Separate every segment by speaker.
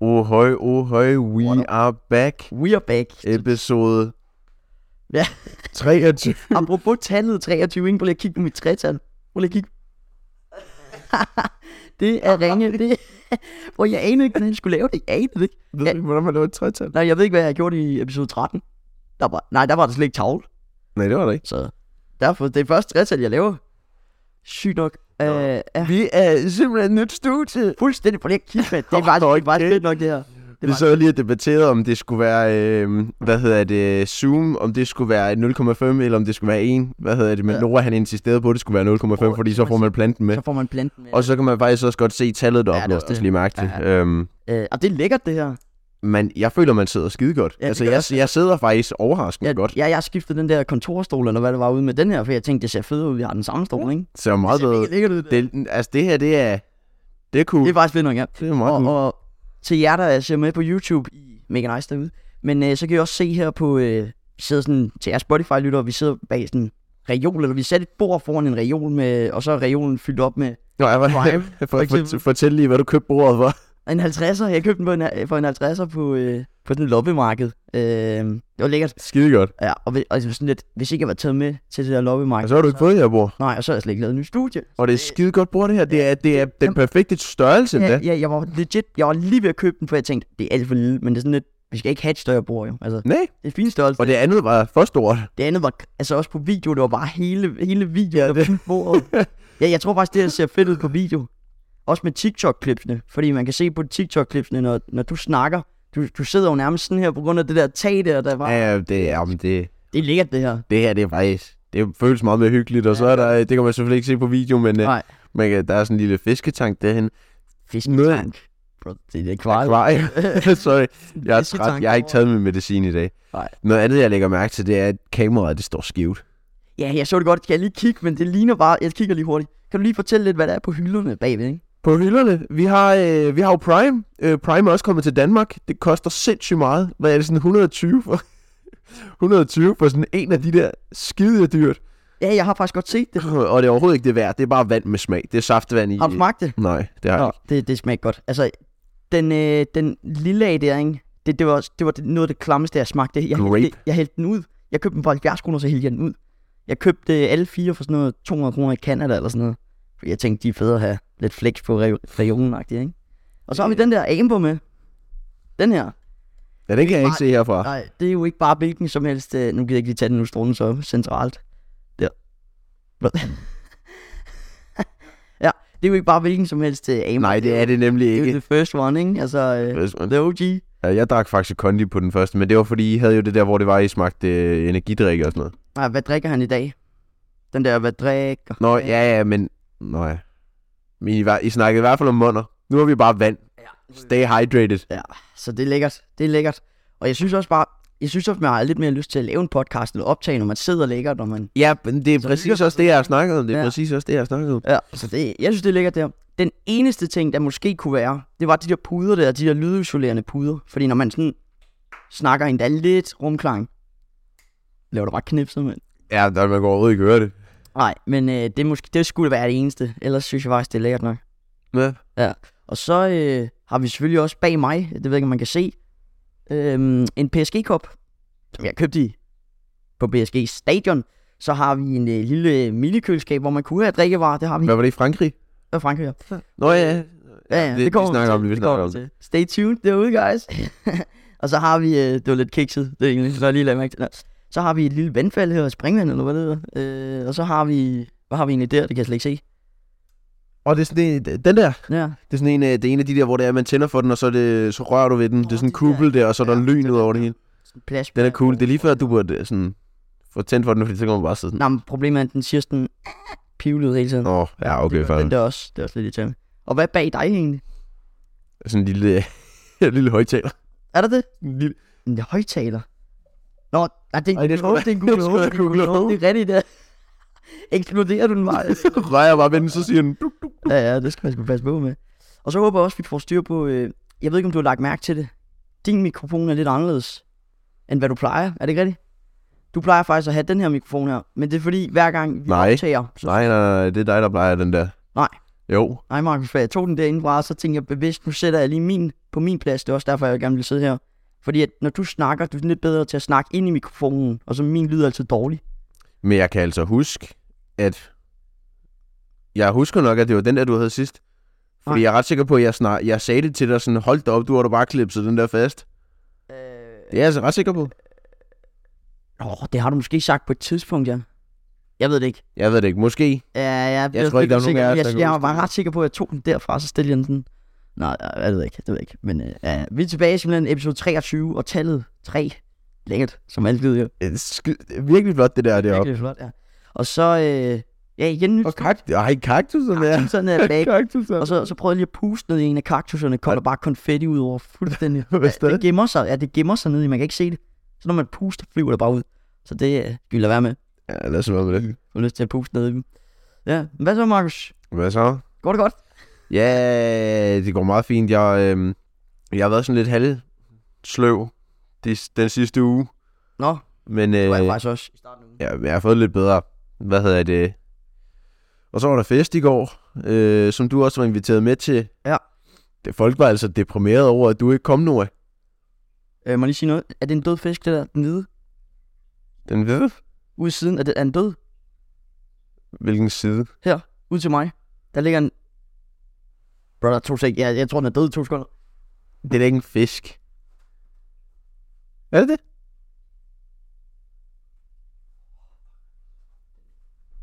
Speaker 1: Ohøj, ohøj, we
Speaker 2: What up?
Speaker 1: are back.
Speaker 2: We are back.
Speaker 1: Episode
Speaker 2: Ja.
Speaker 1: 23.
Speaker 2: Apropos tallet 23, ikke? prøv lige at kigge på mit tretal. Prøv lige at kigge. det er ringe. Det... Hvor jeg anede ikke, hvordan jeg skulle lave det. Jeg anede det ikke.
Speaker 1: Ved du
Speaker 2: Ja.
Speaker 1: ikke, hvordan man laver et tretal?
Speaker 2: Nej, jeg ved ikke, hvad jeg gjorde i episode 13. Der var... Nej, der var der slet ikke tavle.
Speaker 1: Nej, det var det ikke.
Speaker 2: Så derfor, det er første tretal, jeg laver. Sygt nok. Øh, ja.
Speaker 1: Vi er simpelthen nyt studie.
Speaker 2: Fuldstændig på det kigge, mand. Det var det var fedt nok, det her. Det
Speaker 1: Vi
Speaker 2: var,
Speaker 1: så lige og debatterede, om det skulle være, øh, hvad hedder det, Zoom, om det skulle være 0,5, eller om det skulle være 1. Hvad hedder det, men
Speaker 2: Ja.
Speaker 1: Nora han insisterede på, at det skulle være 0,5,
Speaker 2: Åh,
Speaker 1: fordi
Speaker 2: det
Speaker 1: så
Speaker 2: må
Speaker 1: får
Speaker 2: man
Speaker 1: man planten med.
Speaker 2: så får man planten med.
Speaker 1: Og så kan man faktisk også godt se tallet, der
Speaker 2: Ja, det er
Speaker 1: opnås,
Speaker 2: også det.
Speaker 1: lige mærke det.
Speaker 2: Ja,
Speaker 1: Øhm,
Speaker 2: Øh, og det er lækkert, det her.
Speaker 1: men jeg føler, man sidder skide godt.
Speaker 2: Ja, det
Speaker 1: altså,
Speaker 2: gør
Speaker 1: jeg, jeg sidder faktisk overraskende
Speaker 2: Jeg,
Speaker 1: godt.
Speaker 2: jeg, jeg skiftede den der kontorstol, eller hvad det var, ude med den her, for jeg tænkte, det ser fedt ud, vi har den samme stol, ikke?
Speaker 1: Det ser meget bedre.
Speaker 2: Det ser mega lækkert ud, det.
Speaker 1: Det, altså, det her, det er... Det er cool.
Speaker 2: Det er faktisk fedt nok, ja.
Speaker 1: det er meget cool.
Speaker 2: Og, og til jer, der ser med på YouTube, I er mega nice derude. Men øh, så kan I også se her på, øh, vi sidder sådan, til jer Spotify-lyttere, vi sidder bag sådan en reol, eller vi satte et bord foran en reol, med, og så er reolen fyldt op med
Speaker 1: Nå, jeg var,
Speaker 2: Prime,
Speaker 1: for,
Speaker 2: for
Speaker 1: for,
Speaker 2: eksempel.
Speaker 1: fortæl lige, hvad du købte bordet for.
Speaker 2: en 50'er. Jeg købte den på en, for en 50'er på, øh, på den loppemarked. Øh, det var lækkert.
Speaker 1: Skide godt.
Speaker 2: Ja, og, vi- og det var sådan lidt, hvis ikke jeg var taget med til det der loppemarked,
Speaker 1: Og så har du ikke fået det her bord.
Speaker 2: nej, og så har jeg slet ikke lavet en ny studie.
Speaker 1: Og det er skide godt bord, det her. Det er, det er den perfekte størrelse,
Speaker 2: Ja,
Speaker 1: ja,
Speaker 2: ja, jeg var legit, jeg var lige ved at købe den, for jeg tænkte, det er alt for lille, men det er sådan lidt, vi skal ikke have et større bord jo. Altså,
Speaker 1: Nej,
Speaker 2: det er fin størrelse.
Speaker 1: og det andet var for stort.
Speaker 2: Det andet var altså også på video, det var bare hele, hele videoen ja, det... bordet. ja, jeg tror faktisk, det her ser fedt ud på video. Også med TikTok-klipsene, fordi man kan se på TikTok-klipsene, når, når du snakker. Du, du sidder jo nærmest sådan her på grund af det der tag der, der var. Ja.
Speaker 1: Ja, det, jamen, det,
Speaker 2: Det er lækkert det her.
Speaker 1: det her, det er faktisk... Det føles meget mere hyggeligt, og så er der... Det kan man selvfølgelig ikke se på video, men øh,
Speaker 2: Nej.
Speaker 1: man kan, der er sådan en lille fisketank derhen.
Speaker 2: Fisketank. Bro, det er det kvar.
Speaker 1: Akvarium. Sorry, jeg er
Speaker 2: Fisketank
Speaker 1: træt. Jeg har ikke
Speaker 2: over.
Speaker 1: taget min medicin i dag.
Speaker 2: Nej.
Speaker 1: Noget andet, jeg lægger mærke til, det er, at kameraet, det står skævt.
Speaker 2: Ja, jeg så det godt. Kan jeg lige kigge, men det ligner bare... Jeg kigger lige hurtigt. Kan du lige fortælle lidt, hvad der er på hylderne bagved, ikke?
Speaker 1: På hylderne, vi har, øh, vi har jo Prime. Øh, Prime er også kommet til Danmark. Det koster sindssygt meget. Hvad er det sådan 120 for? 120 for sådan en af de der skide dyrt.
Speaker 2: Ja, jeg har faktisk godt set det.
Speaker 1: Og det er overhovedet ikke det værd. Det er bare vand med smag. Det er saftvand i.
Speaker 2: Har du smagt det?
Speaker 1: Nej, det har jeg
Speaker 2: Nå,
Speaker 1: ikke.
Speaker 2: det, det smagte godt. Altså, den, øh, den lille af der, ikke? Det, det var, også- det var det, noget af det klammeste, jeg smagte. Jeg, hældte
Speaker 1: Grape.
Speaker 2: det- jeg hældte den ud. Jeg købte den for 70 kroner, så hældte jeg den ud. Jeg købte øh, alle fire for sådan noget 200 kroner i Canada eller sådan noget. Fordi jeg tænkte, de er federe at have lidt flex på re- regionen ikke? Og så
Speaker 1: Øh.
Speaker 2: har vi den der Amber med. Den her.
Speaker 1: Ja, den kan jeg ikke se herfra.
Speaker 2: Nej, det er jo ikke bare hvilken som helst. øh, Nu gider jeg ikke lige tage den, nu står den så centralt. Der. Hvad? ja, det er jo ikke bare hvilken som helst øh, Amber.
Speaker 1: Nej, det er det nemlig
Speaker 2: Det er jo
Speaker 1: ikke.
Speaker 2: the first one, ikke? Altså, øh, the OG.
Speaker 1: Ja, jeg drak faktisk kondi på den første, men det var fordi, I havde jo det der, hvor det var, I smagte øh, energidrik og sådan noget.
Speaker 2: Nej, ah, hvad drikker han i dag? Den der, hvad drikker?
Speaker 1: Nå, ja, ja, men... Nå ja. Men I, var, I snakkede i hvert fald om munder. Nu har vi bare vand. Stay hydrated.
Speaker 2: Så det er lækkert. Det er lækkert. Og jeg synes også bare, jeg synes også, man har lidt mere lyst til at lave en podcast eller optage, når man sidder lækkert, når man...
Speaker 1: Ja, men det er
Speaker 2: Så
Speaker 1: præcis
Speaker 2: lyder
Speaker 1: også det, jeg har snakket om. Det er
Speaker 2: Ja.
Speaker 1: præcis også det, jeg har snakket om.
Speaker 2: Ja, så det, jeg synes, det er lækkert der. Den eneste ting, der måske kunne være, det var de der puder der, de der lydisolerende puder. Fordi når man sådan snakker en, der er lidt rumklang, laver du bare knipset, mand.
Speaker 1: Ja, der man går overhovedet ikke høre det.
Speaker 2: Nej, men øh, det, er måske, det skulle være det eneste. Ellers synes jeg faktisk, det er lækkert nok.
Speaker 1: Ja.
Speaker 2: Og så øh, har vi selvfølgelig også bag mig, det ved jeg ikke, om man kan se, øhm, en PSG-kop, som jeg købte i på PSG Stadion. Så har vi en øh, lille minikøleskab, hvor man kunne have drikkevarer. Det har vi
Speaker 1: Hvad var det i Frankrig?
Speaker 2: i Frankrig. Ja,
Speaker 1: Nå ja,
Speaker 2: ja, ja
Speaker 1: det, vi
Speaker 2: kommer
Speaker 1: snakker
Speaker 2: til.
Speaker 1: om det, vi snakker
Speaker 2: kommer
Speaker 1: om det.
Speaker 2: til. Stay tuned derude, guys. og så har vi, øh, det var lidt kikset, det er egentlig, så jeg lige lagde mærke til. Nå. Så har vi et lille vandfald her, springvand eller hvad det hedder. Øh, og så har vi, hvad har vi egentlig der? Det kan jeg slet ikke se.
Speaker 1: Og det er sådan en, den der,
Speaker 2: Ja,
Speaker 1: det er sådan en, af- det er en af de der, hvor det er, man tænder for den, og så, er det, så rører du ved den. Det er sådan en kuppel der, og så er der
Speaker 2: Ja,
Speaker 1: lyn ud over det hele.
Speaker 2: sådan plads.
Speaker 1: Den er cool. Det er lige før, du burde øh, sådan få tændt for den, fordi så kan man bare sidde sådan.
Speaker 2: Nej, men problemet er, at den siger sådan pivlyd hele tiden.
Speaker 1: Nå, ja, okay,
Speaker 2: det, gør den
Speaker 1: fanden.
Speaker 2: der også. Det er også lidt irriterende. Og hvad er bag dig egentlig?
Speaker 1: Sådan en lille, øh, en lille højtaler.
Speaker 2: Er der det?
Speaker 1: En lille-
Speaker 2: En højtaler. Nå, nej, det er en
Speaker 1: Ej, det
Speaker 2: Google
Speaker 1: skulle
Speaker 2: Home,
Speaker 1: da-
Speaker 2: det er en
Speaker 1: det
Speaker 2: Google
Speaker 1: skulle da
Speaker 2: Home, det er en Google
Speaker 1: Google
Speaker 2: Home, det er rigtigt der. Eksploderer du den bare?
Speaker 1: Rører jeg bare ved den, så siger den, duk, duk.
Speaker 2: ja, ja, det skal man sgu passe på med. Og så håber jeg også, at vi får styr på, øh, jeg ved ikke, om du har lagt mærke til det. Din mikrofon er lidt anderledes, end hvad du plejer. Er det ikke rigtigt? Du plejer faktisk at have den her mikrofon her, men det er fordi, hver gang vi
Speaker 1: Nej.
Speaker 2: optager, så
Speaker 1: Nej, nej, nej, det er dig, der plejer den der.
Speaker 2: Nej,
Speaker 1: Jo.
Speaker 2: Nej, Markus, for jeg tog den derinde fra, og så tænkte jeg bevidst, nu sætter jeg lige min på min plads. Det er også derfor, jeg gerne vil sidde her. Fordi at når du snakker, du er sådan lidt bedre til at snakke ind i mikrofonen, og så min lyder altid dårlig.
Speaker 1: Men jeg kan altså huske, at... Jeg husker nok, at det var den der, du havde sidst. Fordi
Speaker 2: Nej.
Speaker 1: jeg er ret sikker på, at jeg, snart, jeg sagde det til dig sådan, hold da op, du har da bare klipset den der fast. Det er jeg altså ret sikker på.
Speaker 2: Åh, oh, det har du måske sagt på et tidspunkt, ja. Jeg ved det ikke.
Speaker 1: Jeg ved det ikke, måske.
Speaker 2: Ja, jeg, jeg,
Speaker 1: tror ikke, der er nogen af os, der
Speaker 2: jeg,
Speaker 1: kan
Speaker 2: jeg, jeg
Speaker 1: huske
Speaker 2: var
Speaker 1: det.
Speaker 2: ret sikker på, at jeg tog den derfra, så stillede jeg den sådan. Nej, jeg ved det ikke, det ved jeg ikke. Men øh, ja, vi er tilbage i simpelthen episode 23, og tallet 3. Lækkert, som altid jo.
Speaker 1: Det er skid- det er virkelig flot, det der deroppe.
Speaker 2: Virkelig flot, ja. Og så, øh, ja, igen nyt.
Speaker 1: Og kaktus. Ej, kaktuserne er.
Speaker 2: Sådan er bag.
Speaker 1: Kaktuserne.
Speaker 2: Og så, så prøvede jeg lige at puste ned i en af kaktuserne, kom der bare konfetti ud over fuldstændig.
Speaker 1: Hvad
Speaker 2: Ja,
Speaker 1: stadig?
Speaker 2: det gemmer sig, ja, det gemmer sig ned i, man kan ikke se det. Så når man puster, flyver det bare ud. Så det øh, vil jeg være med.
Speaker 1: Ja, lad os være med det.
Speaker 2: Jeg har lyst til at puste ned i dem. Ja, hvad så, Markus?
Speaker 1: Hvad så?
Speaker 2: Går det godt?
Speaker 1: Ja, det går meget fint. Jeg, øhm, jeg har været sådan lidt halvsløv de, den sidste uge,
Speaker 2: Nå,
Speaker 1: men øh,
Speaker 2: det var jeg
Speaker 1: jeg,
Speaker 2: faktisk også i starten af ugen.
Speaker 1: jeg har fået lidt bedre. Hvad hedder det? Og så var der fest i går, øh, som du også var inviteret med til.
Speaker 2: Ja.
Speaker 1: Det, folk var altså deprimeret over, at du ikke kom, Noah.
Speaker 2: Øh, må jeg lige sige noget? Er det en død fisk, det der? Den hvide?
Speaker 1: Den ved.
Speaker 2: Ude i siden? Er, det, er den død?
Speaker 1: Hvilken side?
Speaker 2: Ude til mig? Der ligger en... Brother, to sek. Jeg, jeg tror, den er død i to sekunder.
Speaker 1: Det er da ikke en fisk. Er det det?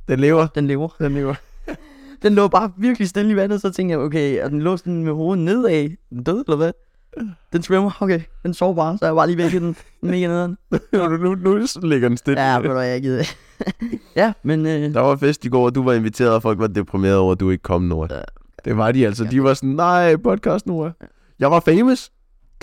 Speaker 1: Den lever.
Speaker 2: Den lever.
Speaker 1: Den lever.
Speaker 2: Den lå bare virkelig stille i vandet, så tænkte jeg, okay, og den lå sådan med hovedet nedad. Er Den død, eller hvad? Den svømmer, okay. Den sover bare, så jeg bare lige væk i den. Mega nederen.
Speaker 1: nu, nu, nu ligger den stille.
Speaker 2: Ja, ved du hvad, jeg gider. ja, men... Øh,
Speaker 1: Der var fest i går, og du var inviteret, og folk var deprimerede over, at du ikke kom, Nora.
Speaker 2: Ja.
Speaker 1: Det var de altså. De var sådan, nej, podcast, Nora. Jeg var famous.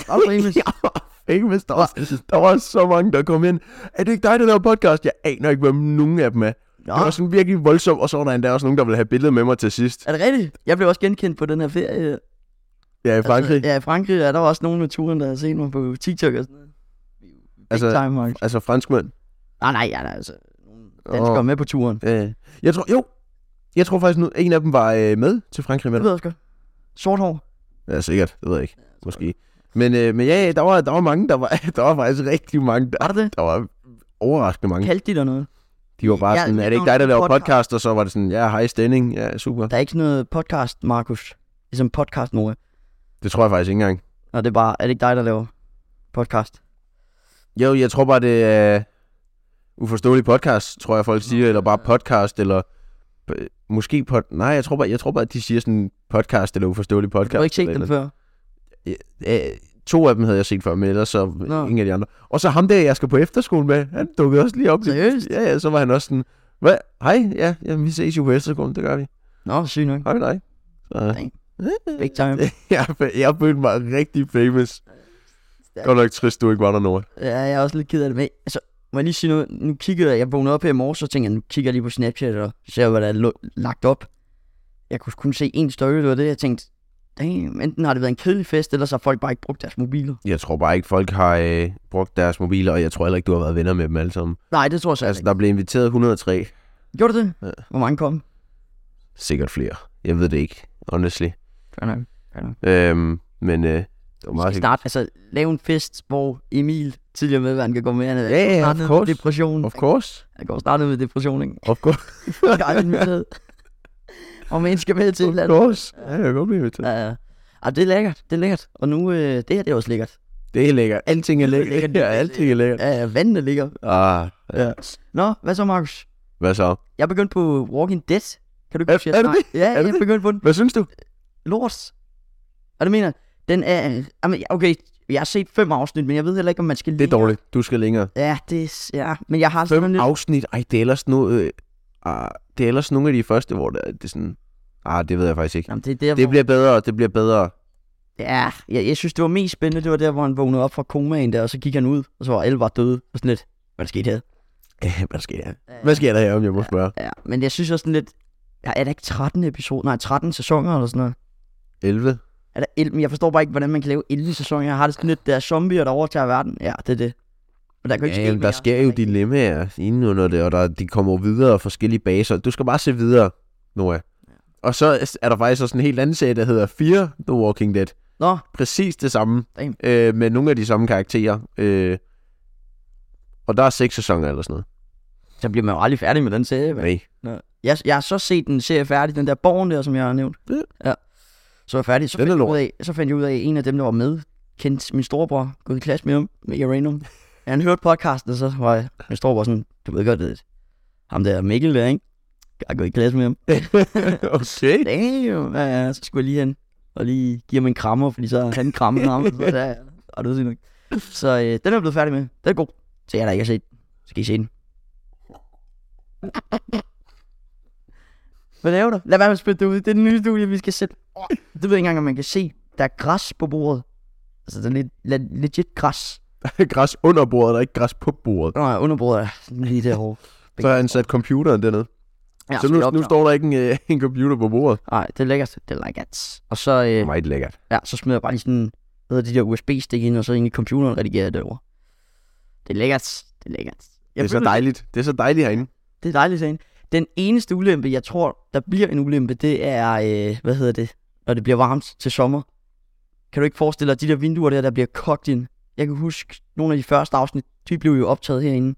Speaker 2: og Remus.
Speaker 1: Jeg var famous. Der var, der var så mange, der kom ind. Er det ikke dig, der laver podcast? Jeg aner ikke, hvem nogen af dem er.
Speaker 2: Nå,
Speaker 1: Det var sådan virkelig voldsomt, og så var der endda også nogen, der ville have billedet med mig til sidst.
Speaker 2: er det rigtigt? Jeg blev også genkendt på den her ferie. Altså,
Speaker 1: Ja, i Frankrig.
Speaker 2: Ja, i Frankrig er der var også nogen med turen, der har set mig på TikTok og sådan noget. Big
Speaker 1: Altså-
Speaker 2: altså, time, Mark.
Speaker 1: Altså franskmænd.
Speaker 2: Nej, nej, ja, nej, altså. nogle Danskere
Speaker 1: Åh.
Speaker 2: oh. med på turen.
Speaker 1: Øh, Jeg tror, jo. Jeg tror faktisk, nu, en af dem var øh, med til Frankrig med
Speaker 2: Det
Speaker 1: dig.
Speaker 2: ved jeg også godt. Sort hår.
Speaker 1: Ja, sikkert. Det ved jeg ikke. Måske. Men, øh, men ja, der var, der var mange, der var, der var faktisk rigtig mange, der,
Speaker 2: Var det det?
Speaker 1: der var overraskende mange.
Speaker 2: Kaldte de dig noget?
Speaker 1: De var bare
Speaker 2: Ja,
Speaker 1: sådan, er
Speaker 2: det
Speaker 1: det ikke
Speaker 2: var
Speaker 1: dig, der
Speaker 2: en
Speaker 1: laver
Speaker 2: podcast."
Speaker 1: podcast? Og så var det sådan, ja, hej Stenning, ja, super.
Speaker 2: Der er ikke sådan noget podcast, Markus. Ligesom podcast, Nora.
Speaker 1: Det tror jeg faktisk ikke engang.
Speaker 2: Og det er bare, er det ikke dig, der laver podcast?
Speaker 1: Jo, jeg tror bare, det er uforståelig podcast, tror jeg folk siger, eller bare podcast, eller p- måske pod... Nej, jeg tror bare, jeg tror bare at de siger sådan podcast eller uforståelig podcast.
Speaker 2: Du har ikke set
Speaker 1: eller
Speaker 2: den før?
Speaker 1: Øh, to af dem havde jeg set før, men ellers så
Speaker 2: Nå.
Speaker 1: ingen af de andre. Og så ham der, jeg skal på efterskole med, han dukkede også lige op. lidt.
Speaker 2: Seriøst?
Speaker 1: Ja, ja, så var han også sådan, hvad? Hej, ja, jamen, vi ses jo på efterskolen, det gør vi.
Speaker 2: Nå, syg nok.
Speaker 1: Hej med dig. Så,
Speaker 2: Dang. Big time.
Speaker 1: jeg, jeg følte mig rigtig famous.
Speaker 2: Stærkt.
Speaker 1: Godt nok trist, du ikke var der, Nora.
Speaker 2: Ja, jeg er også lidt ked af det. Men, altså, må jeg lige sige noget? Nu kiggede jeg, jeg vågnede op her i morges, så tænkte jeg, nu kigger jeg lige på Snapchat og ser, hvad der er lo- lagt op. Jeg kunne kun se en story, det var det, jeg tænkte, damn, enten har det været en kedelig fest, eller så har folk bare ikke brugt deres mobiler.
Speaker 1: Jeg tror bare ikke, folk har øh, brugt deres mobiler, og jeg tror heller ikke, du har været venner med dem alle sammen.
Speaker 2: Nej, det tror jeg så
Speaker 1: Altså,
Speaker 2: altså,
Speaker 1: der blev inviteret 103.
Speaker 2: ikke. Gjorde du det?
Speaker 1: Ja.
Speaker 2: Hvor mange kom?
Speaker 1: Sikkert flere. Jeg ved det ikke, honestly.
Speaker 2: Fair nok, fair nok.
Speaker 1: Øhm, men øh, det var
Speaker 2: Vi skal
Speaker 1: meget
Speaker 2: snart, altså, lave en fest, hvor Emil, tidligere medværende, kan gå med. Han er
Speaker 1: Ja, ja,
Speaker 2: snart
Speaker 1: of
Speaker 2: ned med
Speaker 1: course.
Speaker 2: depression.
Speaker 1: Of course.
Speaker 2: Han går snart ned med depression, ikke?
Speaker 1: Of course.
Speaker 2: Jeg er aldrig inviteret. Og man skal med til et eller
Speaker 1: of
Speaker 2: andet.
Speaker 1: course. Ja, jeg kan godt blive inviteret.
Speaker 2: Ja, ja. Ej, det er lækkert, det er lækkert. Og nu, øh, det her, det er også lækkert.
Speaker 1: Det er lækkert. Alting er
Speaker 2: Det er
Speaker 1: lækkert.
Speaker 2: lækkert.
Speaker 1: Ja, alting er lækkert.
Speaker 2: Ja, ja, vandene ligger.
Speaker 1: Ah, ja.
Speaker 2: Nå, hvad så, Markus?
Speaker 1: Hvad så?
Speaker 2: Jeg er begyndt på Walking Dead. Kan du
Speaker 1: Er-
Speaker 2: ikke huske, jeg
Speaker 1: er det
Speaker 2: snak- Ja,
Speaker 1: Er det
Speaker 2: jeg er
Speaker 1: det?
Speaker 2: begyndt på den.
Speaker 1: Hvad synes du?
Speaker 2: Lort. Og det mener, jeg, den er... Jamen, okay, jeg har set fem afsnit, men jeg ved heller ikke, om man skal
Speaker 1: Det er dårligt. Du skal længere.
Speaker 2: Ja, det er... s- Ja, men jeg har
Speaker 1: Fem
Speaker 2: sådan lidt...
Speaker 1: afsnit. Ej, det er ellers nu... Øh, ah, det er ellers nogle af de første, hvor det, er- det er sådan... Ah, det ved jeg faktisk ikke.
Speaker 2: Jamen, det er der,
Speaker 1: Det
Speaker 2: hvor...
Speaker 1: bliver bedre, det bliver bedre.
Speaker 2: Ja, jeg, jeg synes, det var mest spændende, det var der, hvor han vågnede op fra komaen der, og så gik han ud, og så var alle bare døde, og sådan lidt, hvad der skete her?
Speaker 1: Hvad sker der? Hvad sker der her, om jeg må spørge?
Speaker 2: Ja, men jeg synes også sådan lidt, ja, er der ikke 13 episoder, nej, 13 sæsoner eller sådan noget?
Speaker 1: 11?
Speaker 2: Er der 11? Jeg forstår bare ikke, hvordan man kan lave 11 sæsoner. Jeg har det sådan lidt, der er zombier, der overtager verden. Ja, det er det. Men der kan jo ikke
Speaker 1: Ja, jamen,
Speaker 2: ske
Speaker 1: der
Speaker 2: mere.
Speaker 1: sker jo dilemmaer inden under det, og der, de kommer jo videre af forskellige baser. Du skal bare se videre, Noah. Og så er der faktisk også en helt anden serie, der hedder Fear The Walking Dead.
Speaker 2: Nå,
Speaker 1: Præcis det samme,
Speaker 2: Damn.
Speaker 1: øh, med nogle af de samme karakterer. Øh, og der er seks sæsoner eller sådan noget.
Speaker 2: så bliver man jo aldrig færdig med den serie. mand.
Speaker 1: Nej.
Speaker 2: Nå. Jeg, jeg har så set den serie færdig, den der Borgen der, som jeg har nævnt.
Speaker 1: Ja.
Speaker 2: ja. Så er jeg færdig. Så
Speaker 1: Den
Speaker 2: fandt,
Speaker 1: er
Speaker 2: jeg ud
Speaker 1: lort.
Speaker 2: af, så fandt jeg ud af, at en af dem, der var med, kendte min storebror, gået i klasse med ham, med random. Han hørte podcasten, og så var jeg, min storebror sådan, du ved godt, det er ham der Mikkel der, ikke? Jeg har gået i klasse med ham.
Speaker 1: okay.
Speaker 2: Damn, ja, ja, så skulle jeg lige hen og lige give ham en krammer, fordi så han krammede ham, og så der, og det nok. Så øh, den er jeg blevet færdig med. Den er god. Så jeg der ikke har set. Så kan I se den. Hvad laver du? Lad være med at spytte det ud. Det er den nye studie, vi skal sætte. Åh, Det ved jeg ikke engang, om man kan se. Der er græs på bordet. Altså, der er lidt, le- legit græs.
Speaker 1: Der er græs under bordet, der er ikke græs på bordet.
Speaker 2: Nå, jeg underbordet er lige derovre.
Speaker 1: Så har han sat computeren dernede.
Speaker 2: Ja,
Speaker 1: så nu, nu står der ikke en, øh, en computer på bordet.
Speaker 2: Nej, det er lækkert. Det er lækkert. Og så... Øh,
Speaker 1: Meget lækkert.
Speaker 2: Ja, så smider jeg bare lige sådan, hvad hedder de der USB-stik ind, og så ind i computeren redigerer jeg det over. Det er lækkert. Det er lækkert.
Speaker 1: Det er så
Speaker 2: føler-
Speaker 1: dejligt. Det er så dejligt herinde.
Speaker 2: Det er dejligt, sagen. Den eneste ulempe, jeg tror, der bliver en ulempe, det er, øh, hvad hedder det, når det bliver varmt til sommer. Kan du ikke forestille dig, at de der vinduer der, der bliver kogt ind? Jeg kan huske, nogle af de første afsnit, de blev jo optaget herinde.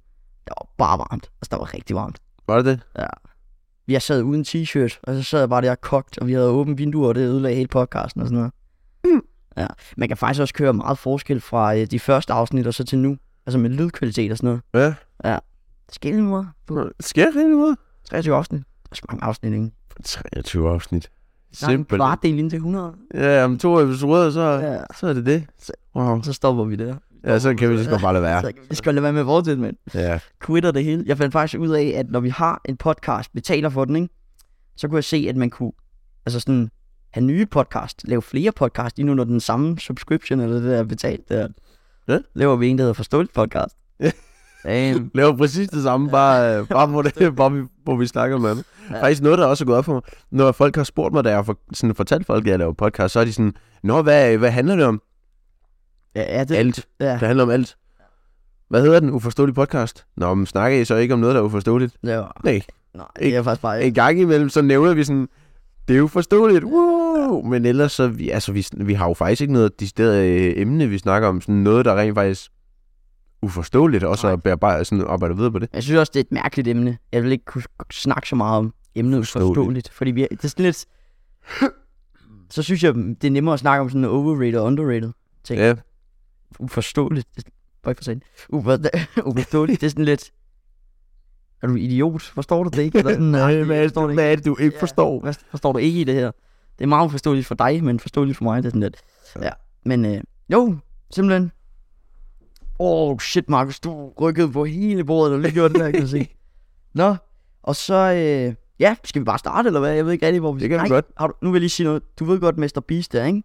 Speaker 2: Det var bare varmt. Altså, der var rigtig varmt.
Speaker 1: Var det det?
Speaker 2: Jeg sad uden t-shirt, og så sad jeg bare der kogt, og vi havde åbent vinduer, og det ødelagde hele podcasten og sådan noget.
Speaker 1: Mm.
Speaker 2: Ja. Man kan faktisk også køre meget forskel fra øh, de første afsnit og så til nu. Altså med lydkvalitet og sådan noget.
Speaker 1: Ja.
Speaker 2: Skille mor.
Speaker 1: Sker det rigtig noget?
Speaker 2: 23 afsnit. Det er så mange afsnit, ikke?
Speaker 1: 23 afsnit.
Speaker 2: Der er en
Speaker 1: Simpelthen.
Speaker 2: kvart del indtil 100.
Speaker 1: Ja, om to episoder, så,
Speaker 2: Ja.
Speaker 1: så er det det. Wow.
Speaker 2: Så stopper vi der.
Speaker 1: Ja, så kan vi lige så godt bare lade være.
Speaker 2: Så vi skal lade være med at fortsætte, mand.
Speaker 1: Ja.
Speaker 2: Quitter det hele. Jeg fandt faktisk ud af, at når vi har en podcast, betaler for den, ikke? Så kunne jeg se, at man kunne altså sådan, have nye podcast, lave flere podcast, lige nu når den samme subscription eller det der er betalt der.
Speaker 1: Ja.
Speaker 2: Laver vi en, der hedder Forståeligt Podcast.
Speaker 1: Ja.
Speaker 2: Damn.
Speaker 1: Laver præcis det samme, bare, øh, bare, hvor, det, bare vi, hvor vi snakker om andet.
Speaker 2: Ja.
Speaker 1: Faktisk noget, der også er gået op for mig. Når folk har spurgt mig, da jeg har for, sådan fortalt folk, at jeg laver podcast, så er de sådan, Nå, hvad, hvad handler det om?
Speaker 2: Ja, ja, det,
Speaker 1: Alt.
Speaker 2: Ja,
Speaker 1: Det handler om alt. Hvad hedder den uforståelige podcast? Nå, men snakker I så ikke om noget, der er uforståeligt?
Speaker 2: det var...
Speaker 1: Nej.
Speaker 2: Nej, det er faktisk bare...
Speaker 1: En gang imellem, så nævner vi sådan, det er uforståeligt, wow! Men ellers så, vi, altså, vi, vi har jo faktisk ikke noget decideret øh, emne, vi snakker om. Sådan noget, der rent faktisk uforståeligt, og så
Speaker 2: Nej.
Speaker 1: bærer bare sådan arbejder videre på det.
Speaker 2: Jeg synes også, det er et mærkeligt emne. Jeg vil ikke kunne snakke så meget om emnet
Speaker 1: Forståeligt.
Speaker 2: forståeligt. forståeligt fordi vi er, det er sådan lidt... Så synes jeg, det er nemmere at snakke om sådan overrated og underrated. Ting.
Speaker 1: Ja,
Speaker 2: Uforståeligt. Det var ikke for sent. Ufor- uforståeligt. det er sådan lidt... Er du idiot? Forstår du det ikke? Eller sådan,
Speaker 1: Nej, hvad er
Speaker 2: forstår
Speaker 1: det,
Speaker 2: det
Speaker 1: hvad er det du ikke
Speaker 2: Ja.
Speaker 1: forstår?
Speaker 2: Hvad forstår du ikke i det her? Det er meget uforståeligt for dig, men forståeligt for mig. Det er sådan lidt...
Speaker 1: Ja.
Speaker 2: Ja. Men øh, jo, simpelthen. Åh, oh, shit, Markus, du rykkede på hele bordet, og lige gjorde det der, kan jeg se. Nå, og så, øh, ja, skal vi bare starte, eller hvad? Jeg ved ikke rigtig, hvor vi
Speaker 1: Det kan vi
Speaker 2: Nej,
Speaker 1: godt.
Speaker 2: Har du, nu vil jeg lige sige noget. Du ved godt Mr. Beast der, ikke?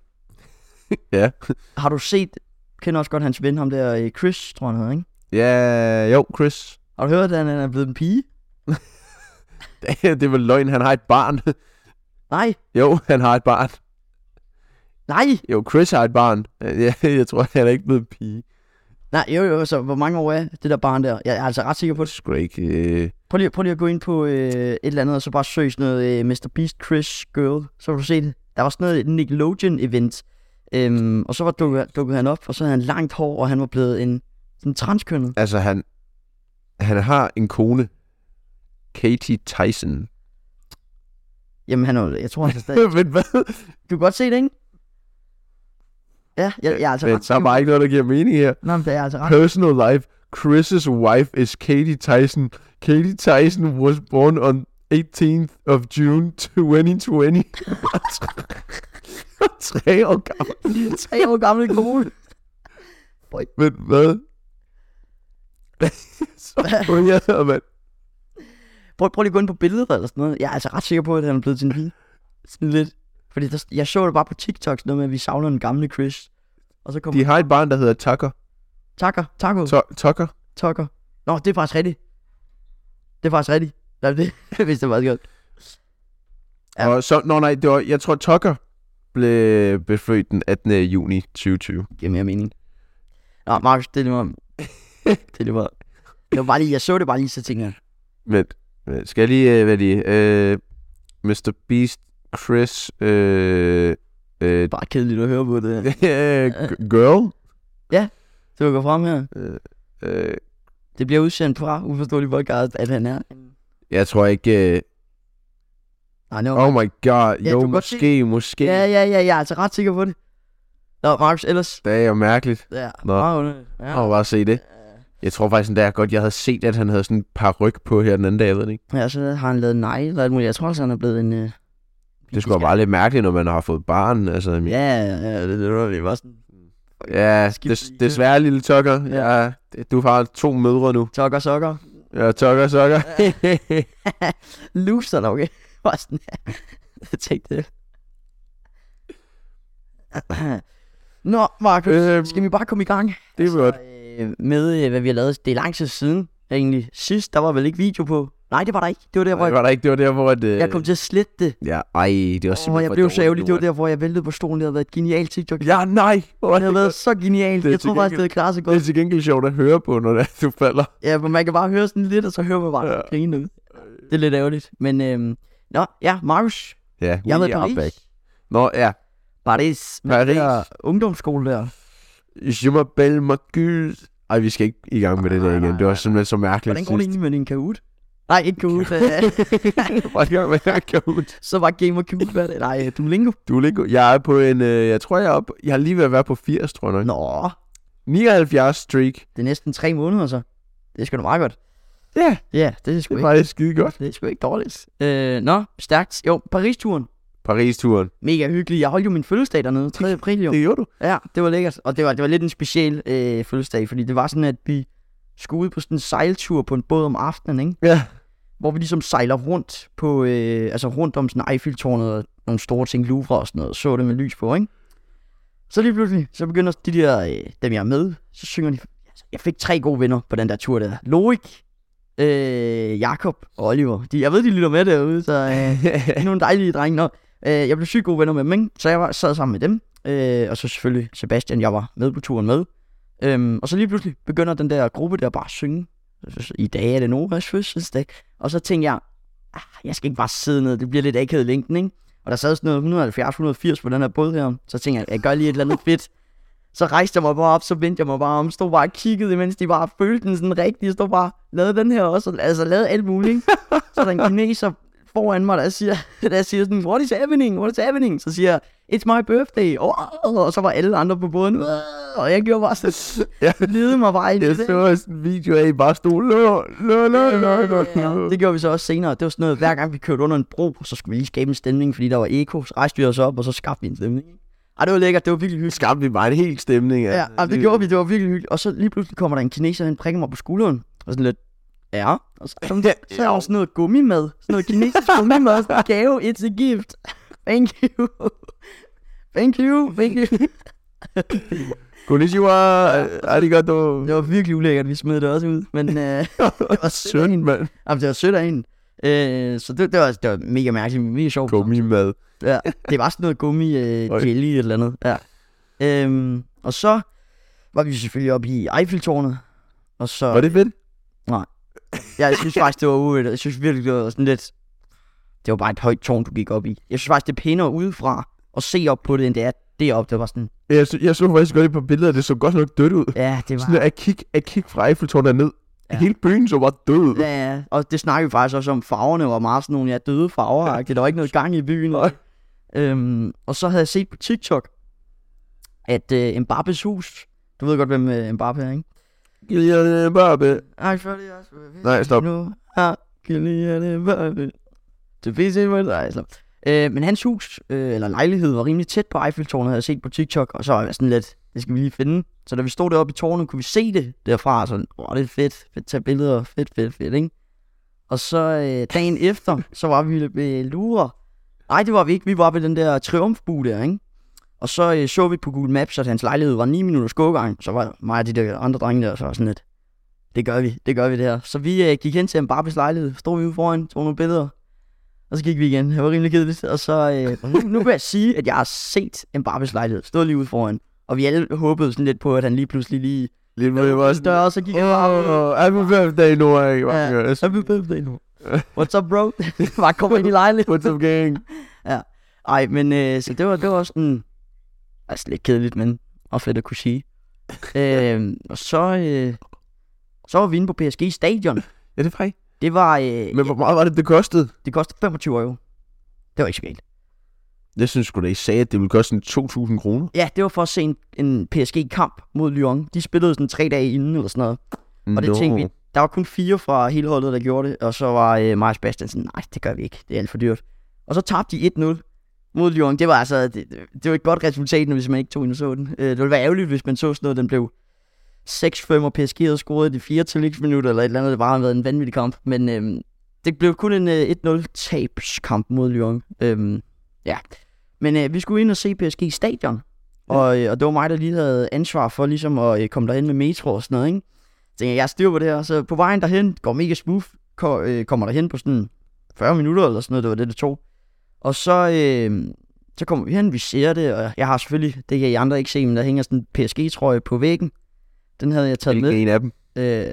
Speaker 1: Ja.
Speaker 2: Har du set, kender også godt hans ven, ham der øh, Chris, tror jeg, han hedder, ikke?
Speaker 1: Ja, jo, Chris.
Speaker 2: Har du hørt, at han er blevet en pige?
Speaker 1: det er vel løgn, han har et barn.
Speaker 2: Nej,
Speaker 1: jo, han har et barn.
Speaker 2: nej,
Speaker 1: Jo, Chris har et barn. Ja, jeg tror, han er ikke blevet en pige.
Speaker 2: nej, jo, jo, så hvor mange år er det der barn der? Jeg er altså ret sikker på,
Speaker 1: Det er sgu da ikke... Øh...
Speaker 2: Prøv lige, prøv lige at gå ind på øh, et eller andet, og så bare søg sådan noget øh, Mr. Beast Chris Girl. Så vil du se det. Der var sådan noget Nickelodeon-event. Øhm, og så var dukket, dukket han op, og så havde han langt hår, og han var blevet en sådan transkønnet.
Speaker 1: Altså, han, han har en kone. Katie Tyson.
Speaker 2: Jamen, han er, jo- jeg tror, han er stadig...
Speaker 1: Men hvad?
Speaker 2: Du kan godt se det, ikke? Ja, jeg, jeg er altså
Speaker 1: Men
Speaker 2: ret
Speaker 1: der er bare ikke noget, der giver mening her.
Speaker 2: Nå, men det er jeg altså ret
Speaker 1: Personal life. Chris's wife is Katie Tyson. Katie Tyson was born on 18th of June 2020. Tre år gammel.
Speaker 2: tre år gammel kone.
Speaker 1: Men hvad? så kunne jeg, og man,
Speaker 2: Prøv, prøv lige at gå ind på billedet eller sådan noget. Jeg er altså ret sikker på, at han er blevet til en hvid. Sådan lidt. Fordi der, jeg så det bare på TikTok, sådan noget med, at vi savner den gamle Chris. Og så kommer...
Speaker 1: de har et barn, der hedder Tucker.
Speaker 2: Takker, takker.
Speaker 1: Tu- Tucker?
Speaker 2: Tucker. Nå, det er faktisk rigtigt. Det er faktisk rigtigt. Nej, det hvis det var godt.
Speaker 1: Ja.
Speaker 2: Ja.
Speaker 1: Og så, nå nej, det var, jeg tror Tucker blev, blev født den 18. juni 2020.
Speaker 2: Giver mere mening. Nå, Markus, det er lige meget. det er lige meget. Det var bare lige, jeg så det bare lige, så tænkte jeg,
Speaker 1: Vent, vent, skal jeg lige øh, være lige? Øh, Mr. Øh, Beast Chris... Øh, øh,
Speaker 2: Bare kedeligt at høre på det her. Øh.
Speaker 1: g- girl?
Speaker 2: Det vil gå frem her.
Speaker 1: Øh, øh,
Speaker 2: Det bliver udsendt fra Uforståelig Podcast, at han er.
Speaker 1: jeg tror ikke... Øh,
Speaker 2: Nej, no.
Speaker 1: oh my god.
Speaker 2: Ja, du
Speaker 1: jo,
Speaker 2: kan godt
Speaker 1: måske, måske.
Speaker 2: Ja, ja, ja, jeg er altså ret sikker på det. Nå, Markus, ellers.
Speaker 1: Det er jo mærkeligt.
Speaker 2: Ja,
Speaker 1: Nå.
Speaker 2: meget underligt. Ja. Øh,
Speaker 1: Jeg har bare se det. Jeg tror faktisk endda godt, jeg havde set, at han havde sådan et par ryg på her den anden dag, jeg ved det ikke.
Speaker 2: ja, så har han lavet nej eller alt muligt. Jeg tror også, han er blevet en... Øh...
Speaker 1: Det skulle bare lidt mærkeligt, når man har fået barn. Altså,
Speaker 2: Ja, ja, ja, det er underligt. Bare sådan,
Speaker 1: ja
Speaker 2: Skift
Speaker 1: des,
Speaker 2: lige.
Speaker 1: desværre, lille Tucker. Ja. du har to mødre nu.
Speaker 2: tok og sokker.
Speaker 1: Ja, Tucker, Sucker.
Speaker 2: Loser dog, okay? Bare sådan, jeg tænkte det. Nå, Markus,
Speaker 1: Øhm,
Speaker 2: skal vi bare komme i gang?
Speaker 1: det er godt.
Speaker 2: Øh, med, øh, hvad vi har lavet. Det er lang tid siden, egentlig. Sidst, der var vel ikke video på. Nej, det var der ikke. Det var der, hvor
Speaker 1: Det
Speaker 2: jeg,
Speaker 1: var der ikke, det var der, hvor... At, øh,
Speaker 2: jeg kom til at slette det.
Speaker 1: Ja, ej, det var simpelthen
Speaker 2: Åh, jeg
Speaker 1: for
Speaker 2: blev
Speaker 1: dårligt,
Speaker 2: så ærgerlig. Det var
Speaker 1: lort.
Speaker 2: der, hvor jeg væltede på stolen. Det havde været et genialt TikTok.
Speaker 1: Ja, nej. Hvor er
Speaker 2: Det havde været så genialt.
Speaker 1: Det er
Speaker 2: Jeg tror
Speaker 1: til
Speaker 2: faktisk, det havde klaret sig
Speaker 1: Det
Speaker 2: godt.
Speaker 1: er til gengæld sjovt at høre på, når det er, du falder.
Speaker 2: Ja, men man kan bare høre sådan lidt, og så hører man bare
Speaker 1: Ja.
Speaker 2: ja. grine ud. Det er lidt ærgerligt. Men øhm, nå, ja, Markus.
Speaker 1: Ja,
Speaker 2: Jeg har været i
Speaker 1: are
Speaker 2: Paris.
Speaker 1: back. Nå, ja.
Speaker 2: Paris. med
Speaker 1: Paris.
Speaker 2: den Der ungdomsskole der.
Speaker 1: Je m'appelle Marcus. Ej, vi skal ikke i gang med det der
Speaker 2: Nej,
Speaker 1: igen.
Speaker 2: nej,
Speaker 1: Det var simpelthen så mærkeligt.
Speaker 2: Hvordan går det egentlig med din kahoot? Nej, ikke kahoot. øh,
Speaker 1: Hvordan går det med
Speaker 2: så var Gamer Kahoot. Hvad er det? Nej, øh, Duolingo.
Speaker 1: Du er Lingo. Jeg er på en... Øh, jeg tror, jeg er oppe... Jeg har lige ved at være på 80, tror jeg nok.
Speaker 2: Nå,
Speaker 1: 79 streak.
Speaker 2: det er næsten tre måneder så. Det er sgu da meget godt.
Speaker 1: Ja,
Speaker 2: Ja, det er
Speaker 1: det
Speaker 2: sgu
Speaker 1: er
Speaker 2: ikke,
Speaker 1: faktisk skide godt.
Speaker 2: det er sgu ikke dårligt. Øh, nå, stærkt. Jo, Paris-turen.
Speaker 1: Paris-turen.
Speaker 2: Mega hyggelig. Jeg holdt jo min fødselsdag dernede, 3. april jo.
Speaker 1: Det gjorde du.
Speaker 2: Ja, det var lækkert. Og det var, det var lidt en speciel øh, fødselsdag, fordi det var sådan, at vi skulle ud på sådan en sejltur på en båd om aftenen, ikke?
Speaker 1: Ja.
Speaker 2: hvor vi ligesom sejler rundt på, øh, altså rundt om sådan Eiffeltårnet og nogle store ting, Louvre og sådan noget, så det med lys på, ikke? Så lige pludselig, så begynder de der, øh, dem jeg er med, så synger de, altså, jeg fik tre gode venner på den der tur der. Loik, øh, Jakob og Oliver. De, jeg ved, de lytter med derude, så øh, de er nogle dejlige drenge. Nå, øh, jeg blev sygt gode venner med dem, ikke? så jeg var, sad sammen med dem. Øh, og så selvfølgelig Sebastian, jeg var med på turen med. Øhm, og så lige pludselig begynder den der gruppe der bare at synge. I dag er det Novas fødselsdag. Og så tænkte jeg, ah, jeg skal ikke bare sidde ned, det bliver lidt akavet i længden, ikke? Og der sad sådan noget 170-180 på den her båd her. Så tænkte jeg, jeg gør lige et eller andet fedt. Så rejste jeg mig bare op, så vendte jeg mig bare om, stod bare og kiggede, mens de bare følte den sådan rigtig, stod bare, lavede den her også, og- altså lavede alt muligt. ikke? så er der en kineser foran mig, der siger, der siger sådan, what is happening, what is happening? Så siger jeg, it's my birthday, oh, og så var alle andre på båden, "Åh!" og jeg gjorde bare sådan,
Speaker 1: Ja.
Speaker 2: lede mig bare ind i
Speaker 1: Jeg
Speaker 2: det.
Speaker 1: så også en video af, I bare stod... Lå, lå, lå, lå, lå, lå.
Speaker 2: Det gjorde vi så også senere. Det var sådan noget, hver gang vi kørte under en bro, så skulle vi lige skabe en stemning, fordi der var eko. Så rejste vi os op, og så skabte vi en stemning. ikke? Ej, det var lækkert. Det var virkelig hyggeligt.
Speaker 1: Skabte vi bare en helt stemning.
Speaker 2: Ja, jamen, det gjorde vi. Det var virkelig hyggeligt. Og så lige pludselig kommer der en kineser, han prikker mig på skulderen. Og sådan lidt, ja. Og så, så, så er der også sådan noget gummi med. Sådan noget kinesisk gummi med. Sådan en gave, it's a gift. Thank you. Thank you, thank you.
Speaker 1: Konnichiwa. Arigato.
Speaker 2: Det var virkelig ulækkert, vi smed det også ud. Men øh, det var sødt af
Speaker 1: Søn,
Speaker 2: hende.
Speaker 1: mand.
Speaker 2: Jamen, det var sødt af hende. Øh, så det, det, var, det var mega mærkeligt, men mega sjovt.
Speaker 1: Gummi mad.
Speaker 2: Ja, det var sådan noget gummi, øh,
Speaker 1: Oj.
Speaker 2: jelly eller et eller andet. Ja. Øhm, og så var vi selvfølgelig oppe i Eiffeltårnet. Og så,
Speaker 1: Var det fedt?
Speaker 2: ja, jeg synes faktisk, det var ude. Jeg synes virkelig, det var sådan lidt... Det var bare et højt tårn, du gik op i. Jeg synes faktisk, det er pænere udefra at se op på det, end det er deroppe. Det var sådan,
Speaker 1: Jeg så, jeg så faktisk godt et par billeder, det så godt nok dødt ud.
Speaker 2: ja, det var...
Speaker 1: Sådan at kigge, at kigge fra Eiffeltårnet ned.
Speaker 2: Ja.
Speaker 1: Hele byen så bare død ud.
Speaker 2: Ja, ja. Og det snakker vi faktisk også om. Farverne var meget sådan nogle ja, døde farver. Der var ikke noget gang i byen.
Speaker 1: Nej.
Speaker 2: Øhm, og så havde jeg set på TikTok, at øh, Mbappes hus... Du ved godt, hvem øh, Mbappe er, ikke?
Speaker 1: Kylian Mbappé.
Speaker 2: Ej, for det også. hvad
Speaker 1: Nej,
Speaker 2: ved
Speaker 1: stop.
Speaker 2: jeg Nu har Kylian Mbappé. Det viser mig. Nej, slap. Øh, men hans hus, øh, eller lejlighed, var rimelig tæt på Eiffeltårnet, havde jeg set på TikTok, og så var jeg sådan lidt, det skal vi lige finde. Så da vi stod deroppe i tårnet, kunne vi se det derfra, og sådan, åh, det er fedt, fedt, tage billeder, fedt, fedt, fedt, ikke? Og så øh, dagen efter, så var vi ved Lure. Nej, det var vi ikke, vi var ved den der triumfbue der, ikke? Og så øh, så vi på Google Maps, at hans lejlighed var 9 minutters gågang, så var mig og de der andre drenge der, så var sådan lidt, det gør vi, det gør vi det her. Så vi øh, gik hen til Mbappes lejlighed, stod vi ude foran, tog nogle billeder, og så gik vi igen. Det var rimelig kedeligt. Og så, øh, nu, nu vil jeg sige, at jeg har set Mbappes lejlighed, stod lige ude foran. Og vi alle håbede sådan lidt på, at han lige pludselig lige
Speaker 1: Lige nu, jeg var sådan...
Speaker 2: dør, og så gik han bare...
Speaker 1: Åh, happy birthday, Noah.
Speaker 2: Ja.
Speaker 1: Yeah.
Speaker 2: Happy birthday nu. What's up, bro? bare kommer ind i lejligheden.
Speaker 1: What's up, gang?
Speaker 2: Ej, men øh, så det var, det var også sådan... Altså lidt kedeligt, men og fedt at kunne sige. øh, og så, øh, så var vi inde på PSG Stadion.
Speaker 1: Ja, det er faktisk.
Speaker 2: Det var... Øh,
Speaker 1: Men hvor meget var det, det kostede?
Speaker 2: det kostede 25 euro. Det var ikke så galt.
Speaker 1: Jeg synes sgu da, I sagde, at det ville koste sådan 2.000 kroner.
Speaker 2: Ja, det var for at se en, en PSG-kamp mod Lyon. De spillede sådan tre dage inden eller sådan noget. Og det tænkte vi, der var kun fire fra hele holdet, der gjorde det. Og så var øh, Marius Bastian sådan, nej, det gør vi ikke. Det er alt for dyrt. Og så tabte de 1-0 mod Lyon. Det var altså, det, det- det var et godt resultat, hvis man ikke tog ind og så den. Øh, det ville være ærgerligt, hvis man så sådan noget, den blev 6-5, og PSG havde scoret i de fire tillægsminutter, eller et eller andet. Det bare har været en vanvittig kamp. Men øhm, det blev kun en øh, 1-0 tabskamp mod Lyon. Øhm, ja. Men øh, vi skulle ind og se PSG stadion. Og, øh, og det var mig, der lige havde ansvar for ligesom at øh, komme derhen med metro og sådan noget, ikke? Så tænkte jeg, jeg styrer på det her. Så på vejen derhen, går mega smooth, ko- øh, kommer derhen på sådan 40 minutter eller sådan noget, det var det, det tog. Og så, øh, så kommer vi hen, vi ser det, og jeg har selvfølgelig, det kan I andre ikke se, men der hænger sådan en PSG-trøje på væggen. Den havde jeg taget med.
Speaker 1: Hvilken en af dem?
Speaker 2: Øh,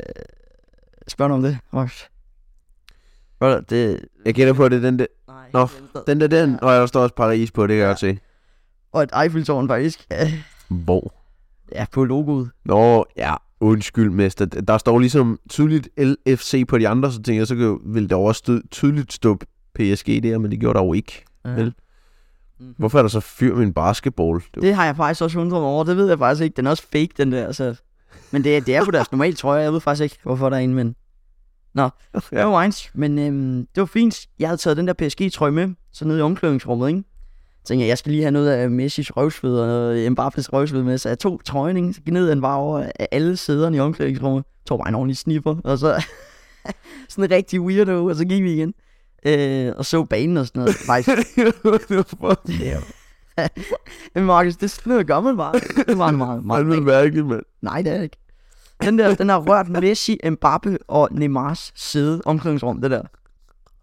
Speaker 2: spørg nu om det, Marcus. Brother, det...
Speaker 1: Jeg gætter på, at det er den der.
Speaker 2: Nej,
Speaker 1: Nå, Den der, den. Og der står også Paris på, det kan jeg godt se.
Speaker 2: Og et Eiffeltårn faktisk.
Speaker 1: Hvor?
Speaker 2: ja, på logoet.
Speaker 1: Nå, ja, undskyld, mester. Der står ligesom tydeligt LFC på de andre, så tænker jeg, så kan- ville der også stød, tydeligt stå PSG der, men det gjorde der jo ikke.
Speaker 2: Ja.
Speaker 1: Vel. Hvorfor er der så fyr med en basketball? Det,
Speaker 2: Det har jeg faktisk også undret mig over, det ved jeg faktisk ikke. Den er også fake, den der, så... Men det, er- det er på deres normale trøje, jeg ved faktisk ikke, hvorfor der er en, men... Ja. No minds. Men øhm, det var fint. Jeg havde taget den der PSG-trøje med, så ned i omklædningsrummet, ikke? Så tænkte jeg, jeg skal lige have noget af Messi's røvsved og noget Mbappé's røvsved med, så jeg tog trøjen, ikke? Så gik ned den var over af alle sæderne i omklædningsrummet, tog bare en ordentlig snipper, og så sådan en rigtig weirdo, og så gik vi igen. Øh, og så banen og sådan noget. Faktisk,
Speaker 1: ja.
Speaker 2: men Markus, det er sådan noget, gør man bare. Det var en meget,
Speaker 1: Man
Speaker 2: meget,
Speaker 1: vil mærke, mand.
Speaker 2: Nej, det er det ikke. Den der, den har rørt Messi, Mbappe og Neymars sæde omklædningsrum, det der.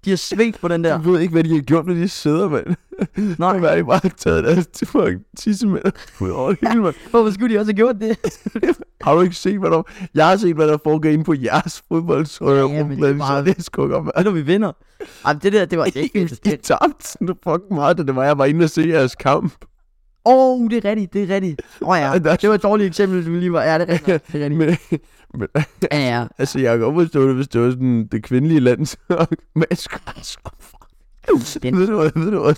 Speaker 2: De har svedt på den der.
Speaker 1: Jeg ved ikke, hvad de har gjort med de sæder, mand.
Speaker 2: Nej.
Speaker 1: Nej. Jeg har bare taget deres til fucking tissemand ud over det hele, mand.
Speaker 2: Hvorfor skulle de også have gjort det?
Speaker 1: Har du ikke set, hvad der... Jeg har set, hvad der foregår inde på jeres fodboldshøjre.
Speaker 2: Ja,
Speaker 1: Ja,
Speaker 2: men
Speaker 1: men
Speaker 2: det er meget-
Speaker 1: det er sgu godt, mand.
Speaker 2: Og når vi vinder. Ej, men det der, det var det, det,
Speaker 1: I
Speaker 2: det.
Speaker 1: tabte sådan fucking meget, da det var, jeg var inde og se jeres kamp.
Speaker 2: Åh, oh, det er rigtigt, det er rigtigt. Åh oh, ja,
Speaker 1: Ej, der er-
Speaker 2: det var et dårligt eksempel, du lige var. Ja, det er rigtigt. Det er rigtigt.
Speaker 1: Men, men
Speaker 2: Ja, ja.
Speaker 1: altså, jeg kan godt forstå det, hvis det var sådan det kvindelige landshold. Men jeg skulle
Speaker 2: Den-
Speaker 1: Ved du hvad, ved du hvad?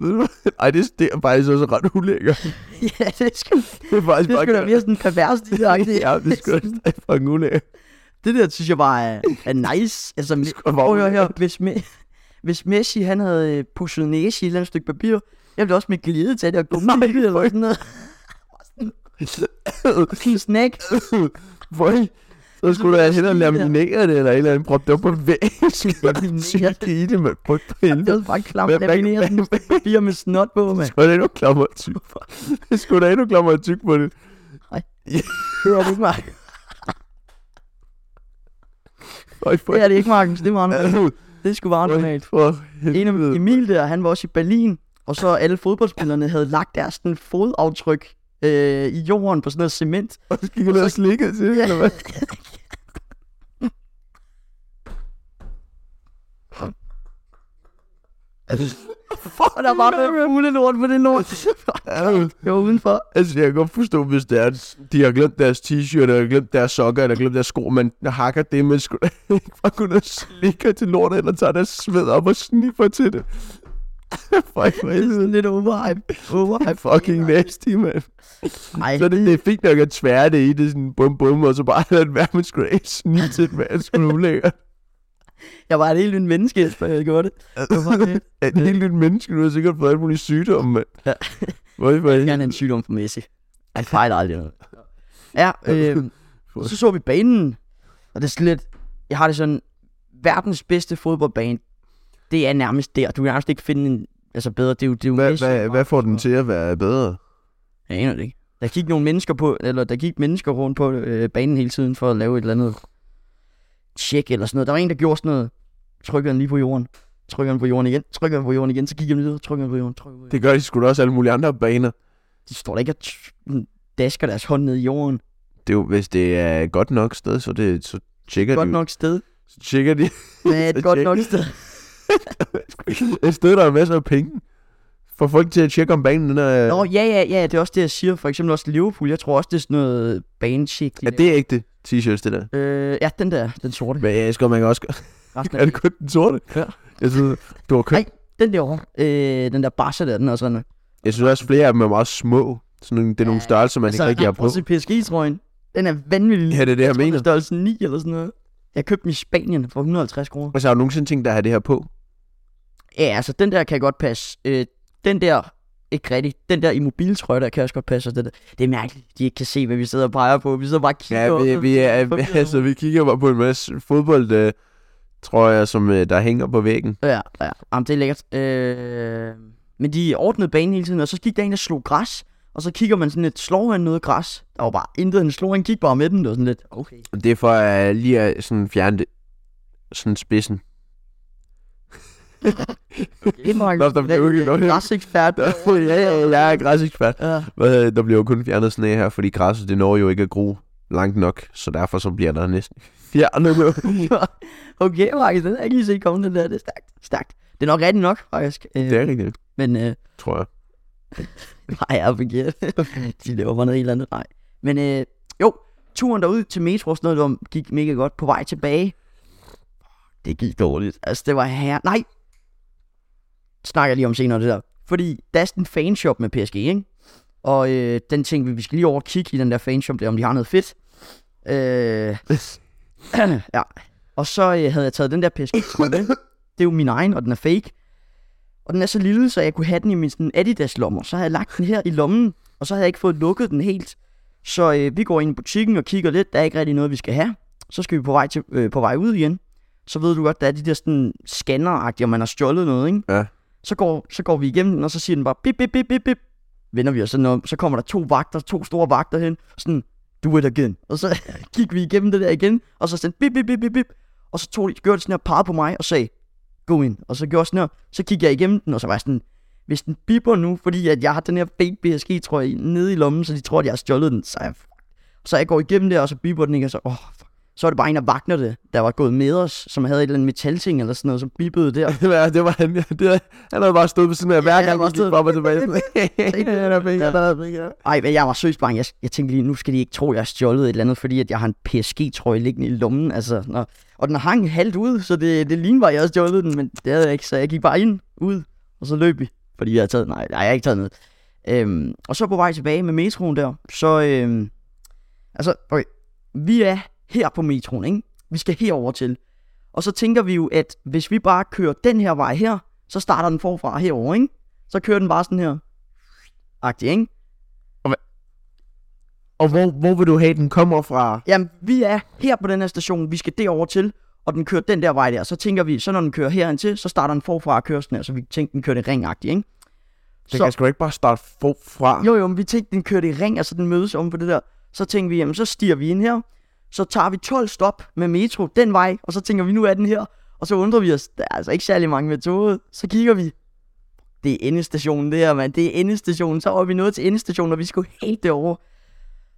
Speaker 1: Ved du hvad? Ej, det, det er faktisk også ret ulækkert.
Speaker 2: ja det skulle,
Speaker 1: Det er faktisk
Speaker 2: det skulle da mere sådan pervers, de der.
Speaker 1: Ja, det er sgu da det er fucking ulækkert.
Speaker 2: Det der, synes jeg bare er, er nice. Altså, me-
Speaker 1: sgu da bare
Speaker 2: prøv at høre her.
Speaker 1: ulækkert.
Speaker 2: Hvis, me- hvis Messi, han havde øh, pusset næse i et eller andet stykke papir, jeg ville også med glæde tage det og gumme det, eller sådan noget. Sådan en snack.
Speaker 1: Hvor så skulle du have hellere
Speaker 2: Sådan Altså, der.
Speaker 1: laminere det, eller et eller andet, proppe det op på væggen.
Speaker 2: Laminere
Speaker 1: Laminere det. i det, mand. Prøv på
Speaker 2: Det
Speaker 1: helvede.
Speaker 2: var bare klamt
Speaker 1: Hvad- hvad-
Speaker 2: lamineret sådan et stykke papir med snot på, mand.
Speaker 1: Skulle da endnu klammer at tyk på. Skulle da endnu klammer at tyk på det.
Speaker 2: Hører du ikke, Mark?
Speaker 1: Øj, for
Speaker 2: Det er det ikke, Markens. Det var normalt.
Speaker 1: helvede.
Speaker 2: Det skulle være normalt.
Speaker 1: For
Speaker 2: En af
Speaker 1: helvede.
Speaker 2: Emil der, han var også i Berlin, og så alle fodboldspillerne havde lagt deres sådan, fodaftryk øh, i jorden på sådan noget cement.
Speaker 1: Og så gik jeg ned og slikkede til det, eller hvad?
Speaker 2: Altså- Og der var noget fuglelort på det lort.
Speaker 1: Ja,
Speaker 2: Jeg var udenfor.
Speaker 1: Altså, jeg kan godt forstå, hvis det er, at de har glemt deres t-shirt, eller glemt deres sokker, eller glemt deres sko, men hakker det, men skulle da ikke bare gå ned og slikker til lortet, eller tager deres sved op og sniffer til det. Fuck, hvor
Speaker 2: Det er
Speaker 1: helvede.
Speaker 2: sådan lidt overhype. Overhype.
Speaker 1: Fucking nasty, mand.
Speaker 2: Ej,
Speaker 1: Så er det, det er fint nok at tvære det i, det er sådan bum bum, og så bare lade det være, man skulle da ikke snige til det, man skulle ulækkert.
Speaker 2: jeg var et helt nyt menneske, før jeg gjorde det. Det var det.
Speaker 1: Ja, det er helt nyt menneske, du har sikkert fået alle mulige sygdomme, mand.
Speaker 2: Ja.
Speaker 1: Hvorfor
Speaker 2: Jeg
Speaker 1: er
Speaker 2: er en sygdom for Messi. Han fejler aldrig noget. Ja, øh, så så vi banen, og det er sådan lidt, jeg har det sådan, verdens bedste fodboldbane, det er nærmest der. Du kan nærmest ikke finde en altså bedre, det er jo, det er jo
Speaker 1: Hvad,
Speaker 2: Messi.
Speaker 1: hvad, hvad får den til at være bedre?
Speaker 2: Jeg aner det ikke. Der gik nogle mennesker på, eller der gik mennesker rundt på øh, banen hele tiden for at lave et eller andet tjek eller sådan noget. Der var en, der gjorde sådan noget. Trykkede den lige på jorden. Trykkede den på jorden igen. Trykkede den på jorden igen. Så gik jeg videre. Trykkede den på jorden. Trykkede den på jorden.
Speaker 1: Det gør de sgu da også alle mulige andre baner.
Speaker 2: De står der ikke og t- dasker deres hånd ned i jorden.
Speaker 1: Det er jo, hvis det er et godt nok sted, så, det, så tjekker
Speaker 2: Godt
Speaker 1: de,
Speaker 2: nok sted.
Speaker 1: Så tjekker de
Speaker 2: Det er et godt nok sted.
Speaker 1: et sted, der er masser af penge. Får folk til at tjekke om banen, den er...
Speaker 2: Nå, ja, ja, ja, det er også det, jeg siger. For eksempel også Liverpool. Jeg tror også, det er sådan noget banechick.
Speaker 1: ja, det er ægte t-shirts, det der.
Speaker 2: Øh, ja, den der, den sorte.
Speaker 1: Men jeg elsker, man kan også...
Speaker 2: Resten
Speaker 1: er
Speaker 2: af
Speaker 1: det kun den sorte?
Speaker 2: Ja.
Speaker 1: Jeg synes, du har købt...
Speaker 2: Ej. den derovre. Øh, den der Barca der, den er også rende.
Speaker 1: Jeg synes også, flere af dem er meget små. Sådan, nogle- det er nogle
Speaker 2: Ja, Altså,
Speaker 1: størrelser, man ikke rigtig har på.
Speaker 2: Også PSG-trøjen. Den er vanvittig.
Speaker 1: Ja, det er det, jeg
Speaker 2: jeg mener.
Speaker 1: mener.
Speaker 2: Størrelse 9 eller sådan noget. Jeg købte den i Spanien for 150 kroner.
Speaker 1: Og så Altså, har du nogensinde tænkt dig at have det her på?
Speaker 2: Ja, altså den der kan godt passe. Øh, den der, ikke rigtigt. Den der i mobiltrøje, der kan også godt passe. Og den der. Det er mærkeligt, de ikke kan se, hvad vi sidder og peger på. Vi sidder bare og kigger.
Speaker 1: Ja, vi,
Speaker 2: op.
Speaker 1: vi, er,
Speaker 2: forvirret.
Speaker 1: altså, vi kigger bare på en masse fodbold, øh, tror jeg, som øh, der hænger på væggen.
Speaker 2: Ja, ja. Jamen, det er lækkert. Øh, men de ordnede banen hele tiden, og så gik der en, der slog græs. Og så kigger man sådan lidt, slår han noget græs? Der var bare intet, han slog, han gik bare med den. Det var sådan lidt, okay.
Speaker 1: Og Det er for øh, lige at sådan fjerne det. Sådan spidsen.
Speaker 2: Det var
Speaker 1: Nå, der blev jo ikke noget her.
Speaker 2: Græsekspert.
Speaker 1: ja, ja, jeg er græsekspert.
Speaker 2: Ja.
Speaker 1: Hvad, øh, Der bliver jo kun fjernet sne her, fordi græsset det når jo ikke at gro langt nok, så derfor så bliver der næsten fjernet nu.
Speaker 2: Okay, Markus, den har jeg ikke lige set komme, den der. Det er stærkt, stærkt. Det er nok rigtigt nok, faktisk. Øh,
Speaker 1: det er rigtigt,
Speaker 2: Men øh,
Speaker 1: tror jeg.
Speaker 2: nej, jeg er forkert. De laver bare noget helt andet. Nej. Men øh, jo, turen derud til metro og sådan noget, det var- gik mega godt på vej tilbage. Det gik dårligt. Altså, det var her. Nej! Det Snakker jeg lige om senere, det der. Fordi der er sådan en fanshop med PSG, ikke? Og øh, den tænkte vi, vi skal lige over og kigge i den der fanshop der, om de har noget fedt. Øh, ja. Og så øh, havde jeg taget den der PSG med. Det er jo min egen, og den er fake. Og den er så lille, så jeg kunne have den i min sådan, Adidas-lommer. Så havde jeg lagt den her i lommen, og så havde jeg ikke fået lukket den helt. Så øh, vi går ind i butikken og kigger lidt. Der er ikke rigtig noget, vi skal have. Så skal vi på vej, til, øh, på vej ud igen. Så ved du godt, der er de der sådan scanner-agtige, om man har stjålet noget, ikke?
Speaker 1: Ja.
Speaker 2: Så går, så går vi igennem den, og så siger den bare bip, bip, bip, bip, bip. Vender vi os sådan om, så kommer der to vagter, to store vagter hen. Sådan, do it again. Og så gik vi igennem det der igen, og så sådan bip, bip, bip, bip, bip. Og så tog de, gjorde de sådan her par på mig og sagde, gå ind. Og så gjorde jeg sådan her, så kiggede jeg igennem den, og så var jeg sådan, hvis den biber nu, fordi at jeg har den her fake PSG, tror jeg, nede i lommen, så de tror, at jeg har stjålet den, så jeg, så jeg går igennem det, og så biber den ikke, og så, åh, fuck. så er det bare en, der vagner det, der var gået med os, som havde et eller andet metalting eller sådan noget, som bippede der.
Speaker 1: Det var, det var han, det var, han havde bare stået på sådan her, hver
Speaker 2: han
Speaker 1: gang
Speaker 2: var
Speaker 1: han
Speaker 2: stået-
Speaker 1: gik frem og tilbage. Han er fake, han er fake, ja.
Speaker 2: Ej, men jeg var seriøst bange. Jeg, jeg tænkte lige, nu skal de ikke tro, jeg har stjålet et eller andet, fordi at jeg har en PSG-trøje liggende i lommen. Altså, nå. Og den hang halvt ud, så det, det lignede, var, at jeg havde stjålet den, men det havde jeg ikke. Så jeg gik bare ind, ud, og så løb vi. Fordi jeg havde taget, nej, nej jeg har ikke taget noget. Øhm, og så på vej tilbage med metroen der, så, øhm, altså, okay, vi er her på metroen, ikke? Vi skal herover til. Og så tænker vi jo, at hvis vi bare kører den her vej her, så starter den forfra herover, ikke? Så kører den bare sådan her. Agtig, ikke?
Speaker 1: Og hvor, hvor vil du have, den kommer fra?
Speaker 2: Jamen, vi er her på den her station, vi skal derover til, og den kører den der vej der. Så tænker vi, så når den kører herhen til, så starter den forfra og kører sådan her, så vi tænkte, den kørte i ringagtigt, ikke?
Speaker 1: Den kan sgu ikke bare starte forfra.
Speaker 2: Jo, jo, men vi tænkte, den kørte i ring, altså den mødes om på det der. Så tænkte vi, jamen så stiger vi ind her, så tager vi 12 stop med metro den vej, og så tænker vi, nu er den her. Og så undrer vi os, der er altså ikke særlig mange med toget. Så kigger vi, det er endestationen det her, mand. Det er endestationen. Så var vi nået til endestationen, og vi skulle helt derover.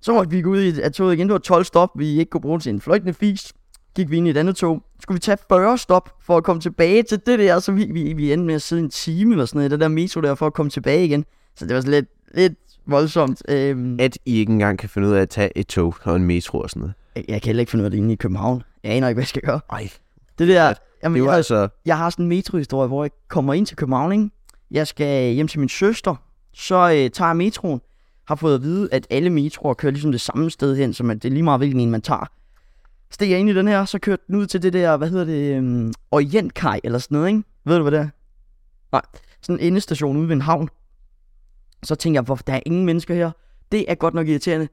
Speaker 2: Så måtte vi gå ud i- af toget igen. Det var 12 stop, vi ikke kunne bruge til en fløjtende fis. Gik vi ind i et andet tog. Skulle vi tage 40 stop for at komme tilbage til det der, så vi, vi, vi endte med at sidde en time eller sådan noget i det der metro der, for at komme tilbage igen. Så det var sådan lidt, lidt voldsomt. Øhm,
Speaker 1: At I ikke engang kan finde ud af at tage et tog og en metro og sådan noget.
Speaker 2: jeg kan heller ikke finde ud af det inde i København. Jeg aner ikke, hvad jeg skal gøre.
Speaker 1: Ej,
Speaker 2: Det der, jamen,
Speaker 1: det var
Speaker 2: jeg,
Speaker 1: altså...
Speaker 2: jeg har sådan en metrohistorie, hvor jeg kommer ind til København, ikke? Jeg skal øh, hjem til min søster, så øh, tager jeg metroen, har fået at vide, at alle metroer kører ligesom det samme sted hen, så man, det er lige meget, hvilken en man tager. Steg jeg ind i den her, så kørte den ud til det der, hvad hedder det, øhm, Orientkaj eller sådan noget, ikke? Ved du, hvad det er? Nej, sådan en endestation ude ved en havn. Så tænkte jeg, hvorfor der er ingen mennesker her? Det er godt nok irriterende.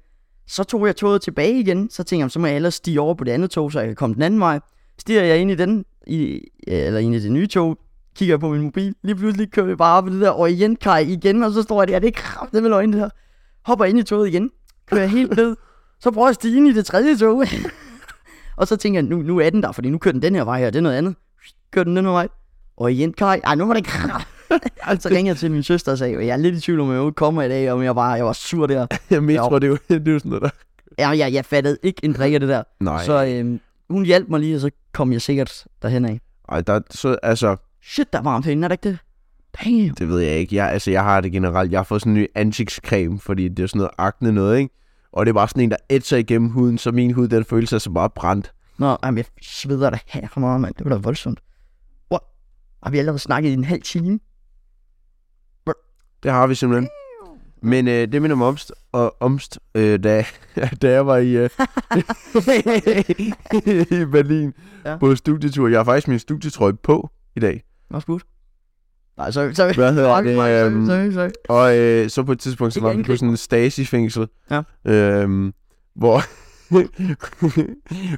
Speaker 2: Så tog jeg toget tilbage igen, så tænkte jeg, så må jeg ellers stige over på det andet tog, så jeg kan komme den anden vej. Stiger jeg ind i den, i, eller ind i det nye tog, kigger jeg på min mobil, lige pludselig kører vi bare op på det der orientkaj igen, og så står jeg der, det er kraftigt med løgn det her. Hopper ind i toget igen, kører jeg helt ned, så prøver jeg at stige ind i det tredje tog. og så tænker jeg, nu, nu er den der, fordi nu kører den den her vej her, det er noget andet. Kører den den her vej, orientkaj, ej nu var det kraft. så ringede jeg til min søster og sagde, jeg er lidt i tvivl om, jeg overhovedet kommer i dag, om jeg var, jeg var sur der.
Speaker 1: Ja, metro, det er jo, det er jo sådan noget der.
Speaker 2: Ja, jeg, jeg fattede ikke en drik af det der.
Speaker 1: Nej, så...
Speaker 2: Så øhm, hun hjalp mig lige, og så kom jeg sikkert derhen af.
Speaker 1: Ej, der, så, altså,
Speaker 2: Shit, der er varmt herinde, er det ikke det? Damn.
Speaker 1: Det ved jeg ikke. Jeg, altså, jeg har det generelt. Jeg har fået sådan en ny ansigtscreme, fordi det er sådan noget akne noget, ikke? Og det er bare sådan en, der ætser igennem huden, så min hud, den føles altså bare brændt.
Speaker 2: Nå, jamen, jeg sveder da her for meget, mand. Det var da voldsomt. Wow. Har vi allerede snakket i en halv time?
Speaker 1: Det har vi simpelthen. Men øh, det minder mig omst, og omst øh, da, da jeg var i, øh, i Berlin
Speaker 2: Ja.
Speaker 1: ja. på studietur. Jeg har faktisk min studietrøje på i dag.
Speaker 2: Også godt. Nej, sorry, sorry.
Speaker 1: Hvad hedder
Speaker 2: Fuck, sorry,
Speaker 1: det?
Speaker 2: sorry,
Speaker 1: Øhm,
Speaker 2: sorry, sorry.
Speaker 1: Og øh, så på et tidspunkt, så
Speaker 2: Ikke
Speaker 1: var vi på
Speaker 2: angriber.
Speaker 1: sådan en Stasi-fængsel,
Speaker 2: Ja.
Speaker 1: øhm, hvor,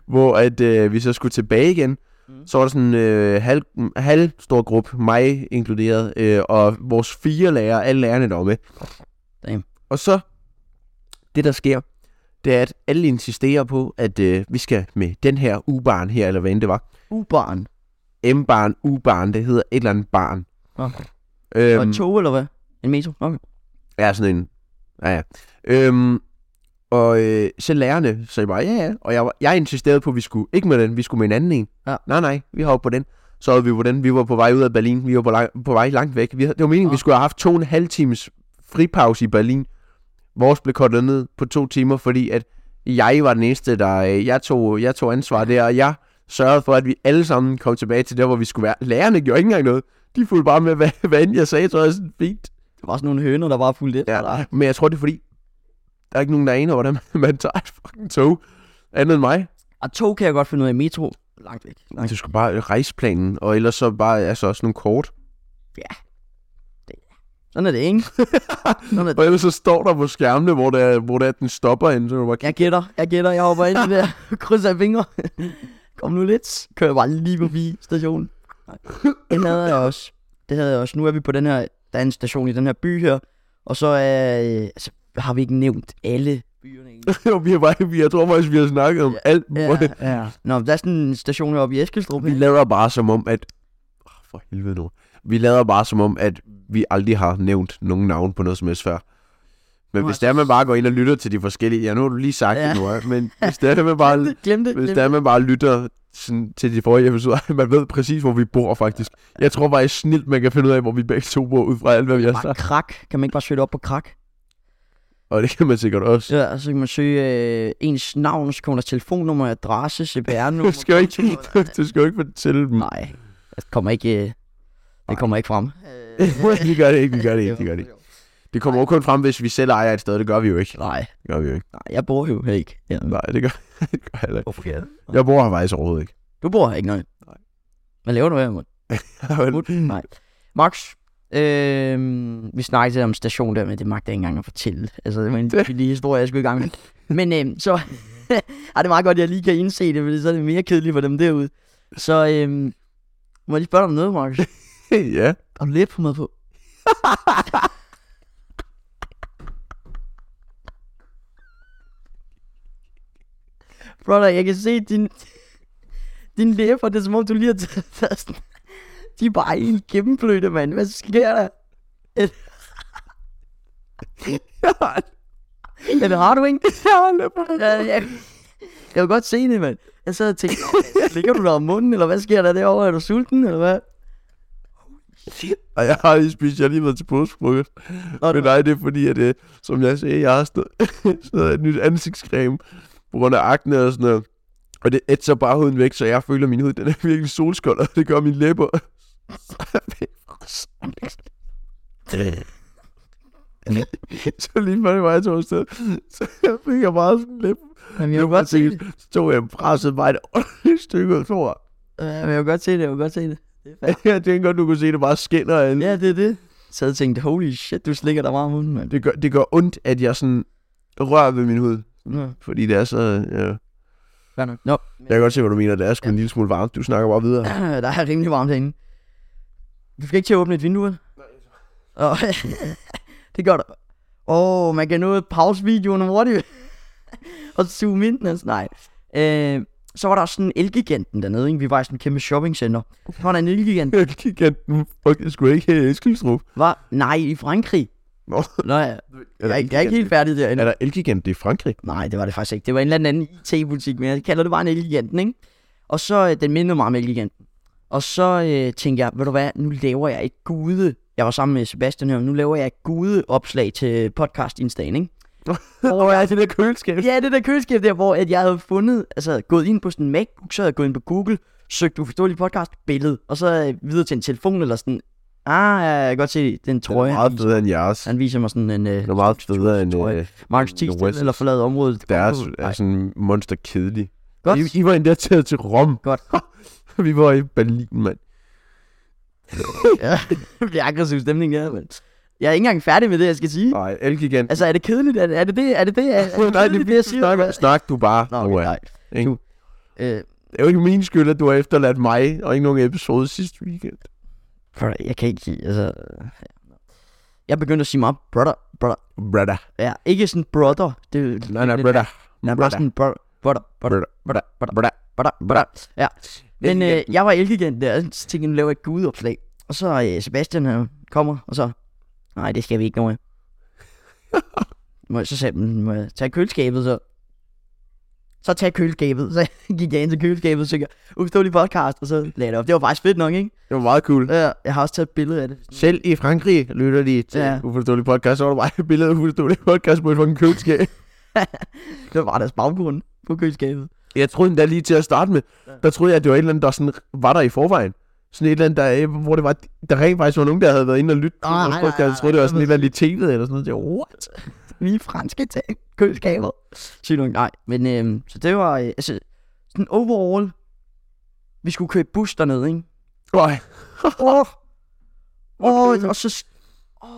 Speaker 1: hvor at, øh, vi så skulle tilbage igen.
Speaker 2: Mm.
Speaker 1: Så var der sådan en øh, halv, halv stor gruppe, mig inkluderet, øh, og vores fire lærere, alle lærerne der var med.
Speaker 2: Damn.
Speaker 1: Og så, det der sker, det er, at alle insisterer på, at øh, vi skal med den her U-barn her, eller hvad end det var.
Speaker 2: Ubaren.
Speaker 1: M-barn, U-barn, det hedder et eller andet barn.
Speaker 2: Okay.
Speaker 1: Øhm,
Speaker 2: Og et tog, eller hvad? En metro? Okay.
Speaker 1: Ja, sådan en. Ja, ja. Øhm, og øh, så lærerne sagde bare, ja, ja. Og jeg, var- jeg insisterede på, at vi skulle ikke med den, vi skulle med en anden en.
Speaker 2: Ja.
Speaker 1: Nej, nej, vi hoppede på den. Så var vi på den. Vi var på vej ud af Berlin. Vi var på, lang, på vej langt væk. Vi, havde- det var meningen,
Speaker 2: Nå.
Speaker 1: ja. vi skulle have haft to og en halv times fripause i Berlin. Vores blev kortet ned på to timer, fordi at jeg var den eneste, der... Øh, jeg, tog, jeg tog ansvar der, og jeg sørgede for, at vi alle sammen kom tilbage til der, hvor vi skulle være. Lærerne gjorde ikke engang noget. De fulgte bare med, hvad, hvad end jeg sagde, så var jeg sådan, fint.
Speaker 2: Det var sådan nogle høner, der bare fulgte lidt.
Speaker 1: Ja, men jeg tror, det er fordi, der er ikke nogen, der aner, hvordan man tager et fucking tog. Andet end mig.
Speaker 2: Og tog kan jeg godt finde ud af. Metro? Langt væk. Langt.
Speaker 1: Du skal bare rejseplanen, og ellers så bare altså også nogle kort.
Speaker 2: Sådan er det, ikke? Sådan er det.
Speaker 1: Og ellers så står der på skærmene, hvor, det er, hvor det er, den stopper ind, så kan du bare
Speaker 2: Jeg gætter, jeg gætter, jeg hopper ind i det her. Krydser af fingre. Kom nu lidt. Kører bare lige forbi stationen. Nej. Den havde jeg også. Det havde jeg også. Nu er vi på den her, der er en station i den her by her. Og så er, øh, altså, har vi ikke nævnt alle byerne egentlig.
Speaker 1: kigge. vi har bare, vi, jeg tror faktisk, vi har snakket om alt. muligt.
Speaker 2: Ja, ja. Nå, der er sådan en station heroppe i Eskilstrup.
Speaker 1: Vi
Speaker 2: ikke?
Speaker 1: lader bare som om, at... Oh, for helvede nu. Vi lader bare som om, at vi aldrig har nævnt nogen navn på noget som helst før. Men
Speaker 2: Nå,
Speaker 1: hvis det er, man bare går ind og lytter til de forskellige... Ja, nu har du lige sagt
Speaker 2: Ja.
Speaker 1: det nu, ikke? men hvis det er, man bare
Speaker 2: Glem det,
Speaker 1: Hvis
Speaker 2: glem
Speaker 1: det er, at man bare lytter sådan, til de forrige episoder, man ved præcis, hvor vi bor faktisk. Jeg tror bare, det er snilt, man kan finde ud af, hvor vi begge to bor, ud fra alt, hvad vi har
Speaker 2: Bare
Speaker 1: sagt.
Speaker 2: krak. Kan man ikke bare søge det op på krak?
Speaker 1: Og det kan man sikkert også.
Speaker 2: Ja, og så kan man søge øh, ens navn, så kommer der telefonnummer, adresse,
Speaker 1: Du
Speaker 2: CPR-nummer.
Speaker 1: skal jo ikke, du skal jo ikke fortælle dem.
Speaker 2: Nej, det kommer ikke, øh, det kommer ikke frem. Øh,
Speaker 1: vi gør det ikke, vi gør det ikke, vi gør det ikke. Det kommer jo kun frem, hvis vi selv ejer et sted, det gør vi jo ikke.
Speaker 2: Nej,
Speaker 1: Det gør vi jo ikke.
Speaker 2: nej, jeg bor jo her ikke. Ja.
Speaker 1: Nej, det gør, det gør jeg heller ikke.
Speaker 2: Hvorfor jeg?
Speaker 1: Jeg bor her faktisk overhovedet ikke.
Speaker 2: Du bor her ikke, nej.
Speaker 1: Nej.
Speaker 2: Hvad laver du her, mand? Mut? Nej. Max, øh, vi snakkede om station der, men det magter jeg ikke engang at fortælle. Altså, det var en lille historie, jeg skulle i gang med. Men øh, så... Ej, det er meget godt, at jeg lige kan indse det, fordi så er det mere kedeligt for dem derude. Så øh, må jeg lige spørge dig om noget, Markus?
Speaker 1: ja.
Speaker 2: Har du læbepomade på? Brother, jeg kan se din... Din læber, det er som om, du lige har taget fast. De er bare helt gennemblødte, mand. Hvad sker der? Ja, det har du ikke. Ja, jeg, jeg kunne godt se det, mand. Jeg sad og tænkte, ligger du der om munden, eller hvad sker der derovre? Er du sulten, eller hvad?
Speaker 1: Og jeg har lige spist, jeg har lige været til påskefrokost.
Speaker 2: Nå,
Speaker 1: Men nej, det er fordi, at øh, som jeg sagde, jeg har sådan noget, sådan noget et nyt ansigtscreme på grund af akne og sådan noget. Og det ætser bare huden væk, så jeg føler, at min hud den er virkelig solskold, og det gør mine læber. så lige før det var, jeg tog afsted, så jeg fik jeg bare sådan lidt...
Speaker 2: Jamen, jeg kunne godt se det.
Speaker 1: Så tog jeg presset mig et ordentligt stykke, og så
Speaker 2: Øh, men jeg kunne godt se det, jeg kunne godt se det.
Speaker 1: jeg tænkte godt, du kunne se, at det bare skinner af en-
Speaker 2: Ja, det er det. Så havde jeg tænkt, holy shit, du slikker dig varm munden, mand.
Speaker 1: det gør, det gør ondt, at jeg sådan rører ved min hud,
Speaker 2: Ja,
Speaker 1: fordi det er så... Ja.
Speaker 2: fair nok. Nå,
Speaker 1: Jeg kan godt se, hvad du mener. Det er sgu ja. en lille smule varmt. Du snakker bare videre.
Speaker 2: der er rimelig varmt herinde. Du skal ikke til at åbne et vindue, vel? Nej. det gør du. Åh, oh, man kan nå at pause videoen hurtigt. og zoome ind, altså nej. Øh, så var der også sådan en elgiganten dernede, ikke? Vi var i sådan en kæmpe shoppingcenter. Så var der en elgigant.
Speaker 1: Giganten fucking skulle ikke øh, have Eskilstrup.
Speaker 2: Var, nej, i Frankrig.
Speaker 1: Nå,
Speaker 2: Nå ja,
Speaker 1: er
Speaker 2: jeg,
Speaker 1: der,
Speaker 2: er ikke- jeg er ikke helt færdig derinde.
Speaker 1: er der elgigant i Frankrig?
Speaker 2: Nej, det var det faktisk ikke. Det var en eller anden IT-butik, men jeg kalder det bare en Elgiganten, ikke? Og så, øh, den mindede mig om Elgiganten. Og så øh, tænkte jeg, ved du hvad, nu laver jeg et gude jeg var sammen med Sebastian her, og nu laver jeg gudeopslag til podcast instaen, ikke?
Speaker 1: Åh, ja, det der køleskab.
Speaker 2: Ja, det der køleskab der, hvor at jeg havde fundet, altså gået ind på sådan en MacBook, så havde jeg gået ind på Google, søgt uforståelig podcast, billede, og så øh, videre til en telefon eller sådan, ah, ja, jeg kan godt se den
Speaker 1: Den er
Speaker 2: trøje.
Speaker 1: meget bedre end jeres.
Speaker 2: han viser mig sådan en øh,
Speaker 1: Den er meget federe end
Speaker 2: Trøje.
Speaker 1: øh,
Speaker 2: Marcus T.
Speaker 1: The West.
Speaker 2: eller forlade området. Det
Speaker 1: deres
Speaker 2: kunne-
Speaker 1: er
Speaker 2: Nej,
Speaker 1: sådan monster kedelig.
Speaker 2: Godt.
Speaker 1: I, I var endda taget til Rom.
Speaker 2: Godt.
Speaker 1: Vi var i Berlin, mand.
Speaker 2: ja, det bliver aggressiv stemning der, men jeg er ikke engang færdig med det, jeg skal sige.
Speaker 1: Nej, Elgiganten.
Speaker 2: Altså, er det kedeligt? Er det er det? det? Er det, det? Er, er det
Speaker 1: Nej,
Speaker 2: kedeligt,
Speaker 1: det er
Speaker 2: jeg
Speaker 1: siger. Snak,
Speaker 2: Hvad-
Speaker 1: snak du bare.
Speaker 2: Nå,
Speaker 1: Noah.
Speaker 2: okay, nej.
Speaker 1: Ikke?
Speaker 2: Du, øh,
Speaker 1: Det er jo ikke min skyld, at du har efterladt mig og ikke nogen episode sidste weekend.
Speaker 2: brother, jeg kan ikke sige, altså... ja. Jeg begyndte at sige meget brother, brother.
Speaker 1: Brother.
Speaker 2: Ja, ikke sådan brother. Det, er
Speaker 1: Nej, nej,
Speaker 2: lidt-
Speaker 1: brother.
Speaker 2: Nej, bare sådan brother, brother, brother,
Speaker 1: Brother.
Speaker 2: brother, brother,
Speaker 1: Brother.
Speaker 2: brother, brother. Ja, men øh,
Speaker 1: Elgiganten.
Speaker 2: jeg var elgigant der, og så tænkte jeg, nu laver jeg et gudeopslag. Og så øh, Sebastian han kommer, og så... Nej, det skal vi ikke, Noah. må jeg, så sagde jeg, "Mm, må jeg tage køleskabet, så... Så tag køleskabet. Så gik jeg ind til køleskabet, og så jeg, uforståelig podcast, og så lagde jeg det op. Det var faktisk fedt nok, ikke?
Speaker 1: Det var meget cool.
Speaker 2: Ja, jeg har også taget et billede af det.
Speaker 1: Selv i Frankrig lytter de til
Speaker 2: Ja.
Speaker 1: ja. uforståelig podcast, så var der bare et billede af uforståelig podcast på et fucking køleskab.
Speaker 2: Det var deres baggrund på køleskabet.
Speaker 1: Jeg troede endda lige til at starte med, der troede jeg, at det var et eller andet, der sådan var der i forvejen. Sådan et eller andet, der, øh, hvor det var, der rent faktisk var nogen, der havde været inde og lyttet.
Speaker 2: Nej, nej, nej,
Speaker 1: Jeg troede, det
Speaker 2: nej,
Speaker 1: var sådan et eller andet i tv'et eller sådan noget. Jeg, what?
Speaker 2: Vi er franske til køleskabet. Sig nok nej. Men øhm, så det var, øh, altså, sådan overall, vi skulle køre i bus dernede, ikke?
Speaker 1: Nej.
Speaker 2: Åh, oh, og så... Oh,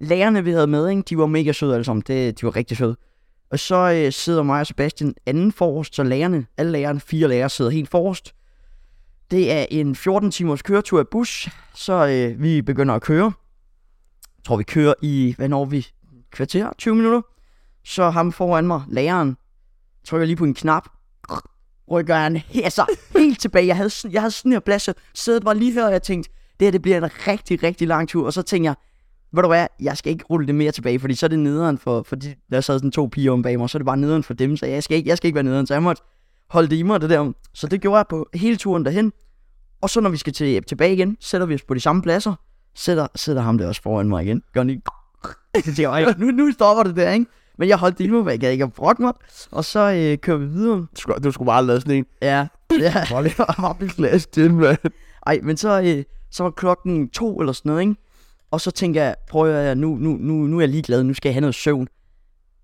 Speaker 2: lærerne, vi havde med, ikke? de var mega søde alle sammen. Det, de var rigtig søde. Og så øh, sidder mig og Sebastian anden forrest, så lærerne, alle lærerne, fire lærere sidder helt forrest. Det er en 14-timers køretur i bus, så øh, vi begynder at køre. Jeg tror, vi kører i, hvad når vi? Kvarter? 20 minutter? Så ham foran mig, læreren, trykker lige på en knap, rykker han he- altså, helt tilbage. Jeg havde, sådan- jeg havde sådan her plads, så sædet var lige her, og jeg tænkte, det her det bliver en rigtig, rigtig lang tur. Og så tænkte jeg, ved du hvad, jeg skal ikke rulle det mere tilbage, fordi så er det nederen for, for de, der sad sådan to piger om bag mig, så er det bare nederen for dem, så jeg skal ikke, jeg skal ikke være nederen, så jeg måtte holde det i mig, det der. Så det gjorde jeg på hele turen derhen. Og så når vi skal til, tilbage igen, sætter vi os på de samme pladser, sætter, sætter ham der også foran mig igen. Gør lige, så tænker jeg, "Ej, nu, nu stopper det der, ikke? Men jeg holdt det i mig, for jeg gad ikke at brokke mig. Og så øh, kører vi videre.
Speaker 1: Du skulle, du skulle bare lave sådan en
Speaker 2: Ja. ja.
Speaker 1: Hold glas til, mand.
Speaker 2: Ej, men så, øh, så var klokken to eller sådan noget, ikke? Og så tænker jeg, prøv at høre, nu, nu, nu, nu er jeg ligeglad, nu skal jeg have noget søvn.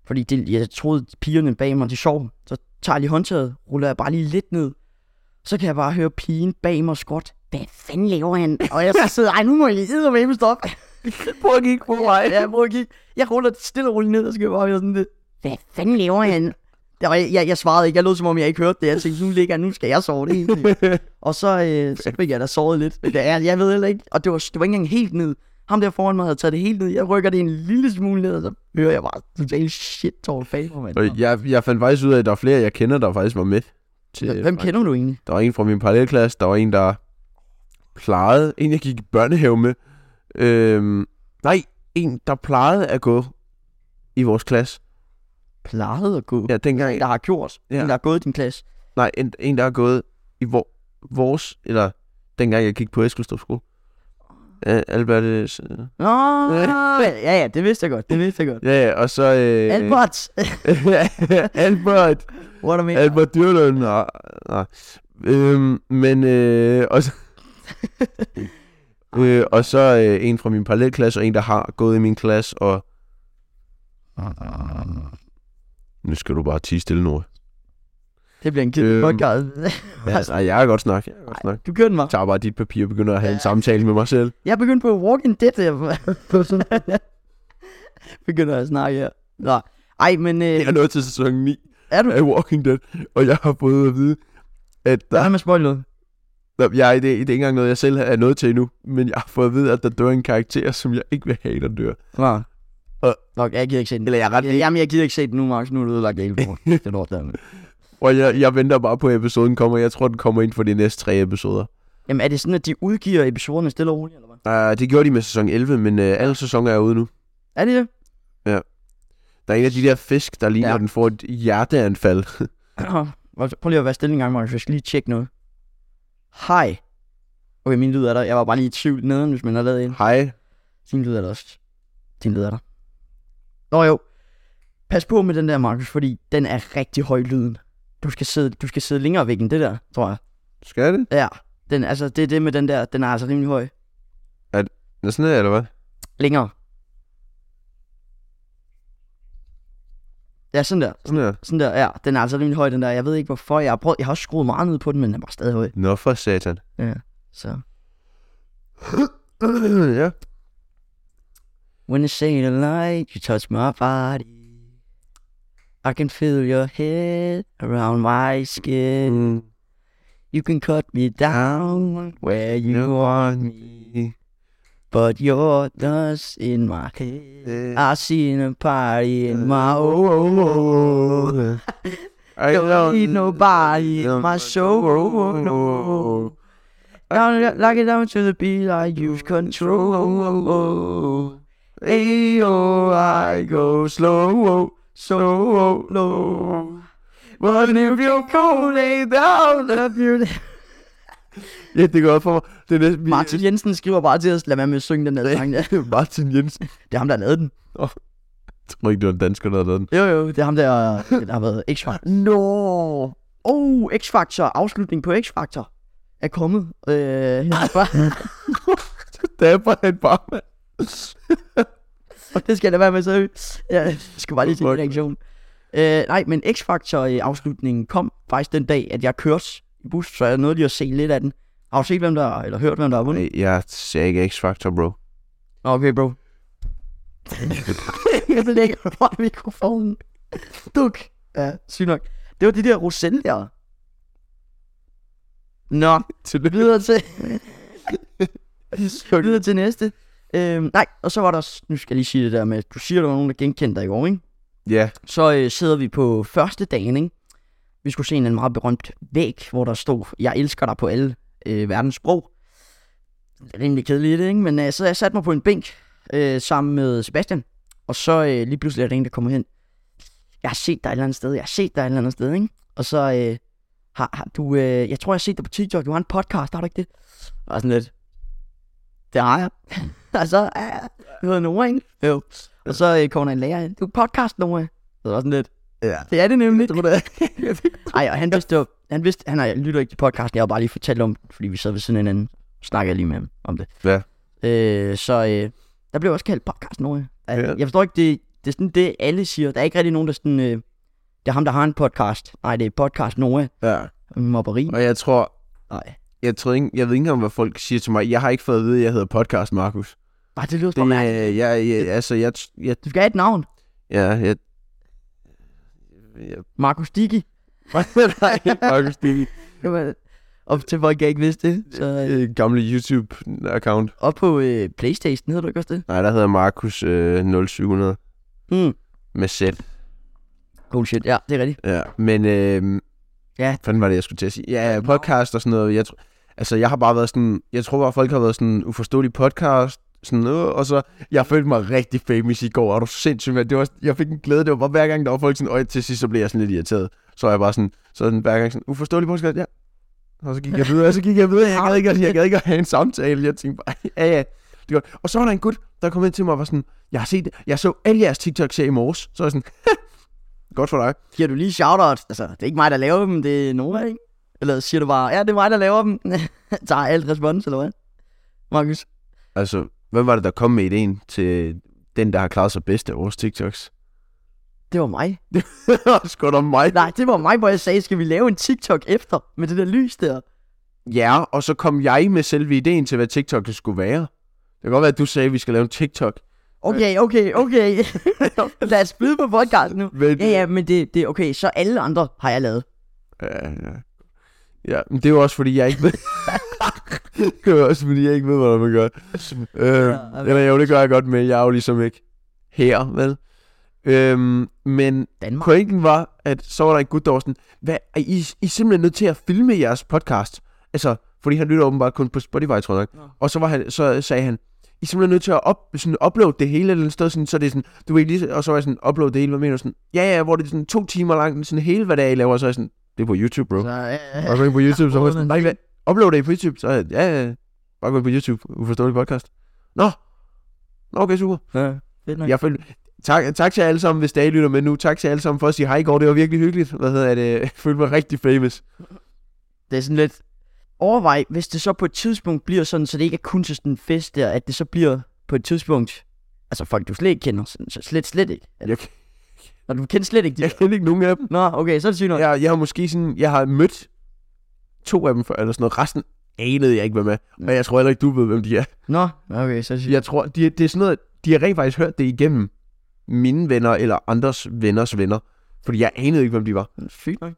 Speaker 2: Fordi det, jeg troede, pigerne bag mig, de sov. Så tager jeg lige håndtaget, ruller jeg bare lige lidt ned. Så kan jeg bare høre pigen bag mig skot. Hvad fanden laver han? Og jeg så sidder, ej, nu må jeg sidde med stoppe.
Speaker 1: Prøv at kigge på mig.
Speaker 2: Ja, prøv at kigge. Jeg ruller det stille og roligt ned, og så skal jeg bare være sådan lidt. Hvad fanden laver han? Jeg, jeg, jeg, jeg svarede ikke. Jeg lod som om, jeg ikke hørte det. Jeg tænkte, nu ligger jeg, nu skal jeg sove det hele tiden. Og så, øh, så fik jeg da sovet lidt. Men det er, jeg ved heller ikke. Og det var, det var ikke engang helt ned. Ham der foran mig havde taget det helt ned. Jeg rykker det en lille smule ned, og så hører jeg bare totalt shit tårer bag på mig.
Speaker 1: Og jeg, jeg fandt faktisk ud af, at der er flere, jeg kender, der faktisk var med. Til,
Speaker 2: Hvem kender du egentlig?
Speaker 1: Der var en fra min parallelklasse, der var en, der plejede, en jeg gik i børnehave med. Øhm, nej, en, der plejede at gå i vores klasse.
Speaker 2: Plejede at gå. Ja.
Speaker 1: Ja, dengang,
Speaker 2: Der har gjort.
Speaker 1: Ja.
Speaker 2: Ja. Der har gået i din klasse.
Speaker 1: nej, en, en der er gået i vor, vores, eller dengang jeg gik på Eskilstrup skole. Ja, Albert, øh, s-
Speaker 2: Nå, ja, ja, det vidste jeg godt. Det vidste jeg godt.
Speaker 1: ja, ja, og så... Øh,
Speaker 2: Albert,
Speaker 1: Albert,
Speaker 2: what a man.
Speaker 1: Albert Dyrlund, nej, nej. Øhm, men, øh, og så, øh, og så øh, en fra min parallelklasse, og en, der har gået i min klasse, og... Nu skal du bare tige stille, Nora.
Speaker 2: Det bliver en kedelig
Speaker 1: Øhm,
Speaker 2: øhm, podcast.
Speaker 1: Ja, nej, jeg kan godt snakke. Jeg kan godt snakke.
Speaker 2: du kører den mig.
Speaker 1: Jeg tager bare dit papir og begynder at have en samtale med mig selv.
Speaker 2: Jeg begyndte på Walking Dead. Jeg begynder at snakke her. Nej. Ej, men øh,
Speaker 1: Jeg er nået til sæson 9
Speaker 2: er du...
Speaker 1: af Walking Dead, og jeg har fået at vide, at der
Speaker 2: Hvad med spoilet?
Speaker 1: Nå, Jeg, det, det er ikke engang noget, jeg selv er nødt til endnu, men jeg har fået at vide, at der dør en karakter, som jeg ikke vil have, der dør.
Speaker 2: Nå.
Speaker 1: Og-
Speaker 2: Øh, Nok, jeg gider ikke se den.
Speaker 1: Eller jeg er ret
Speaker 2: Ja, Jamen, jeg gider ikke se den nu, Max. Nu er du ødelagt det hele for mig. Det er lort, der.
Speaker 1: Og jeg, jeg venter bare på, at episoden kommer. Jeg tror, den kommer ind for de næste tre episoder.
Speaker 2: Jamen, er det sådan, at de udgiver episoderne stille og roligt, eller hvad?
Speaker 1: Uh, det gjorde de med sæson 11, men uh, alle sæsoner er ude nu.
Speaker 2: Er det det?
Speaker 1: Der er en af de der fisk, der ligner,
Speaker 2: Ja.
Speaker 1: ja. den får et hjerteanfald.
Speaker 2: Prøv lige at være stille en gang, Max. Jeg skal lige tjekke noget. Hej. Okay, min lyd er der. Jeg var bare lige i tvivl neden, hvis man har lavet en.
Speaker 1: Hej.
Speaker 2: Din lyd er der også. Din lyd er der. Nå jo. Pas på med den der, Markus, fordi den er rigtig høj lyden. Du skal sidde, du skal sidde længere væk end det der, tror jeg.
Speaker 1: Skal det?
Speaker 2: Ja, den, altså, det er det med den der, den er altså rimelig høj.
Speaker 1: Nå, sådan her, eller hvad?
Speaker 2: Længere. Ja, sådan der.
Speaker 1: Sådan her.
Speaker 2: Sådan der, ja. Den er altså rimelig høj, den der. Jeg ved ikke, hvorfor. Jeg har, prøvet, jeg har også skruet meget ned på den, men den var stadig høj.
Speaker 1: Nå for satan.
Speaker 2: Så.
Speaker 1: ja.
Speaker 2: When you say the light, you touch my body. I can feel your head around my skin.
Speaker 1: Mm.
Speaker 2: You can cut me down where you want me. But you're dust in my head. I seen a party in my
Speaker 1: Oh,
Speaker 2: own.
Speaker 1: oh, oh, oh. I
Speaker 2: Don't need nobody in my soul. No. Down, it- like it down to the beat, I use control.
Speaker 1: Ayo, I go slow, slow, low. But if you go lay down, I'll be there. Ja, det går op for mig. Det er næsten...
Speaker 2: Martin Jensen skriver bare til os, lad være med at synge den der sang der.
Speaker 1: Martin Jensen.
Speaker 2: Det er ham, der har lavet den.
Speaker 1: Jeg tror ikke, det var en dansker, der havde lavet den.
Speaker 2: Jo, jo, det er ham, der, der har været X-Factor.
Speaker 1: Nå!
Speaker 2: Oh, X-Factor, afslutning på X-Factor er kommet. Øh, her fra-
Speaker 1: Så dapper han bare, mand.
Speaker 2: Og det skal der være med seriøst. Ja, Jeg skal bare lige til en
Speaker 1: Fuck.
Speaker 2: reaktion. Øh, nej, men X-Factor-afslutningen kom faktisk den dag, at jeg kørte i bus, så jeg nåede lige at se lidt af den. Har du set, hvem der, eller hørt, hvem der har vundet?
Speaker 1: Ej, Jeg ser ikke X-Factor, bro.
Speaker 2: Nå, Okay, bro. jeg lægger bare mikrofonen. Duk. Ja, sygt nok. Det var de der Roselle der. Nå,
Speaker 1: Tillykke.
Speaker 2: videre til... videre til næste. Øhm, nej, og så var der også, nu skal jeg lige sige det der med, du siger, der var nogen, der genkendte dig i år, ikke?
Speaker 1: Ja.
Speaker 2: Så øh, sidder vi på første dagen, ikke? Vi skulle se en meget berømt væg, hvor der stod, jeg elsker dig på alle øh, verdens sprog. Det er rimelig kedeligt, ikke? Men øh, så jeg satte mig på en bænk øh, sammen med Sebastian, og så øh, lige pludselig er der en, der kommer hen. Jeg har set dig et eller andet sted, jeg har set dig et eller andet sted, ikke? Og så øh, har, har du, øh, jeg tror, jeg har set dig på TikTok, du har en podcast, har du ikke det? Og sådan lidt, det har jeg. og så, øh, du hedder Nora, ikke? Jo. Og så øh, kommer der en lærer ind, du er podcast, Nora. Det var sådan lidt.
Speaker 1: Ja.
Speaker 2: Det er det nemlig. Det det Ej, og han vidste, det var, han vidste, han har, lytter ikke til podcasten, jeg har bare lige fortalt om, fordi vi sad ved siden af hinanden, snakkede jeg lige med ham om det.
Speaker 1: Ja.
Speaker 2: Øh, så øh, der blev også kaldt podcasten over. Altså,
Speaker 1: Ja.
Speaker 2: Jeg forstår ikke, det, det er sådan det, alle siger. Der er ikke rigtig nogen, der sådan, øh, det er ham, der har en podcast. Nej, det er podcast Noah.
Speaker 1: Ja.
Speaker 2: Mobberi.
Speaker 1: Og jeg tror,
Speaker 2: Nej.
Speaker 1: jeg, tror ikke, jeg ved ikke engang, hvad folk siger til mig. Jeg har ikke fået at vide, at jeg hedder Podcast Markus.
Speaker 2: Nej, det lyder
Speaker 1: Det,
Speaker 2: som mærkeligt.
Speaker 1: øh, jeg, jeg, altså, jeg, jeg,
Speaker 2: Du skal have et navn.
Speaker 1: ja, jeg, jeg,
Speaker 2: Markus Digi.
Speaker 1: nej, Markus, det
Speaker 2: Det var- Og til folk, jeg ikke vidste det. Så øh,
Speaker 1: er øh, gamle YouTube-account.
Speaker 2: op på øh, Playstation hedder du ikke også det?
Speaker 1: Nej, der hedder Markus øh, 0700
Speaker 2: Mm.
Speaker 1: med Z.
Speaker 2: Cool shit, ja, det er rigtigt.
Speaker 1: Ja, men øh,
Speaker 2: Ja.
Speaker 1: fanden var det, jeg skulle til at sige? Ja, podcast og sådan noget. Jeg, tr- altså, jeg har bare været sådan, jeg tror bare, folk har været sådan uforståelig podcast, sådan noget, og så, jeg følte mig rigtig famous i går, er du sindssyg, mand? Det var, jeg fik en glæde, det var bare hver gang, der var folk sådan, og til sidst, så blev jeg sådan lidt irriteret. Så var jeg bare sådan, sådan hver gang sådan, uforståelig podcast, ja. Og så gik jeg videre, og så gik jeg videre, jeg gad ikke, at- jeg gad ikke at have en samtale, jeg tænkte bare, ja, ja. Det er godt. Og så var der en gut, der kom ind til mig og var sådan, jeg har set, jeg så alle jeres TikToks her i morges. Så var jeg sådan, godt for dig.
Speaker 2: Giver du lige shoutouts? Altså, det er ikke mig, der laver dem, det er Nora, ikke? Eller siger du bare, ja, det er mig, der laver dem. Tager alt respons, eller hvad? Markus?
Speaker 1: Altså, hvem var det, der kom med ideen til den, der har klaret sig bedst af vores TikToks?
Speaker 2: Det var mig.
Speaker 1: Sgu da mig.
Speaker 2: Nej, det var mig, hvor jeg sagde, skal vi lave en TikTok efter med det der lys der?
Speaker 1: Ja, og så kom jeg med selve ideen til, hvad TikTok skulle være. Det kan godt være, at du sagde, at vi skal lave en TikTok.
Speaker 2: Okay, okay, okay. Lad os spille på podcast nu.
Speaker 1: Men,
Speaker 2: Ja, ja, men det, det er okay. Så alle andre har jeg lavet.
Speaker 1: ja, ja. ja men det er jo også, fordi jeg ikke ved... det er jo også, fordi jeg ikke ved, hvordan man gør. Øh,
Speaker 2: Ja,
Speaker 1: eller jo, det gør jeg godt, men jeg er jo ligesom ikke her, vel? Øhm, men
Speaker 2: Danmark.
Speaker 1: Pointen var, at så var der en gut, der var sådan, hvad, er I, I er simpelthen nødt til at filme jeres podcast. Altså, fordi han lytter åbenbart kun på Spotify, tror jeg.
Speaker 2: Nå.
Speaker 1: nok. Og så, var han, så sagde han, I er simpelthen nødt til at op, sådan, uploade det hele et eller andet sted, sådan, så det er sådan, du ved lige, og så var jeg sådan, uploade det hele, hvad mener du? Sådan, ja, ja, hvor det er sådan to timer langt, sådan hele hvad det er, I laver, og så er jeg sådan, det er på YouTube, bro.
Speaker 2: Så, øh,
Speaker 1: Bare gå ind på YouTube, så var jeg sådan, nej, hvad, upload det på YouTube, så er jeg, ja, ja, bare gå ind på YouTube, uforståelig podcast. Nå, Nå, okay, super.
Speaker 2: Ja. Fedt nok.
Speaker 1: Jeg føl... tak, tak til jer alle sammen, hvis der I lytter med nu. Tak til jer alle sammen for at sige hej i går. Det var virkelig hyggeligt. Hvad hedder det? Jeg følte mig rigtig famous.
Speaker 2: Det er sådan lidt... Overvej, hvis det så på et tidspunkt bliver sådan, så det ikke er kun til sådan en fest der, at det så bliver på et tidspunkt... Altså folk, du slet ikke kender, sådan, så slet, slet ikke. Eller,
Speaker 1: Jeg,
Speaker 2: Når du kender slet ikke de...
Speaker 1: jeg kender ikke nogen af dem.
Speaker 2: Nå, okay, så er det sygt nok.
Speaker 1: Jeg, jeg har måske sådan... Jeg har mødt to af dem før, eller sådan noget. Resten anede jeg ikke, hvem er.
Speaker 2: Mm.
Speaker 1: Og jeg tror heller ikke, du ved, hvem de er.
Speaker 2: Nå, okay, så er det sygt.
Speaker 1: Jeg tror, de, det er sådan noget... De har rent faktisk hørt det igennem mine venner eller andres venners venner. Fordi jeg anede ikke, hvem de var.
Speaker 2: Sygt nok.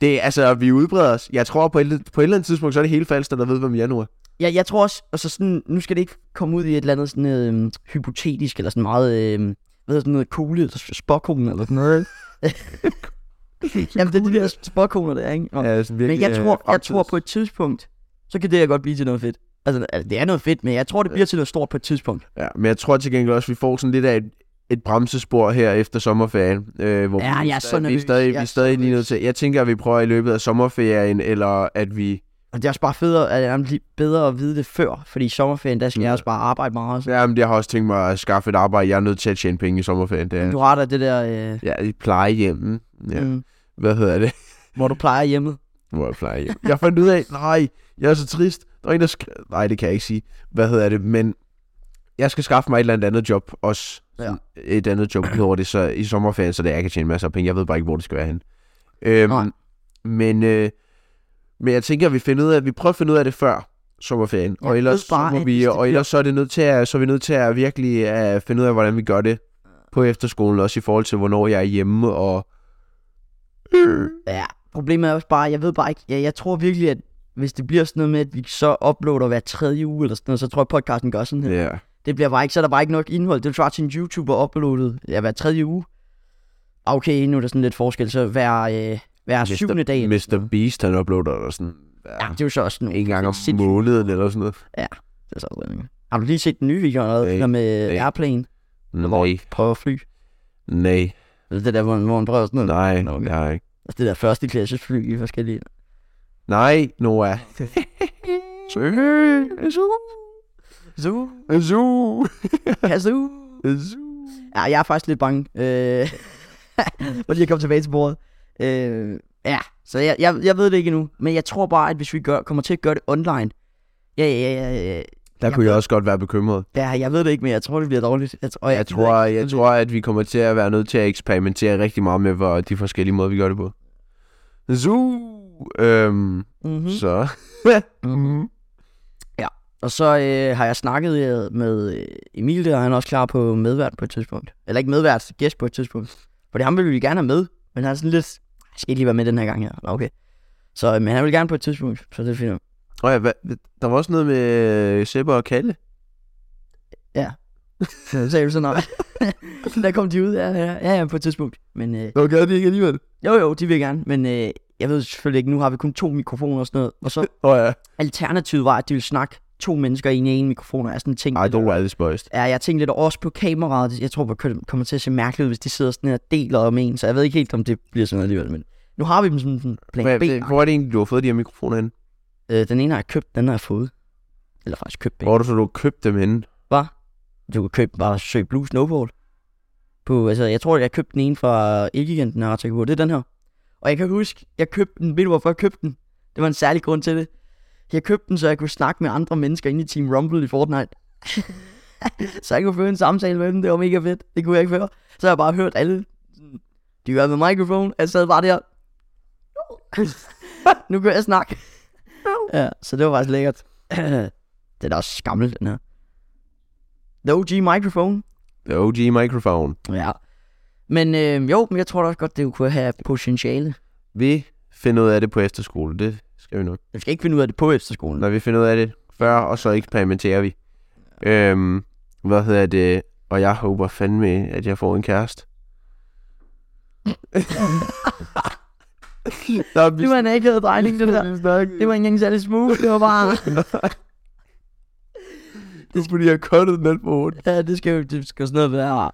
Speaker 1: Det er altså, vi udbreder os. Jeg tror, på et, på et eller andet tidspunkt, så er det hele falsk, der ved, hvem jeg nu er.
Speaker 2: Jeg, jeg tror også, altså sådan, nu skal det ikke komme ud i et eller andet sådan øh, hypotetisk, eller sådan meget, øh, hvad hedder sådan noget, kugle, eller spåkogen, eller sådan noget. Jamen, det er de der spåkoner der, ikke? Nå.
Speaker 1: Ja, sådan virkelig,
Speaker 2: Men jeg
Speaker 1: øh,
Speaker 2: tror, jeg
Speaker 1: fremtids-
Speaker 2: tror på et tidspunkt, så kan det her godt blive til noget fedt. Altså, altså, det er noget fedt, men jeg tror, det bliver til noget stort på et tidspunkt.
Speaker 1: Ja, men jeg tror til gengæld også, at vi får sådan lidt af et, et bremsespor her efter sommerferien. Øh, hvor
Speaker 2: Ja,
Speaker 1: vi
Speaker 2: jeg er
Speaker 1: stadig- Vi
Speaker 2: så
Speaker 1: er
Speaker 2: nervøs.
Speaker 1: stadig, vi
Speaker 2: Jeg
Speaker 1: er
Speaker 2: er
Speaker 1: stadig
Speaker 2: så
Speaker 1: lige nødt
Speaker 2: nervøs.
Speaker 1: til... Jeg tænker, at vi prøver i løbet af sommerferien, eller at vi...
Speaker 2: Og det er også bare federe, at det er lige bedre at vide det før, fordi i sommerferien, der skal jeg også bare arbejde meget. Så.
Speaker 1: Jamen, jeg har også tænkt mig at skaffe et arbejde. Jeg er nødt til at tjene penge i sommerferien. Det er,
Speaker 2: Du retter det der, øh,
Speaker 1: ja, i plejehjemmen. Ja.
Speaker 2: ja. mm,
Speaker 1: Hvad hedder det?
Speaker 2: hvor du plejer hjemmet.
Speaker 1: Hvor jeg plejer hjem. Jeg fandt ud af, nej, jeg er så trist. Der er en, der skrev, nej, det kan jeg ikke sige. Hvad hedder det? Men jeg skal skaffe mig et eller andet andet job også.
Speaker 2: Ja.
Speaker 1: Et andet job hedder det så i sommerferien, så det er, jeg kan tjene masser af penge. Jeg ved bare ikke, hvor det skal være henne. Øhm,
Speaker 2: Nej.
Speaker 1: men, øh, men jeg tænker, at vi finder ud af, at vi prøver at finde ud af det før sommerferien.
Speaker 2: Jeg
Speaker 1: og ellers,
Speaker 2: ved bare,
Speaker 1: så må
Speaker 2: at
Speaker 1: vi,
Speaker 2: hvis det
Speaker 1: og ellers så er, det nødt til at, så er vi nødt til at virkelig at finde ud af, hvordan vi gør det på efterskolen, også i forhold til, hvornår jeg er hjemme, og
Speaker 2: Ja, problemet er også bare, jeg ved bare ikke, jeg, jeg tror virkelig, at hvis det bliver sådan noget med, at vi så uploader hver tredje uge eller sådan noget, så tror jeg, podcasten gør sådan her.
Speaker 1: ja.
Speaker 2: Det bliver bare ikke, så er der bare ikke nok indhold. Det svarer til en YouTuber uploadet ja, hver tredje uge. Ah, Okay, nu er der sådan lidt forskel, så hver, øh, hver
Speaker 1: Mr.
Speaker 2: syvende dag. eller sådan
Speaker 1: Mr.
Speaker 2: noget.
Speaker 1: Beast, han uploader der sådan
Speaker 2: Ja, det er jo så også nogle
Speaker 1: en gang om
Speaker 2: sindssygt-
Speaker 1: måneden eller sådan noget.
Speaker 2: Det er så også rimelig. Har du lige set den nye video eller
Speaker 1: Nej.
Speaker 2: noget, der med øh,
Speaker 1: Nej.
Speaker 2: Airplane?
Speaker 1: Nej,
Speaker 2: Prøver at fly.
Speaker 1: nej,
Speaker 2: Eller det der, hvor, hvor han prøver sådan noget.
Speaker 1: nej,
Speaker 2: Nå, okay.
Speaker 1: nej.
Speaker 2: Altså det der første klasses fly i forskellige...
Speaker 1: Nej, Noah. Søg, zoo,
Speaker 2: Zoo,
Speaker 1: zoo,
Speaker 2: zoo.
Speaker 1: zoo.
Speaker 2: Ja, jeg er faktisk lidt bange. Øh, for lige at komme tilbage til bordet. Øh, ja, så jeg, jeg, jeg ved det ikke endnu. Men jeg tror bare, at hvis vi gør, kommer til at gøre det online... Ja, ja, ja, ja, ja.
Speaker 1: Der kunne jeg også godt være bekymret.
Speaker 2: Ja, jeg ved det ikke, men jeg tror, det bliver dårligt. Jeg, og
Speaker 1: Jeg tror, jeg tror, at vi kommer til at være nødt til at eksperimentere rigtig meget med hvor de forskellige måder, vi gør det på. Zoo, øhm,
Speaker 2: Mm-hmm.
Speaker 1: så. Mhm.
Speaker 2: Og så øh, har jeg snakket øh, med øh, Emil der, og han er også klar på medvært på et tidspunkt. Eller ikke medvært, gæst på et tidspunkt. Fordi ham ville vi gerne have med, men han er sådan lidt... Jeg skal ikke lige være med den her gang her. Nå, okay. Så, øh, men han vil gerne på et tidspunkt, så det er fint.
Speaker 1: Nå ja, hvad, der var også noget med øh, Sebber og Kalle.
Speaker 2: Så sagde du så nej. der kom de ud, ja, ja, ja, ja, på et tidspunkt. Men øh,
Speaker 1: Nå, gad de ikke alligevel?
Speaker 2: jo, jo, de vil gerne, men øh, jeg ved selvfølgelig ikke, nu har vi kun to mikrofoner og sådan noget. Og så
Speaker 1: Åh ja.
Speaker 2: alternativet var, at de ville snakke to mennesker ind i en mikrofon, og er sådan en ting.
Speaker 1: Ej, det var aldrig spøjst.
Speaker 2: Ja, jeg tænkte lidt også på kameraet. Jeg tror, det kommer til at se mærkeligt ud, hvis de sidder sådan her og deler om en. Så jeg ved ikke helt, om det bliver sådan noget alligevel. Men nu har vi dem som sådan plan
Speaker 1: Hvad,
Speaker 2: B.
Speaker 1: det, hvor er det egentlig, du har fået de her mikrofoner hen?
Speaker 2: Øh, den ene har jeg købt, den anden har jeg fået. Eller faktisk købt begge.
Speaker 1: Hvor er det så, du har købt dem henne?
Speaker 2: Du kan købe bare søg Blue Snowball. På, altså, jeg tror, jeg købte den ene fra Elgiganten her, det er den her. Og jeg kan huske, jeg købte den, ved du hvorfor jeg købte den? Det var en særlig grund til det. Jeg købte den, så jeg kunne snakke med andre mennesker inde i Team Rumble i Fortnite. så jeg kunne føre en samtale med dem, det var mega fedt. Det kunne jeg ikke før. Så har jeg bare hørt alle, de gør med mikrofon, jeg sad bare der. nu kan jeg snakke. ja, så det var faktisk lækkert. det er da også gammel, den her. The OG microphone.
Speaker 1: The OG Microphone.
Speaker 2: Ja. Men øh, jo, men jeg tror da også godt, det kunne have potentiale.
Speaker 1: Vi finder ud af det på efterskole. Det skal vi nok.
Speaker 2: Vi skal ikke finde ud af det på efterskolen.
Speaker 1: Når vi finder ud af det før, og så eksperimenterer vi. Øhm, hvad hedder det? Og jeg håber fandme, at jeg får en kæreste. Der er vi
Speaker 2: Det var en akavet drejning, det der. Det var ikke engang særlig smooth, det var bare...
Speaker 1: det er fordi, jeg cuttede den alt for hurtigt.
Speaker 2: ja, det skal jo det skal jo sådan noget være...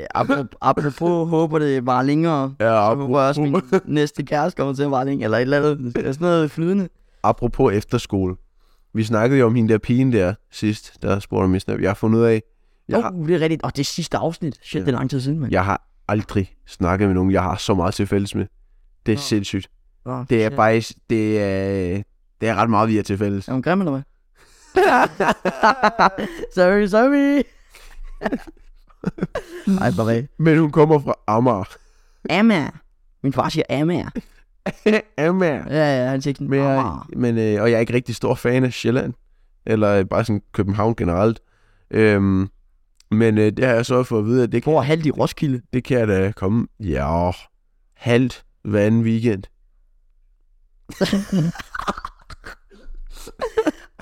Speaker 2: Øh, apropos, apropos, håber det var længere.
Speaker 1: Ja,
Speaker 2: Jeg håber også, min
Speaker 1: apropos,
Speaker 2: næste kæreste kommer til at vare længere, eller et eller andet. Det er Sådan noget flydende.
Speaker 1: apropos efterskole. Vi snakkede jo om hende der pigen der sidst, der spurgte om min snap. Jeg har fundet ud af, Jeg
Speaker 2: Jeg
Speaker 1: har-
Speaker 2: uh, det er rigtigt. Og det er sidste afsnit. Shit, ja. det er lang tid siden, mand.
Speaker 1: Jeg har aldrig snakket med nogen, jeg har så meget til fælles med. Det er
Speaker 2: Nå.
Speaker 1: sindssygt.
Speaker 2: Oh,
Speaker 1: Det er faktisk, det er, det er ret meget, vi er til fælles.
Speaker 2: Er hun grim, eller hvad? sorry, sorry. Ej, bare af.
Speaker 1: Men hun kommer fra Amager.
Speaker 2: Amager. Min far siger Amager.
Speaker 1: Amager.
Speaker 2: Ja, ja, han siger ikke sådan,
Speaker 1: Men, jeg,
Speaker 2: Amager.
Speaker 1: men øh, og jeg er ikke rigtig stor fan af Sjælland, eller øh, bare sådan København generelt. Øhm, men øh, det har jeg så fået at vide, at det,
Speaker 2: Bor halvt i Roskilde.
Speaker 1: det kan jeg da komme, ja, halvt hver anden weekend.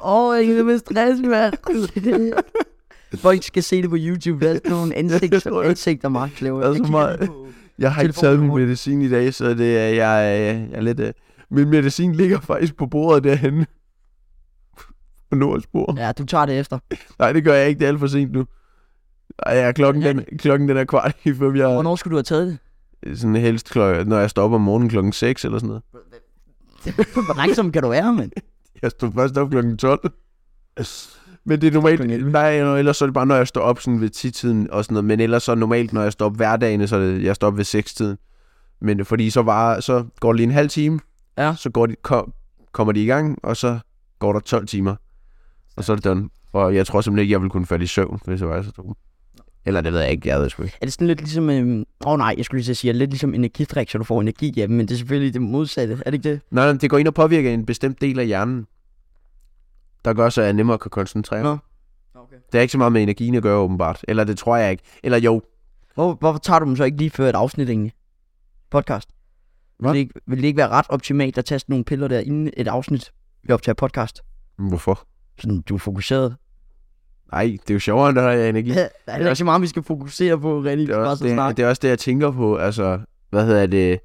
Speaker 2: Åh, oh, jeg kan med stress, mand. Folk skal se det på YouTube. Der er sådan nogle
Speaker 1: Jeg
Speaker 2: ansigter,
Speaker 1: tror ikke-
Speaker 2: ansigter Mark laver.
Speaker 1: Der er så
Speaker 2: Jeg kigger
Speaker 1: meget-
Speaker 2: lige på-
Speaker 1: Jeg har ikke
Speaker 2: Telefonen
Speaker 1: taget
Speaker 2: er
Speaker 1: min
Speaker 2: hurtig.
Speaker 1: medicin i dag, så det er, jeg, øh, jeg er lidt... Øh, min medicin ligger faktisk på bordet derhenne. På Nords bord. Ja.
Speaker 2: Ja, du tager det efter.
Speaker 1: Nej, det gør jeg ikke. Det er alt for sent nu. Ej, ja, klokken, den, klokken den er kvart i fem. Jeg
Speaker 2: Hvornår skulle du have taget det?
Speaker 1: sådan helst, klok, når jeg stopper om morgenen klokken 6 eller sådan noget.
Speaker 2: Hvor langsom kan du være, mand?
Speaker 1: Jeg står først op klokken 12. Men det er normalt... Nej, nå, ellers så er det bare, når jeg står op sådan ved 10-tiden og sådan noget. Men ellers så normalt, når jeg står op hverdagene, så er det, jeg står op ved 6-tiden. Men fordi så, var, så går det lige en halv time,
Speaker 2: Ja.
Speaker 1: så går de, kom, kommer de i gang, og så går der 12 timer. Og så er det done. Og jeg tror simpelthen ikke, jeg ville kunne falde i søvn, hvis jeg var så dum. Eller det ved jeg ikke, jeg ved sgu ikke.
Speaker 2: Er det sådan lidt ligesom... Åh øhm, oh, nej, jeg skulle lige til at sige, er det lidt ligesom energidrik, så du får energi af dem, men det er selvfølgelig det modsatte. Er det ikke det?
Speaker 1: Nej, nej, det går ind og påvirker en bestemt del af hjernen, der gør så, at jeg nemmere kan koncentrere mig.
Speaker 2: Nå. Okay.
Speaker 1: Det er ikke så meget med energien at gøre, åbenbart. Eller det tror jeg ikke. Eller jo,
Speaker 2: Hvor, hvorfor tager du dem så ikke lige før et afsnit egentlig? Podcast. Vil
Speaker 1: Hvad?
Speaker 2: det, ikke, vil det ikke være ret optimalt at tage sådan nogle piller der inden et afsnit, vi optager podcast?
Speaker 1: Hvorfor?
Speaker 2: Sådan, du er fokuseret.
Speaker 1: Nej, det er jo sjovere, når jeg er energi.
Speaker 2: Ja, der er ikke så meget, vi skal fokusere på, René.
Speaker 1: altså- Det er, også det,
Speaker 2: snart.
Speaker 1: det er også det, jeg tænker på. Altså, hvad hedder det?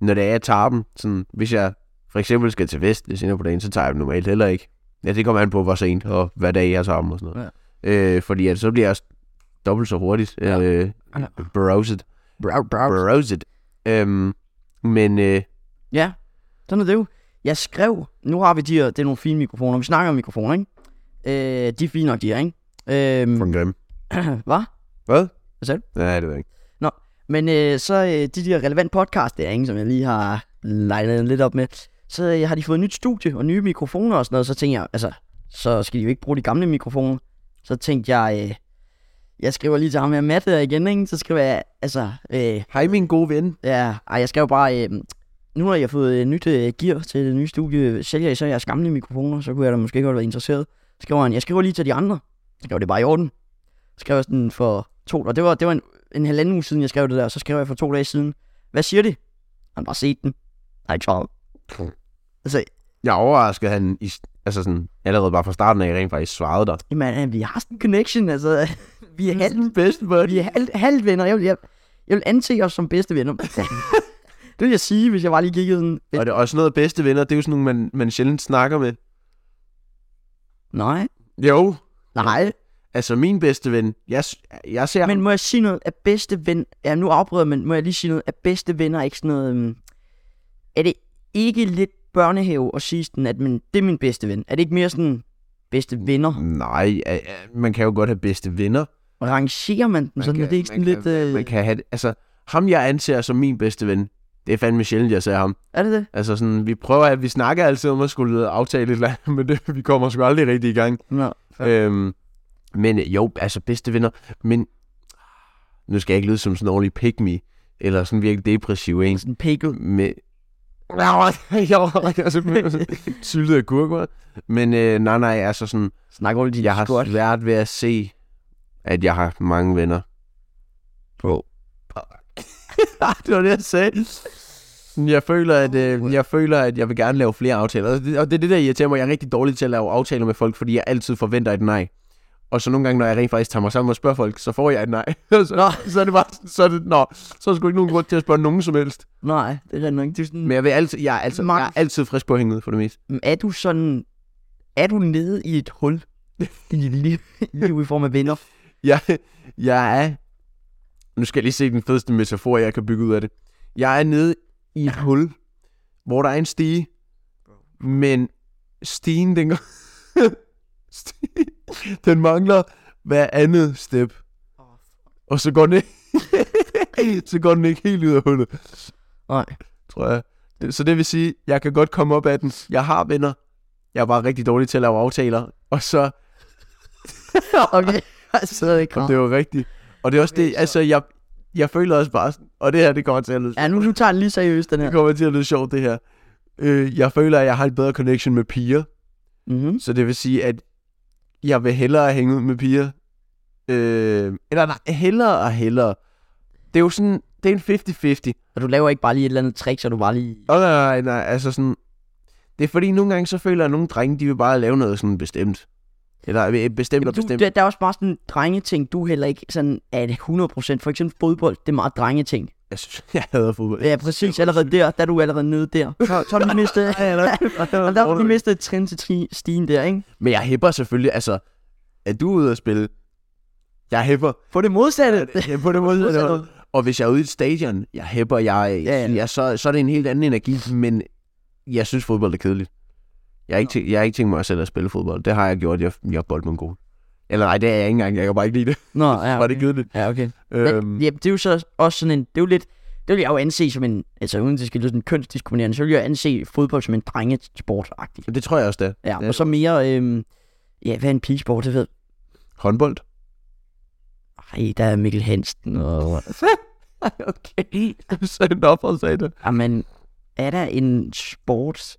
Speaker 1: Når det er, jeg tager dem. Sådan, hvis jeg for eksempel skal til Vest lidt senere på dagen, så tager jeg dem normalt heller ikke. Ja, det kommer an på, hvor sent og hvad dag jeg tager dem og sådan noget. Ja. Øh, fordi at, så bliver jeg også dobbelt så hurtigt. Ja. Øh,
Speaker 2: Ja.
Speaker 1: browset.
Speaker 2: Brow, brow.
Speaker 1: Browset. Øhm, men øh,
Speaker 2: Ja, sådan er det jo. Jeg skrev, nu har vi de her, det er nogle fine mikrofoner, vi snakker om mikrofoner, ikke? Øh, de er fine nok, de her, ikke? Øhm,
Speaker 1: en grim.
Speaker 2: hvad?
Speaker 1: Hvad?
Speaker 2: Hvad sagde du?
Speaker 1: Nej, det ved jeg ikke.
Speaker 2: Men øh, så øh, de der relevant podcast der, ikke, som jeg lige har legnet lidt op med, så øh, har de fået nyt studie og nye mikrofoner og sådan noget, så tænkte jeg, altså, så skal de jo ikke bruge de gamle mikrofoner. Så tænkte jeg, øh, jeg skriver lige til ham her, Matt der igen, ikke? så skriver jeg, altså, øh,
Speaker 1: Hej, min gode ven.
Speaker 2: Ja, ej, jeg skal jo bare... Øh, nu har jeg fået øh, nyt øh, gear til det nye studie. Sælger I så jeres gamle mikrofoner, så kunne jeg da måske godt være interesseret. Så Skriver han, jeg skriver lige til de andre. Så Skrev det er bare i orden. Så Skrev jeg sådan for to... Og det var, det var en, en halvanden uge siden, jeg skrev det der. Så skrev jeg for to dage siden. Hvad siger de? Han har bare set den. Nej, ikke svaret. Altså,
Speaker 1: Jeg overraskede han i, altså sådan, allerede bare fra starten af rent faktisk svarede dig.
Speaker 2: jamen, øh, vi har sådan en connection, altså. Vi er halvt,
Speaker 1: bedste buddy.
Speaker 2: vi er halvt, halvt venner. Jeg vil, jeg, jeg vil anse os som bedste venner. det vil jeg sige, hvis jeg bare lige kiggede sådan.
Speaker 1: Og det er også noget bedste venner, det er jo sådan nogle, man, man sjældent snakker med.
Speaker 2: Nej,
Speaker 1: Jo.
Speaker 2: nej.
Speaker 1: Altså min bedste ven, jeg, s- jeg ser...
Speaker 2: Men må jeg sige noget af bedste ven... Ja, nu afbryder jeg, men må jeg lige sige noget af bedste venner? er Ikke sådan noget... Um... Er det ikke lidt børnehave at sige sådan, at man, det er min bedste ven? Er det ikke mere sådan bedste venner?
Speaker 1: Nej, øh, øh, man kan jo godt have bedste venner.
Speaker 2: Rangerer man dem
Speaker 1: Man
Speaker 2: sådan?
Speaker 1: kan-
Speaker 2: er det ikke sådan
Speaker 1: man
Speaker 2: lidt...
Speaker 1: kan,
Speaker 2: øh,
Speaker 1: Man kan have... det- Altså, ham jeg anser som min bedste ven, det er fandme sjældent, jeg ser ham.
Speaker 2: Er det det?
Speaker 1: Altså sådan, vi prøver at... Vi snakker altid om at skulle aftale et eller andet, men det, vi kommer sgu aldrig rigtig i gang.
Speaker 2: Nå. Ja.
Speaker 1: Øhm, men øh, jo, altså bedste venner, men... Nu skal jeg ikke lyde som sådan en ordentlig pick me, eller sådan virkelig depressiv en.
Speaker 2: Sådan pækket.
Speaker 1: med... Jeg altså, var simpelthen syltet af kurker. Men øh, nej, nej, altså sådan,
Speaker 2: Snak over dit
Speaker 1: jeg har
Speaker 2: squat.
Speaker 1: svært ved at se, at jeg har mange venner.
Speaker 2: Bro.
Speaker 1: det var det, jeg sagde. Jeg føler, at, øh, jeg føler, at jeg vil gerne lave flere aftaler. Og det, og det er det, der irriterer mig. Jeg er rigtig dårlig til at lave aftaler med folk, fordi jeg altid forventer et nej. Og så nogle gange, når jeg rent faktisk tager mig sammen og spørger folk, så får jeg et nej. så, så er det bare, sådan- så er det, nå, så er der sgu ikke nogen grund til at spørge nogen som helst.
Speaker 2: Nej, det er rigtig nok. Det er sådan...
Speaker 1: Men jeg, vil altid, jeg, er, altid, jeg er altid frisk på at hænge ud for det meste.
Speaker 2: Men er du sådan... Er du nede i et hul? I dit liv, liv i form af venner?
Speaker 1: jeg, jeg er... Nu skal jeg lige se den fedeste metafor, jeg kan bygge ud af det. Jeg er nede i et hul, hvor der er en stige, men stigen, den, går- stigen, den mangler hver andet step.
Speaker 2: Åh,
Speaker 1: Og så går den ikke, så går den ikke helt ud af hullet,
Speaker 2: Nej.
Speaker 1: tror jeg. Det- Så det vil sige, jeg kan godt komme op af den. Jeg har venner. Jeg er bare rigtig dårlig til at lave aftaler. Og så,
Speaker 2: Okay. Jeg sidder ikke
Speaker 1: og Altså, det var rigtigt. Og det er også det, altså jeg, jeg føler også bare, sådan- og det her, det kommer til at lyde
Speaker 2: Ja, nu, nu tager den lige seriøst, den her.
Speaker 1: Det kommer til at lyde sjovt, det her. Øh, jeg føler, at jeg har et bedre connection med piger.
Speaker 2: Mm-hmm.
Speaker 1: Så det vil sige, at jeg vil hellere hænge ud med piger. Øh, eller nej, hellere og hellere. Det er jo sådan, det er en 50-50.
Speaker 2: Og du laver ikke bare lige et eller andet trick, så du bare lige...
Speaker 1: Åh, nej, nej, nej, altså sådan... Det er fordi, nogle gange så føler jeg, at nogle drenge, de vil bare lave noget sådan bestemt. Eller øh, bestemt og
Speaker 2: Du,
Speaker 1: bestemt.
Speaker 2: der, der er også bare sådan drengeting, du heller ikke sådan er det 100%. For eksempel fodbold, det er meget drengeting.
Speaker 1: Jeg synes, jeg hader fodbold.
Speaker 2: Ja, præcis. Allerede der, der er du allerede nede der. Så, så har du lige mistet, og der har du lige mistet et trin til tri- stigen der, ikke?
Speaker 1: Men jeg hæpper selvfølgelig, altså... Er du ude at spille? Jeg hæpper.
Speaker 2: På det modsatte.
Speaker 1: Ja, på den måde.
Speaker 2: Modsatte.
Speaker 1: Eller, og hvis jeg er ude i et stadion, jeg hæpper, jeg,
Speaker 2: Ja,
Speaker 1: ja,
Speaker 2: ja.
Speaker 1: ja. Jeg, så, så er det en helt anden energi, men jeg synes, fodbold er kedeligt. Jeg har ikke, tænkt, jeg har ikke tænkt mig selv at spille fodbold. Det har jeg gjort, jeg, jeg er boldmongol. Eller nej, det er jeg ikke engang. Jeg kan bare ikke lide det.
Speaker 2: Nå, ja,
Speaker 1: Okay. Var det kedeligt?
Speaker 2: Ja, okay.
Speaker 1: Øhm,
Speaker 2: Men, ja, det er jo så også sådan en, det er jo lidt, det vil jeg jo anse som en, altså uden det skal lyde sådan kønsdiskriminerende, så vil jeg anse fodbold som en drengesport -agtig.
Speaker 1: Øhm, det tror jeg også, det er.
Speaker 2: Ja,
Speaker 1: det
Speaker 2: og så mere, øhm, ja, hvad er en pigesport, det ved
Speaker 1: Håndbold?
Speaker 2: Ej, der er Mikkel Hansen og...
Speaker 1: okay. Send op og sagde det.
Speaker 2: Jamen, er der en sport,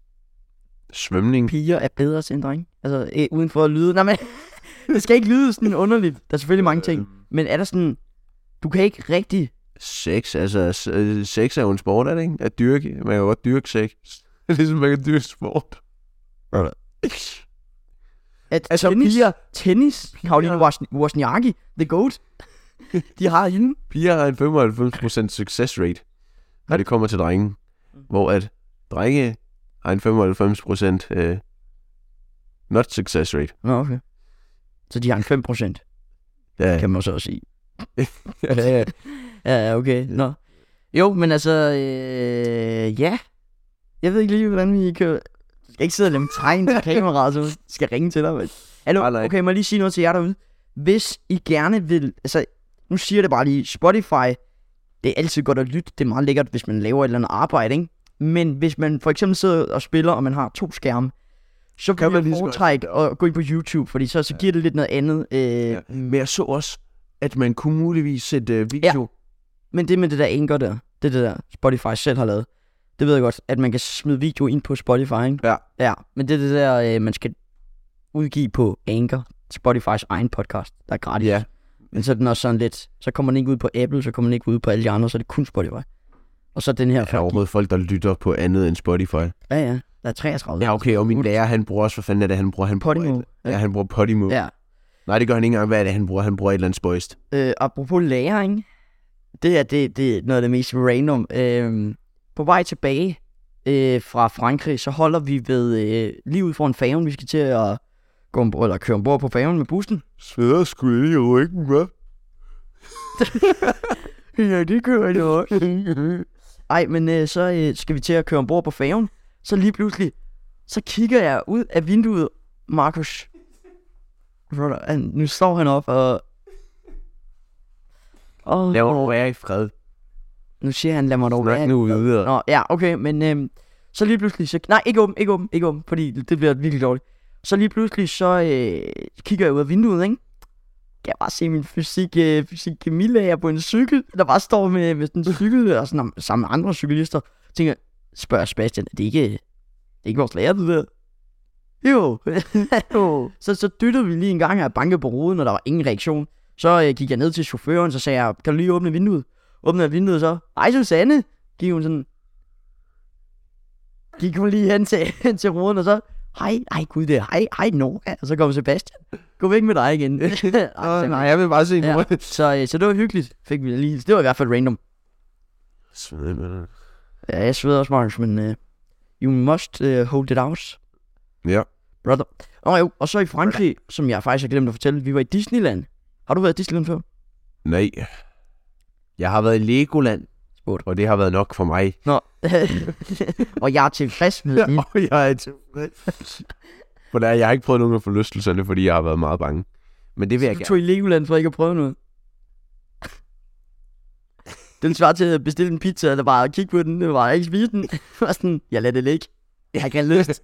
Speaker 1: Svømning.
Speaker 2: piger er bedre til en dreng? Altså, øh, uden for at lyde... Nej, men det skal ikke lyde sådan underligt. Der er selvfølgelig mange ting.
Speaker 1: Øhm,
Speaker 2: Men er der sådan... Du kan ikke rigtig...
Speaker 1: Sex, altså s- øh, sex er jo en sport, er det ikke? At dyrke. Man kan jo godt dyrke sex. ligesom man kan dyrke sport.
Speaker 2: At
Speaker 1: Altså,
Speaker 2: tennis,
Speaker 1: piger-
Speaker 2: Tennis, Karoline Wozn- Wozniacki, The Goat, de har hende.
Speaker 1: Piger har en 95% success rate, når det kommer til drenge.
Speaker 2: Mm.
Speaker 1: Hvor at drenge har en 95% øh, not success rate.
Speaker 2: Nå, okay. Så de har en 5 procent,
Speaker 1: Ja,
Speaker 2: kan man så også sige.
Speaker 1: ja, ja.
Speaker 2: Ja, ja, okay. Nå. Jo, men altså... Øh, ja. Jeg ved ikke lige, hvordan vi kører... Du skal ikke sidde og lave tegn til kameraet, så jeg skal ringe til dig. Men... Hallo,
Speaker 1: Nej, nej.
Speaker 2: okay, må jeg lige sige noget til jer derude? Hvis I gerne vil... Altså, nu siger jeg det bare lige. Spotify, det er altid godt at lytte. Det er meget lækkert, hvis man laver et eller andet arbejde, ikke? Men hvis man for eksempel sidder og spiller, og man har to skærme, så kan
Speaker 1: man
Speaker 2: man
Speaker 1: lige
Speaker 2: lige
Speaker 1: så godt-
Speaker 2: foretrække at gå ind på YouTube, fordi så, så giver det lidt noget andet. Øh, ja.
Speaker 1: Men jeg så også, at man kunne muligvis sætte øh, video.
Speaker 2: Men det med det der anchor der, det er det der Spotify selv har lavet. Det ved jeg godt, at man kan smide video ind på Spotify, ikke?
Speaker 1: Ja.
Speaker 2: Ja, men det er det der, øh, man skal udgive på Anchor, Spotifys egen podcast, der er gratis.
Speaker 1: Ja.
Speaker 2: Men så er den også sådan lidt, så kommer den ikke ud på Apple, så kommer den ikke ud på alle de andre, så er det kun Spotify. Og så den her.
Speaker 1: Der er overhovedet folk, der lytter på andet end Spotify.
Speaker 2: Ja, ja. Der er 33.
Speaker 1: Ja, okay, og min lærer, han bruger også, hvad fanden er det, han bruger? Han bruger
Speaker 2: Podimo.
Speaker 1: et- Ja, han bruger Podimo.
Speaker 2: Ja.
Speaker 1: Nej, det gør han ikke engang. Hvad er det, han bruger? Han bruger et eller andet spøjst.
Speaker 2: Øh, apropos læring, det her, det, det er noget af det mest random. Øh, på vej tilbage øh, fra Frankrig, så holder vi ved øh, lige ud foran færgen. Vi skal til at gå ombord, eller køre ombord på færgen med bussen.
Speaker 1: Sveder sgu i ryggen, hvad?
Speaker 2: Ja, det kører jeg også. Ej, men øh, så øh, skal vi til at køre ombord på færgen. Så lige pludselig, så kigger jeg ud af vinduet, Markus. Brother, han, nu står han op og... og
Speaker 1: Lad mig dog være i fred.
Speaker 2: nu siger han, lad mig dog være.
Speaker 1: Snak nu videre.
Speaker 2: Nå, ja, okay, men øhm, så lige pludselig, så, nej, ikke åben, ikke åben, ikke åben, fordi det bliver virkelig dårligt. Så lige pludselig, så øh, kigger jeg ud af vinduet, ikke? Kan jeg bare se min fysik, øh, fysik Camilla på en cykel, der bare står med, med sådan en cykel, og sådan, sammen med andre cyklister. Tænker, spørger Sebastian, er det ikke, øh, det er ikke vores lærer, det der? Jo. jo. så, så dyttede vi lige en gang, og jeg bankede på ruden, og der var ingen reaktion. Så øh, gik jeg ned til chaufføren, så sagde jeg, kan du lige åbne vinduet? Åbnede jeg vinduet så, ej Susanne, gik hun sådan, gik hun lige hen til, hen til ruden, og så, hej, hej gud, det er hej, hej Nora. Og så kom Sebastian, gå væk med dig igen. Ej,
Speaker 1: Åh,
Speaker 2: Sebastian.
Speaker 1: nej, jeg vil bare se
Speaker 2: Ja.
Speaker 1: ja.
Speaker 2: Så, øh, så det var hyggeligt, fik vi lige. Det var i hvert fald random. Ja, jeg sveder også, Markus, men uh, you must uh, hold it out,
Speaker 1: ja.
Speaker 2: brother. Og, jo, og så i Frankrig, som jeg faktisk har glemt at fortælle, vi var i Disneyland. Har du været i Disneyland før?
Speaker 1: Nej. Jeg har været i Legoland,
Speaker 2: Spurgt.
Speaker 1: og det har været nok for mig.
Speaker 2: Nå. og jeg er tilfreds med det.
Speaker 1: og jeg er tilfreds. For der, jeg har ikke prøvet nogen af forlystelserne, fordi jeg har været meget bange. Men det vil jeg
Speaker 2: Du
Speaker 1: gerne.
Speaker 2: tog i Legoland for ikke at prøve noget. Den svarer til at bestille en pizza, der bare kigge på den, det var ikke spise den. Og sådan, jeg lader det ligge. Jeg har ikke rigtig lyst.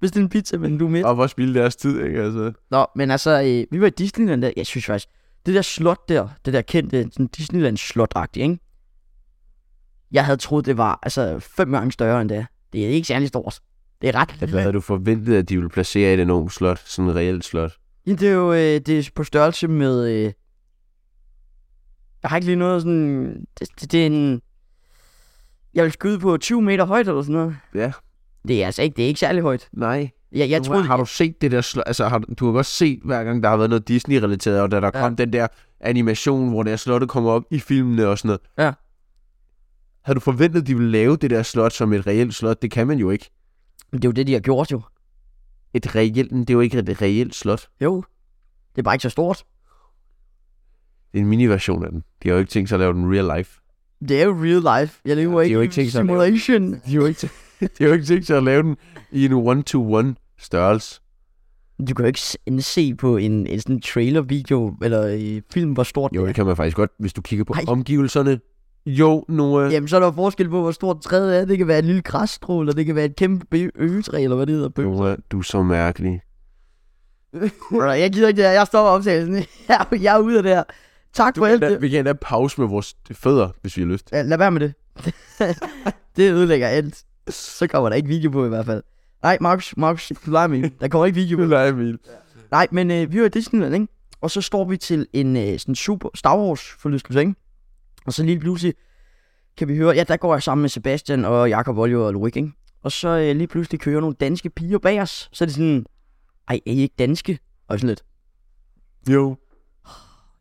Speaker 2: Bestil en pizza, men du er med.
Speaker 1: Og hvor spilde deres tid, ikke? Altså.
Speaker 2: Nå, men altså, øh, vi var i Disneyland der. Jeg synes faktisk, det der slot der, det der kendte sådan Disneyland slot ikke? Jeg havde troet, det var altså fem gange større end det. er. Det er ikke særlig stort. Det er ret
Speaker 1: Hvad havde du forventet, at de ville placere et enormt slot? Sådan et reelt slot?
Speaker 2: Ja, det er jo øh, det er på størrelse med... Øh, jeg har ikke lige noget sådan... Det, det, det er en... Jeg vil skyde på 20 meter højt eller sådan noget.
Speaker 1: Ja.
Speaker 2: Det er altså ikke, det er ikke særlig højt.
Speaker 1: Nej.
Speaker 2: Jeg, jeg
Speaker 1: Jeg tror,
Speaker 2: troede,
Speaker 1: har du set det der slot? Altså, har, du- du har godt set, hver gang der har været noget Disney-relateret, og da der
Speaker 2: Ja.
Speaker 1: ja. kom den der animation, hvor det her slottet kommer op i filmene og sådan noget.
Speaker 2: Ja.
Speaker 1: Havde du forventet, at de ville lave det der slot som et reelt slot? Det kan man jo ikke.
Speaker 2: Men det er jo det, de har gjort jo.
Speaker 1: Et reelt, det er jo ikke et reelt slot.
Speaker 2: Jo. Det er bare ikke så stort.
Speaker 1: Det er en mini-version af den. De har jo ikke tænkt sig at lave den real life.
Speaker 2: Det er jo real life. Jeg lever
Speaker 1: Ja, de har
Speaker 2: ja, ikke,
Speaker 1: jo
Speaker 2: i
Speaker 1: ikke tænkt sig at lave-
Speaker 2: simulation.
Speaker 1: De har jo ikke, de har jo ikke tænkt sig at lave den i en one-to-one størrelse.
Speaker 2: Du kan jo ikke s- se på en, en sådan trailer-video eller i film, hvor stort
Speaker 1: Jo,
Speaker 2: det
Speaker 1: det
Speaker 2: er.
Speaker 1: kan man faktisk godt, hvis du kigger på
Speaker 2: Ej.
Speaker 1: Ej. omgivelserne. Jo, Noah.
Speaker 2: Jamen, så er der jo forskel på, hvor stort træet er. Det kan være en lille græsstrå, eller det kan være et kæmpe be- øgetræ, eller hvad det hedder. Bø-
Speaker 1: Noah, du er så mærkelig.
Speaker 2: Bro, jeg gider ikke det her. Jeg stopper optagelsen. Jeg, er- jeg er ude af det her. Tak for alt
Speaker 1: Da,
Speaker 2: det.
Speaker 1: vi kan endda pause med vores fødder, hvis vi har lyst.
Speaker 2: Ja, Lad være med det. det ødelægger alt. Så kommer der ikke video på i hvert fald. Nej, Markus, Markus, du leger mig. Der kommer ikke video på.
Speaker 1: Nej, Emil.
Speaker 2: Nej, men øh, vi var i Disneyland, ikke? Og så står vi til en øh, sådan super Star Wars forlystelse, ikke? Og så lige pludselig kan vi høre, ja, der går jeg sammen med Sebastian og Jakob Oljo og Lorik, ikke? Og så øh, lige pludselig kører nogle danske piger bag os. Så er det sådan, ej, er I ikke danske? Og sådan lidt,
Speaker 1: Jo.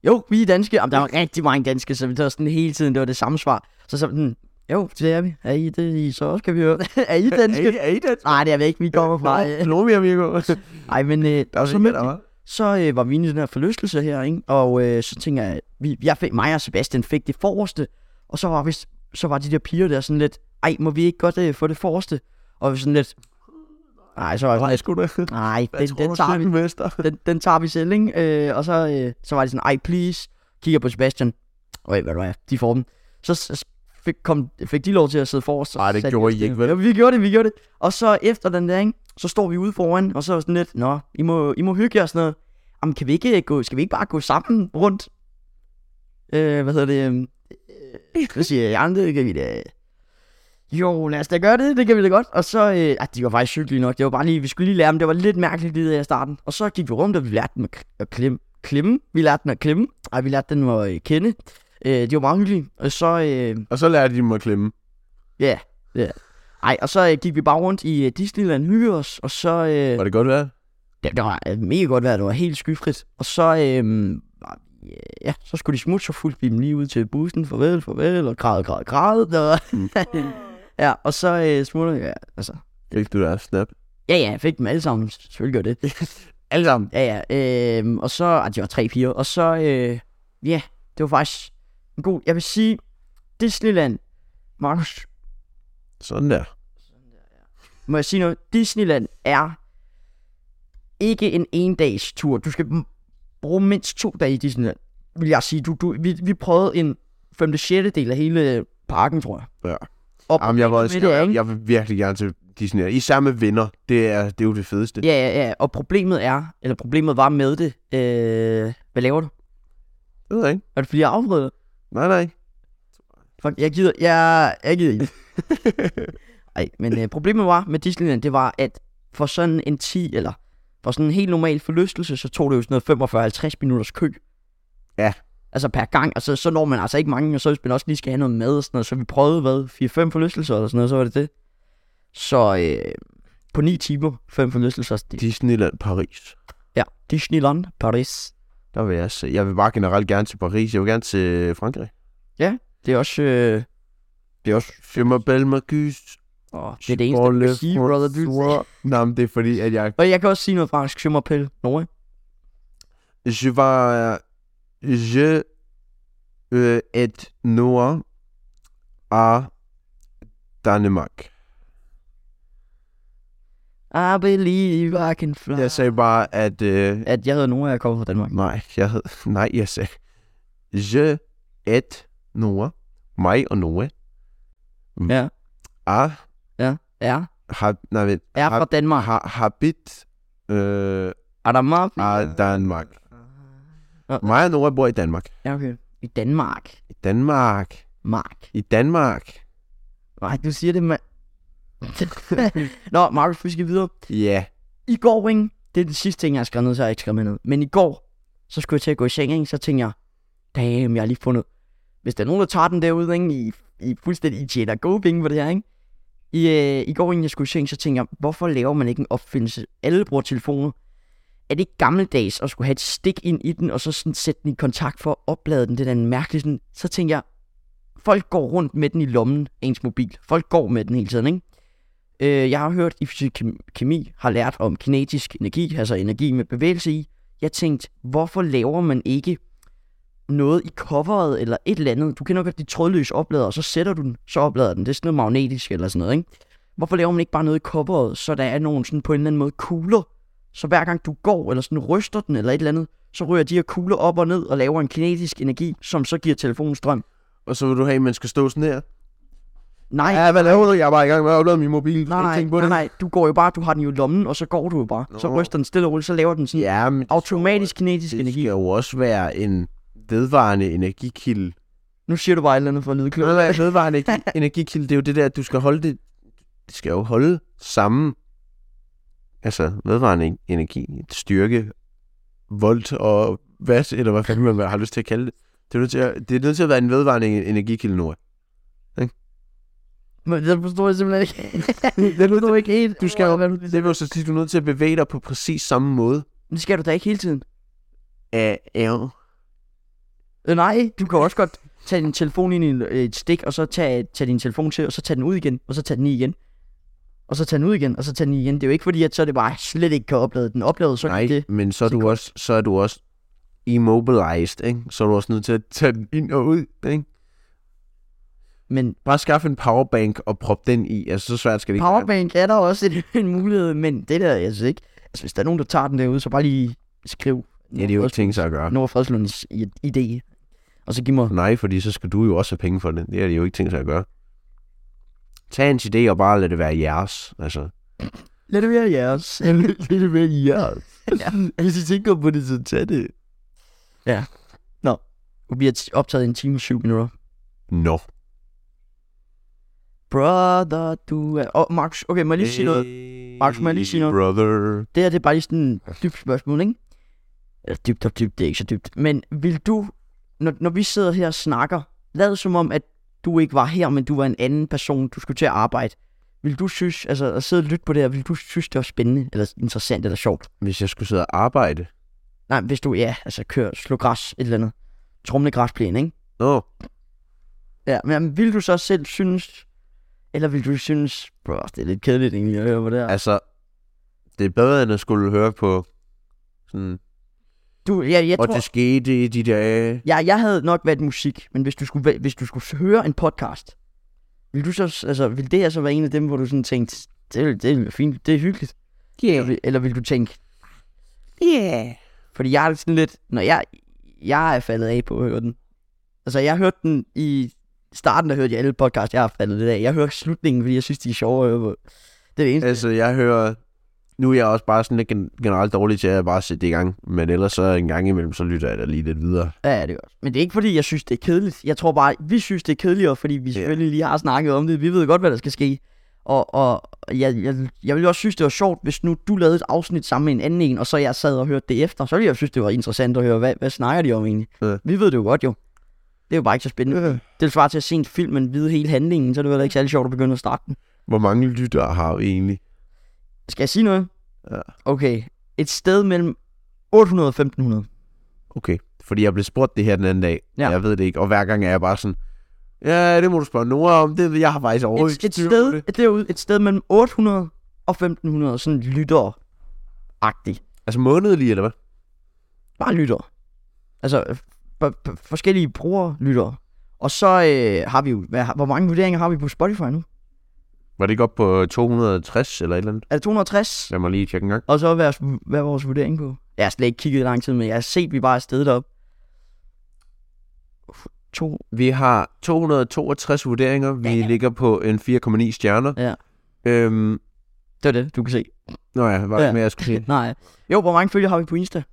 Speaker 2: Jo, vi er danske. Jamen, der var rigtig mange danske, så vi tager sådan hele tiden, det var det samme svar. Så sådan, jo, det er vi. Er I det? I så også kan vi høre. er I danske?
Speaker 1: er I det?
Speaker 2: Nej, det er vi ikke. Vi kommer fra. øh.
Speaker 1: Colombia, Mirko.
Speaker 2: Ej, men øh,
Speaker 1: Der er
Speaker 2: så,
Speaker 1: så med, der var.
Speaker 2: så øh, var vi inde i den her forlystelse her, ikke? Og øh, så tænker jeg, vi, jeg fik, mig og Sebastian fik det forreste. Og så var, vi, så var de der piger der sådan lidt, ej, må vi ikke godt øh, få det forreste? Og vi sådan lidt, nej, så var jeg sådan,
Speaker 1: Nej, sgu da.
Speaker 2: nej,
Speaker 1: Jeg
Speaker 2: den,
Speaker 1: tror,
Speaker 2: den
Speaker 1: du
Speaker 2: tager
Speaker 1: selv
Speaker 2: vi.
Speaker 1: er mester.
Speaker 2: den, den tager vi selv, ikke? Øh, og så, øh, så var de sådan, ej, please, kigger på Sebastian. Okay, hvad du er, de får dem. Så s- s- fik, kom, fik de lov til at sidde forrest.
Speaker 1: Ej, det
Speaker 2: satte
Speaker 1: gjorde
Speaker 2: os
Speaker 1: I ikke,
Speaker 2: ned.
Speaker 1: vel?
Speaker 2: Jo, vi gjorde det, vi gjorde det. Og så efter den der, ikke? Så står vi ude foran, og så er sådan lidt, nå, I må, I må hygge jer og sådan noget. Jamen, kan vi ikke øh, gå, skal vi ikke bare gå sammen rundt? Øh, hvad hedder det? øhm, Øh, så siger jeg, "Jamen, det kan vi da. Jo, lad os da gøre det, det kan vi da godt. Og så, øh, ah, de var faktisk hyggelige nok. Det var bare lige, vi skulle lige lære dem. Det var lidt mærkeligt lige der i starten. Og så gik vi rundt, og vi lærte dem at, k- at klemme. klemme. Vi lærte dem at klemme. Ej, vi lærte dem at øh, kende. Øh, de var meget hyggelige. Og så, øh,
Speaker 1: Og så lærte de mig at klemme.
Speaker 2: ja, ja. Ej, og så øh, gik vi bare rundt i øh, Disneyland hygge os, og så... Øh,
Speaker 1: Var det godt værd?
Speaker 2: det, det var øh, mega godt vejr, det var helt skyfrit. Og så, øhm, var- ja, så skulle de smutte, så fulgte vi dem lige ud til bussen. Farvel, farvel, og græd, græd, græd. Og, ja, og så øh, smutter jeg, ja, altså.
Speaker 1: Ikke du der snap?
Speaker 2: Ja, ja, jeg fik dem alle sammen, selvfølgelig gør det.
Speaker 1: Alle sammen.
Speaker 2: Ja, ja, øhm, og så, ah, de var tre piger, og så, øh, ja, det var faktisk en god, jeg vil sige, Disneyland, Markus,
Speaker 1: Sådan der.
Speaker 2: må jeg sige noget, Disneyland er ikke en endags tur. Du skal m- bruge mindst to dage i Disneyland, vil jeg sige. Du, du, vi, vi prøvede en 5. 6. del af hele parken, tror jeg.
Speaker 1: Ja.
Speaker 2: Op,
Speaker 1: Jamen, jeg, var,
Speaker 2: med det, ikke?
Speaker 1: jeg, jeg vil virkelig gerne til Disney. Især med venner. Det er, det er jo det fedeste.
Speaker 2: Ja, ja, ja, og problemet er, eller problemet var med det, øh, hvad laver du?
Speaker 1: Det ved jeg ikke.
Speaker 2: Er det fordi, jeg afbryder?
Speaker 1: Nej, nej.
Speaker 2: Fuck, jeg gider, jeg, jeg gider ikke. Ej, men øh, problemet var med Disneyland, det var, at for sådan en 10, eller for sådan en helt normal forlystelse, så tog det jo sådan noget 45-50 minutters kø.
Speaker 1: Ja.
Speaker 2: Altså per gang, og så, så når man altså ikke mange, og så hvis man også lige skal have noget mad og sådan noget, så vi prøvede, hvad, 4-5 forlystelser eller sådan noget, så var det det. Så øh, på 9 timer, 5 forlystelser, det,
Speaker 1: Disneyland Paris.
Speaker 2: ja, Disneyland, Paris.
Speaker 1: Der vil jeg se. Jeg vil bare generelt gerne til Paris. Jeg vil gerne til Frankrig.
Speaker 2: Det er også, øh,
Speaker 1: Det er også... Je m'appelle Marcus.
Speaker 2: åh, det er det eneste, jeg kan sige, brother, du.
Speaker 1: Nej, men det er fordi, at jeg...
Speaker 2: Og jeg kan også sige noget fransk, je m'appelle Norge.
Speaker 1: Je var... Je... Øh, et noir af Danmark.
Speaker 2: I believe I can fly.
Speaker 1: Jeg sagde bare, at... Øh,
Speaker 2: At jeg hedder Noah, og jeg kommer fra Danmark.
Speaker 1: nej, jeg hed... Nej, jeg sagde... Je, et, Noah. Mig og Noah.
Speaker 2: Ja,
Speaker 1: Ah,
Speaker 2: ja. Er,
Speaker 1: har... Nej, vent.
Speaker 2: er fra
Speaker 1: har,
Speaker 2: Danmark.
Speaker 1: har, habit... Øh,
Speaker 2: Er der meget?
Speaker 1: af Danmark. Mig og Noah bor i Danmark.
Speaker 2: Ja, okay. I Danmark.
Speaker 1: I Danmark.
Speaker 2: Mark.
Speaker 1: I Danmark.
Speaker 2: Nej, du siger det, mand. Nå, Markus, vi skal videre.
Speaker 1: Ja.
Speaker 2: I går, ikke? Det er den sidste ting, jeg har skrevet ned, så har jeg ikke skrevet med ned. Men i går, så skulle jeg til at gå i seng, ikke? Så tænkte jeg, damn, jeg har lige fundet... Hvis der er nogen, der tager den derude, ikke? I, I fuldstændig I tjener gode penge på det her, ikke? I, øh, I går, inden jeg skulle i seng, så tænkte jeg, hvorfor laver man ikke en opfindelse? Alle bruger telefoner. Er det ikke gammeldags at skulle have et stik ind i den, og så sådan sætte den i kontakt for at oplade den? Det er da en mærkelig sådan... Så tænkte jeg, folk går rundt med den i lommen, ens mobil. Folk går med den hele tiden, ikke? Øh, jeg har hørt i fysik kem- kemi, har lært om kinetisk energi, altså energi med bevægelse i. Jeg tænkte, hvorfor laver man ikke noget i coveret eller et eller andet? Du kender godt de trådløse oplader, og så sætter du den, så oplader den. Det er sådan noget magnetisk eller sådan noget, ikke? Hvorfor laver man ikke bare noget i coveret, så der er nogen sådan på en eller anden måde kugler? Så hver gang du går, eller sådan ryster den, eller et eller andet, så ryger de her kugler op og ned og laver en kinetisk energi, som så giver telefonen strøm.
Speaker 1: Og så vil du have, at man skal stå sådan her.
Speaker 2: Nej,
Speaker 1: Ja, hvad laver du? Jeg er bare i gang med at oplade min mobil.
Speaker 2: Nej, nej,
Speaker 1: Tænk på
Speaker 2: nej,
Speaker 1: det.
Speaker 2: nej, du går jo bare, du har den jo i lommen, og så går du jo bare. Nå. Så
Speaker 1: Nå.
Speaker 2: ryster den stille og roligt, så laver den sådan ja.
Speaker 1: Ja, men
Speaker 2: automatisk kinetisk
Speaker 1: det
Speaker 2: energi.
Speaker 1: skal jo også være en vedvarende energikilde.
Speaker 2: Nu siger du bare et eller andet for at lyde klog.
Speaker 1: Ved du hvad, vedvarende energi- energikilde, det er jo det der, at du skal holde det, det skal jo holde samme, altså vedvarende en- energi, styrke, volt og hvad, eller hvad fanden man har lyst til at kalde det. Det er nødt til at, det er nødt til at være en vedvarende en- energikilde nu.
Speaker 2: Men det forstår jeg simpelthen ikke. det forstår jeg ikke helt.
Speaker 1: Du skal jo,
Speaker 2: Hvad
Speaker 1: det vil jo så sige, at du er nødt til at bevæge dig på præcis samme måde.
Speaker 2: Det skal du da ikke hele tiden.
Speaker 1: Ja, ja.
Speaker 2: Øh, nej, du kan også godt tage din telefon ind i en- øh, et stik, og så tage, tage din telefon til, og så tage den ud igen, og så tage den i igen. Og så tage den ud igen, og så tage den i igen. Det er jo ikke fordi, at så er det bare slet ikke kan oplade den. Oplade, så
Speaker 1: Nej,
Speaker 2: kan det.
Speaker 1: men så er, du
Speaker 2: sekund.
Speaker 1: også, så er du også immobilized, ikke? Så er du også nødt til at tage den ind og ud, ikke?
Speaker 2: Men
Speaker 1: Bare skaffe en powerbank og prop den i. Altså, så svært skal det ikke være.
Speaker 2: Powerbank er der også en, en mulighed, men det der, jeg synes ikke. Altså, hvis der er nogen, der tager den derude, så bare lige skriv.
Speaker 1: Ja, det er jo ikke ting, sig at gøre.
Speaker 2: Nord Fredslunds i- idé. Og så giv mig...
Speaker 1: Nej, fordi så skal du jo også have penge for det. Det er det jo ikke ting, sig at gøre. Tag en idé og bare lad det være jeres. Altså,
Speaker 2: Lad det være jeres.
Speaker 1: lad det være jeres.
Speaker 2: Ja.
Speaker 1: Hvis I tænker på det, så tag det.
Speaker 2: Nu bliver t- optaget i en time og syv minutter.
Speaker 1: Nå.
Speaker 2: Brother, du er... Åh, oh, Markus, okay, må jeg lige
Speaker 1: Øh,
Speaker 2: sige noget? Max, må jeg lige sige noget?
Speaker 1: Brother.
Speaker 2: Det her, det er bare lige sådan en dybt spørgsmål, ikke? Eller dybt og dybt, det er ikke så dybt. Men vil du, når, når vi sidder her og snakker, lad som om, at du ikke var her, men du var en anden person, du skulle til at arbejde. Vil du synes, altså at sidde og lytte på det her, vil du synes, det var spændende, eller interessant, eller sjovt?
Speaker 1: Hvis jeg skulle sidde og arbejde.
Speaker 2: Nej, hvis du, ja, altså kører, slå græs, et eller andet. Trumle græsplæne, ikke?
Speaker 1: Nå.
Speaker 2: Ja, men vil du så selv synes, eller vil du synes, bro, det er lidt kedeligt egentlig at høre på det her.
Speaker 1: Altså, det er bedre, end at skulle høre på sådan...
Speaker 2: Du, ja, jeg
Speaker 1: og
Speaker 2: tror,
Speaker 1: det skete i de dage.
Speaker 2: Ja, jeg havde nok været musik, men hvis du skulle, væ- hvis du skulle høre en podcast, vil du så, altså, vil det her så være en af dem, hvor du sådan tænkte, det, er- det er fint, det er hyggeligt? Eller, vil- eller vil du tænke,
Speaker 1: Yeah.
Speaker 2: fordi jeg er sådan lidt, når jeg, jeg er faldet af på at høre den. Altså, jeg hørte den i starten, der hørte jeg alle podcasts, jeg har faldet lidt af. Jeg hører slutningen, fordi jeg synes, de er sjove at høre på. Det er det eneste.
Speaker 1: Altså, jeg hører... Nu er jeg også bare sådan lidt gen- generelt dårlig til at bare sætte det i gang. Men ellers så en gang imellem, så lytter jeg da lige lidt videre.
Speaker 2: Ja, det er godt. Men det er ikke, fordi jeg synes, det er kedeligt. Jeg tror bare, vi synes, det er kedeligere, fordi vi selvfølgelig lige har snakket om det. Vi ved godt, hvad der skal ske. Og, og jeg, jeg, jeg ville også synes, det var sjovt, hvis nu du lavede et afsnit sammen med en anden en, og så jeg sad og hørte det efter. Så ville jeg synes, det var interessant at høre, hvad, hvad snakker de om egentlig?
Speaker 1: Ja.
Speaker 2: Vi ved det jo godt jo. Det er jo bare ikke så spændende.
Speaker 1: Ja.
Speaker 2: Det svarer til at se en film, men vide hele handlingen, så er det jo heller ikke særlig sjovt at begynde at starte den.
Speaker 1: Hvor mange lyttere har vi egentlig?
Speaker 2: Skal jeg sige noget?
Speaker 1: Ja.
Speaker 2: Okay. Et sted mellem 800 og 1500.
Speaker 1: Okay. Fordi jeg blev spurgt det her den anden dag.
Speaker 2: Ja.
Speaker 1: Ja. Jeg ved det ikke. Og hver gang er jeg bare sådan... Ja, det må du spørge Nora om. Det, jeg har faktisk overhovedet
Speaker 2: et, et,
Speaker 1: styr på
Speaker 2: sted,
Speaker 1: det."
Speaker 2: derude, et sted mellem 800 og 1500 sådan lytter agtigt
Speaker 1: Altså månedlig, eller hvad?
Speaker 2: Bare lytter. Altså øh, f- f- forskellige brugere lytter. Og så øh, har vi jo, hvad, har- hvor mange vurderinger har vi på Spotify nu?
Speaker 1: Var det ikke op på 260 eller et eller andet?
Speaker 2: Er det 260?
Speaker 1: Lad mig lige tjekke en gang.
Speaker 2: Og så hvad, er- hvad er vores vurdering på? Jeg har slet ikke kigget i lang tid, men jeg har set, at vi bare er stedet op. To.
Speaker 1: Vi har 262 vurderinger. Vi
Speaker 2: Ja.
Speaker 1: ligger på en 4,9 stjerner.
Speaker 2: Ja.
Speaker 1: Øhm,
Speaker 2: Det var det, du kan se.
Speaker 1: nå ja, var det
Speaker 2: Ja.
Speaker 1: mere, jeg skulle sige?
Speaker 2: Nej. Jo, hvor mange følger har vi på Insta?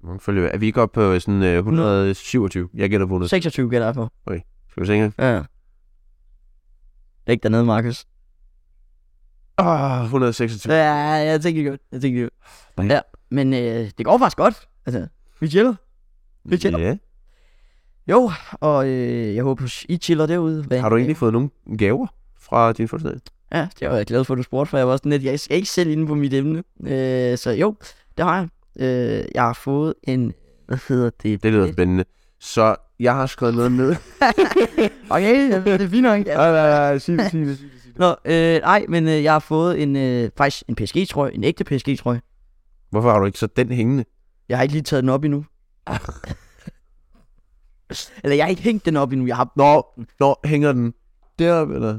Speaker 1: Hvor mange følger vi? Er vi ikke oppe på sådan øh, 127? Jeg gætter på 100.
Speaker 2: 26 gætter jeg på.
Speaker 1: Skal vi se engang?
Speaker 2: Ja. Læg dernede, Markus.
Speaker 1: Ah, 126.
Speaker 2: Ja, jeg tænker godt. Jeg tænker
Speaker 1: Bang.
Speaker 2: godt. Ja, men øh, det går faktisk godt. Altså, vi chiller. Vi chiller.
Speaker 1: Ja.
Speaker 2: Jo, og øh, jeg håber, I chiller derude. Hvad?
Speaker 1: Har du egentlig fået nogle gaver fra din fødselsdag?
Speaker 2: Ja, det var jeg glad for, at du spurgte, for jeg var sådan lidt, jeg skal ikke selv inde på mit emne. Øh, så jo, det har jeg. Øh, jeg har fået en, hvad hedder det?
Speaker 1: Det lyder spændende. Så jeg har skrevet noget ned.
Speaker 2: Okay, jamen, det er fint nok. Ja.
Speaker 1: Nej, nej, nej, sig det, sig det, sig det.
Speaker 2: Nå, øh, nej, men øh, jeg har fået en, øh, faktisk en PSG-trøje, en ægte PSG-trøje.
Speaker 1: Hvorfor har du ikke så den hængende?
Speaker 2: Jeg har ikke lige taget den op endnu.
Speaker 1: Ah.
Speaker 2: Eller jeg har ikke hængt den op endnu, jeg har...
Speaker 1: Nå, nå, hænger den deroppe, eller?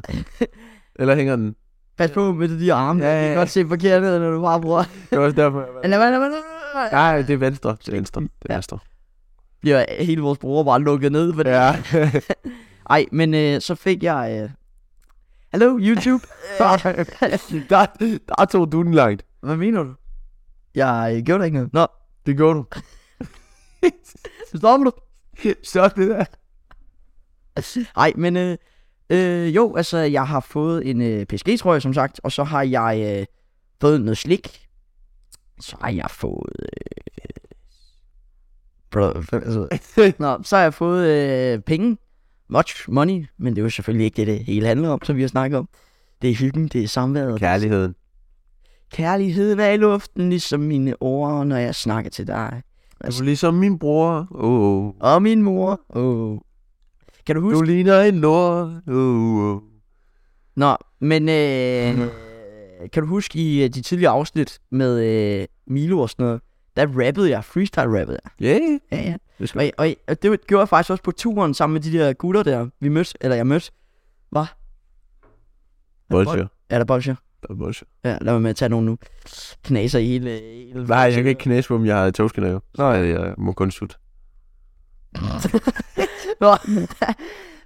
Speaker 1: Eller hænger den?
Speaker 2: Pas på med de der arme, ja, ja, ja. jeg kan godt se forkert ned, når du bare bruger...
Speaker 1: Det var også derfor, jeg var...
Speaker 2: Lad være, lad være, lad være, lad være.
Speaker 1: Nej, det er venstre. Det er venstre. Det er
Speaker 2: Ja.
Speaker 1: venstre.
Speaker 2: Bliver hele vores bror bare lukket ned, fordi
Speaker 1: Ja.
Speaker 2: Ej, men øh, så fik jeg... Øh... Hello, YouTube.
Speaker 1: der, der tog du den langt.
Speaker 2: Hvad mener du? Jeg øh, gjorde da ikke noget. Nå,
Speaker 1: Det gjorde du.
Speaker 2: stopper du?
Speaker 1: Så det der.
Speaker 2: Ej, men øh, øh, jo, altså, jeg har fået en øh, PSG-trøje, som sagt, og så har jeg øh, fået noget slik. Så har jeg fået... Øh, øh, bro, altså, Nå, så har jeg fået øh, penge. Much money, men det er jo selvfølgelig ikke det, det hele handler om, som vi har snakket om. Det er hyggen, det er samværet,
Speaker 1: Kærligheden.
Speaker 2: Kærligheden er i luften, ligesom mine ord, når jeg snakker til dig.
Speaker 1: Du er ligesom min bror. Oh, oh.
Speaker 2: Og min mor. Oh. Kan du huske?
Speaker 1: Du ligner en lort. Oh, oh.
Speaker 2: Nå, men øh,
Speaker 1: Mhm.
Speaker 2: kan du huske i øh, de tidligere afsnit med øh, Milo og sådan noget, der rappede jeg, freestyle rappede jeg.
Speaker 1: Yeah.
Speaker 2: Ja, ja.
Speaker 1: Det skal...
Speaker 2: Og, og, og det gjorde jeg faktisk også på turen sammen med de der gutter der, vi mødte, eller jeg mødte.
Speaker 1: Bolsjer.
Speaker 2: Er der bolsjer?
Speaker 1: Der er bolsjer.
Speaker 2: Ja, lad mig med at tage nogen nu. Knaser i hele... hele
Speaker 1: Nej, jeg kan ikke knæse på, om jeg har togskanaler. Nej, jeg må kun sutte.
Speaker 2: Nå.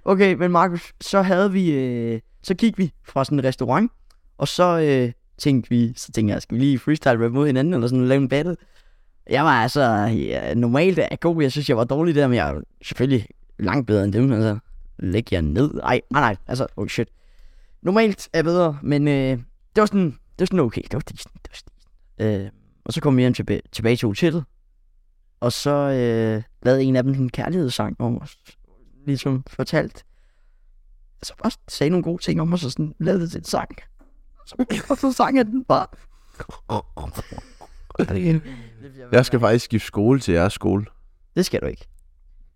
Speaker 2: okay, men Markus, så havde vi, øh, så gik vi fra sådan en restaurant, og så øh, tænkte vi, så tænkte jeg, skal vi lige freestyle rap mod hinanden, eller sådan lave en battle? Jeg var altså, ja, normalt er jeg god, jeg synes, jeg var dårlig der, men jeg er jo selvfølgelig langt bedre end dem, altså, læg jer ned, ej, nej, nej, altså, oh shit. Normalt er jeg bedre, men øh, det var sådan, det var sådan okay, det var decent, det var decent. Øh, og så kom vi hjem tilbage, tilbage til hotellet, og så øh, lavede en af dem sådan en kærlighedssang om os ligesom fortalt, så bare sagde nogle gode ting om os, og sådan lavede det til en sang. Så- Og så sang jeg den bare.
Speaker 1: Jeg skal faktisk skifte skole til jeres skole.
Speaker 2: Det skal du ikke.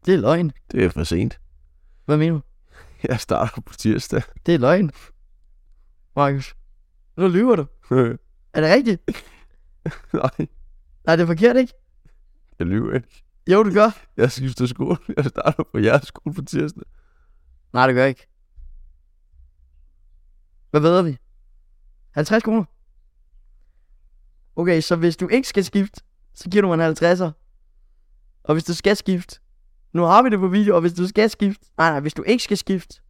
Speaker 2: Det er løgn.
Speaker 1: Det er for sent.
Speaker 2: Hvad mener du?
Speaker 1: Jeg starter på tirsdag.
Speaker 2: Det er løgn. Markus, nu lyver du. Er det rigtigt?
Speaker 1: Nej,
Speaker 2: Nej, det er forkert, ikke?
Speaker 1: jeg lyver ikke.
Speaker 2: Jo, du gør.
Speaker 1: Jeg skifter skole. Jeg starter på jeres skole på tirsdag.
Speaker 2: Nej, det gør jeg ikke. Hvad ved vi? 50 kroner? Okay, så hvis du ikke skal skifte, så giver du mig en 50'er. Og hvis du skal skifte, nu har vi det på video, og hvis du skal skifte, nej nej, hvis du ikke skal skifte,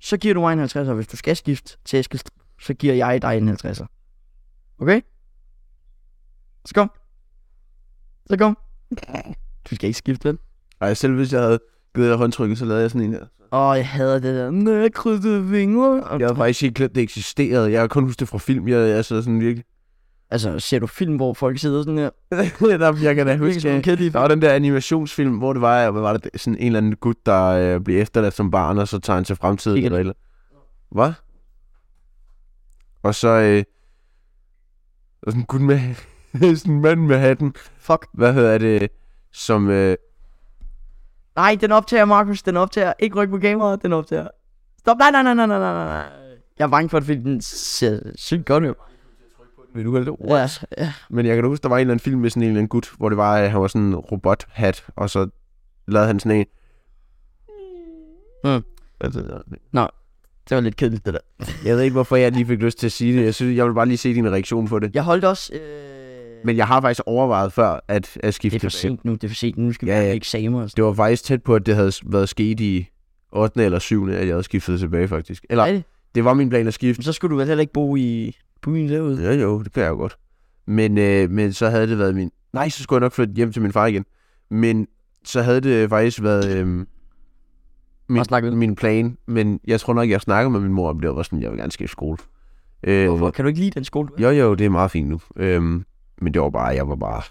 Speaker 2: så giver du mig en 50'er, og hvis du skal skifte til Eskilstrup, så giver jeg dig en 50'er. Okay? Så kom. Så kom. Du skal ikke skifte, vel?
Speaker 1: Ej, selv hvis jeg havde givet jer håndtrykket, så lavede jeg sådan en her.
Speaker 2: Åh, jeg hader det der. Når jeg krydsede vinger.
Speaker 1: Jeg havde faktisk ikke glemt, det eksisterede. Jeg har kun husket det fra film. Jeg, jeg så sådan virkelig...
Speaker 2: Altså, ser du film, hvor folk sidder sådan her?
Speaker 1: Nå, jeg kan da huske,
Speaker 2: Virkelig sådan
Speaker 1: jeg-
Speaker 2: kedelige
Speaker 1: der var den der animationsfilm, hvor det var, hvad var det, sådan en eller anden gut, der øh, bliver efterladt som barn, og så tager han til fremtiden.
Speaker 2: Sikkert.
Speaker 1: Eller, et eller. Hvad? Og så... Øh, der var sådan en gut med... sådan en mand med hatten.
Speaker 2: Fuck.
Speaker 1: Hvad hedder det? Som... Øh,
Speaker 2: Nej, den optager, Markus. Den optager. Ikke ryk på kameraet. Den optager. Stop. Nej, nej, nej, nej, nej, nej, nej. Jeg er bange for, at den ser sygt godt ud.
Speaker 1: vil du kalde det?
Speaker 2: Ja, ja.
Speaker 1: Men jeg kan da huske, der var en eller anden film med sådan en eller anden gut, hvor det var, at han var sådan en robothat, og så lavede han sådan en...
Speaker 2: Mm.
Speaker 1: Hvad er det der?
Speaker 2: Nå, Det var lidt kedeligt, det der.
Speaker 1: Jeg ved ikke, hvorfor jeg lige fik lyst til at sige det. Jeg, synes, jeg vil bare lige se din reaktion på det.
Speaker 2: Jeg holdt også... Øh...
Speaker 1: Men jeg har faktisk overvejet før at, at skifte
Speaker 2: det er for
Speaker 1: tilbage.
Speaker 2: sent nu, det er for sent nu. Nu skal vi
Speaker 1: Ja,
Speaker 2: ja, ja.
Speaker 1: ja.
Speaker 2: eksamer og sådan
Speaker 1: Det var faktisk tæt på, at det havde været sket i 8. eller 7. at jeg havde skiftet tilbage, faktisk. Eller,
Speaker 2: Er det?
Speaker 1: det var min plan at skifte.
Speaker 2: Men så skulle du vel heller ikke bo i byen derude.
Speaker 1: Ja, jo, det kan jeg jo godt. Men, øh, men så havde det været min... Nej, så skulle jeg nok flytte hjem til min far igen. Men så havde det faktisk været øh,
Speaker 2: Bare snak ud.
Speaker 1: min, min plan. Men jeg tror nok, jeg snakkede med min mor om det, og var sådan, jeg vil gerne skifte skole. Øh,
Speaker 2: Hvorfor? Kan du ikke lide den skole? du
Speaker 1: Jo,
Speaker 2: er?
Speaker 1: jo, det er meget fint nu. Øhm, men det var bare, jeg var bare...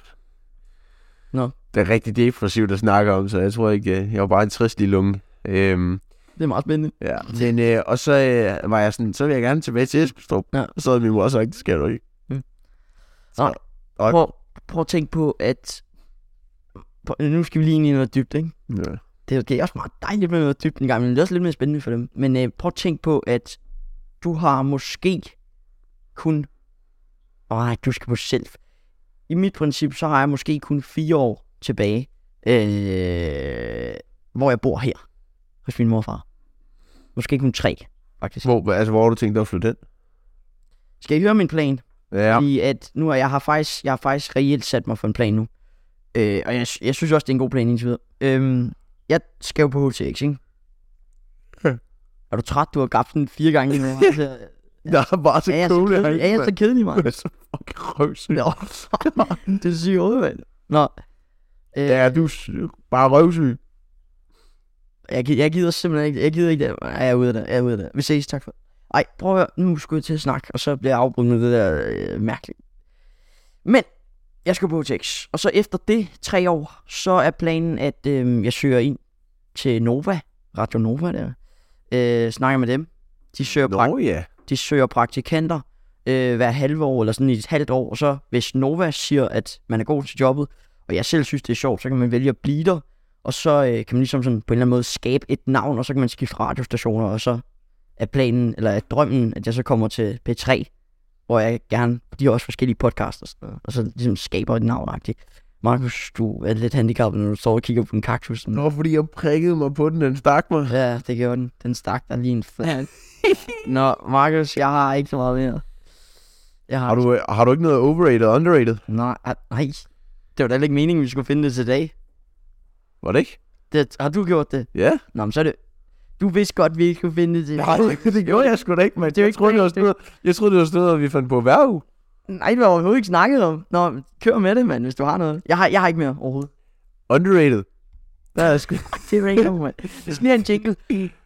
Speaker 2: Nå.
Speaker 1: Det er rigtig depressivt at snakke om, så jeg tror ikke, øh, jeg, jeg var bare en trist lille lunge. Øhm,
Speaker 2: Det er meget spændende.
Speaker 1: ja. Men, øh, og så øh, var jeg sådan, så vil jeg gerne tilbage til Esbestrup.
Speaker 2: Ja.
Speaker 1: Og så havde min mor sagt, det skal du ikke. Og-
Speaker 2: Prøv, prøv at tænke på, at... Prøv, nu skal vi lige ind i noget dybt, ikke?
Speaker 1: Ja.
Speaker 2: Det er, det er også meget dejligt med noget dybt en gang, men det er også lidt mere spændende for dem. Men øh, prøv at tænke på, at du har måske kun... Åh, du skal på selv. I mit princip, så har jeg måske kun fire år tilbage, øh, hvor jeg bor her hos min morfar. Måske kun tre, faktisk.
Speaker 1: Hvor, altså, hvor har du tænkt dig at flytte hen?
Speaker 2: Skal I høre min plan? Ja.
Speaker 1: Ja.
Speaker 2: Fordi at nu er jeg har faktisk, jeg har faktisk reelt sat mig for en plan nu. Øh, og jeg, jeg synes også, det er en god plan indtil videre. Øhm, jeg skal jo på HTX, ikke?
Speaker 1: Ja.
Speaker 2: Er du træt? Du har gabt den fire gange lige nu. Altså,
Speaker 1: Jeg er bare så
Speaker 2: er jeg så
Speaker 1: cool.
Speaker 2: kedelig? Er jeg så kedelig, mand?
Speaker 1: Du er så fucking røvsyg.
Speaker 2: Nå, det er sygt hovedvalg. Nå. Øh, ja.
Speaker 1: Ja, du er syg. bare røvsyg.
Speaker 2: jeg, gi- jeg gider simpelthen ikke, jeg gider ikke det. Ej, Jeg er ude af det, jeg er ude af det. Vi ses, tak for Ej, prøv at høre, nu skulle jeg til at snakke, og så bliver jeg afbrudt med det der øh, mærkeligt. Men, jeg skal på HTX, og så efter det tre år, så er planen, at øh, jeg søger ind til Nova, Radio Nova der, øh, snakker med dem. De søger, prak-
Speaker 1: Nå ja.
Speaker 2: de søger praktikanter øh, hver halve år, eller sådan i et halvt år, og så hvis Nova siger, at man er god til jobbet, og jeg selv synes, det er sjovt, så kan man vælge at blive der, og så øh, kan man ligesom sådan på en eller anden måde skabe et navn, og så kan man skifte radiostationer, og så er planen, eller er drømmen, at jeg så kommer til P3, hvor jeg gerne, de har også forskellige podcasts og sådan noget, og så ligesom skaber et navn -agtigt. Markus, du er lidt handicappet, når du står og kigger på en kaktus. sådan.
Speaker 1: Nå, fordi jeg prikkede mig på den, den stak mig.
Speaker 2: Ja, det gjorde den. Den stak der lige en flat. Nå, Markus, jeg har ikke så meget mere. Jeg har,
Speaker 1: Har du, øh, har du ikke noget overrated og underrated?
Speaker 2: Nej, ah, nej. Det var da heller ikke meningen, vi skulle finde det til dag.
Speaker 1: Var det ikke?
Speaker 2: Det, har du gjort det?
Speaker 1: Ja.
Speaker 2: Nå, men så er det... Du vidste godt, vi ikke skulle finde det til
Speaker 1: Nej, det gjorde jeg sgu da ikke, mand.
Speaker 2: er jo
Speaker 1: Jeg
Speaker 2: ikke
Speaker 1: troede, det var sådan
Speaker 2: planen,
Speaker 1: noget, jeg troede, det var sådan noget, vi fandt på hver uge.
Speaker 2: Nej, det var overhovedet ikke snakket om. Nå, men kør med det, mand, hvis du har noget. Jeg har, jeg har ikke mere overhovedet.
Speaker 1: Underrated. Der er sgu...
Speaker 2: Det er ikke noget, mand. Sådan her en jingle.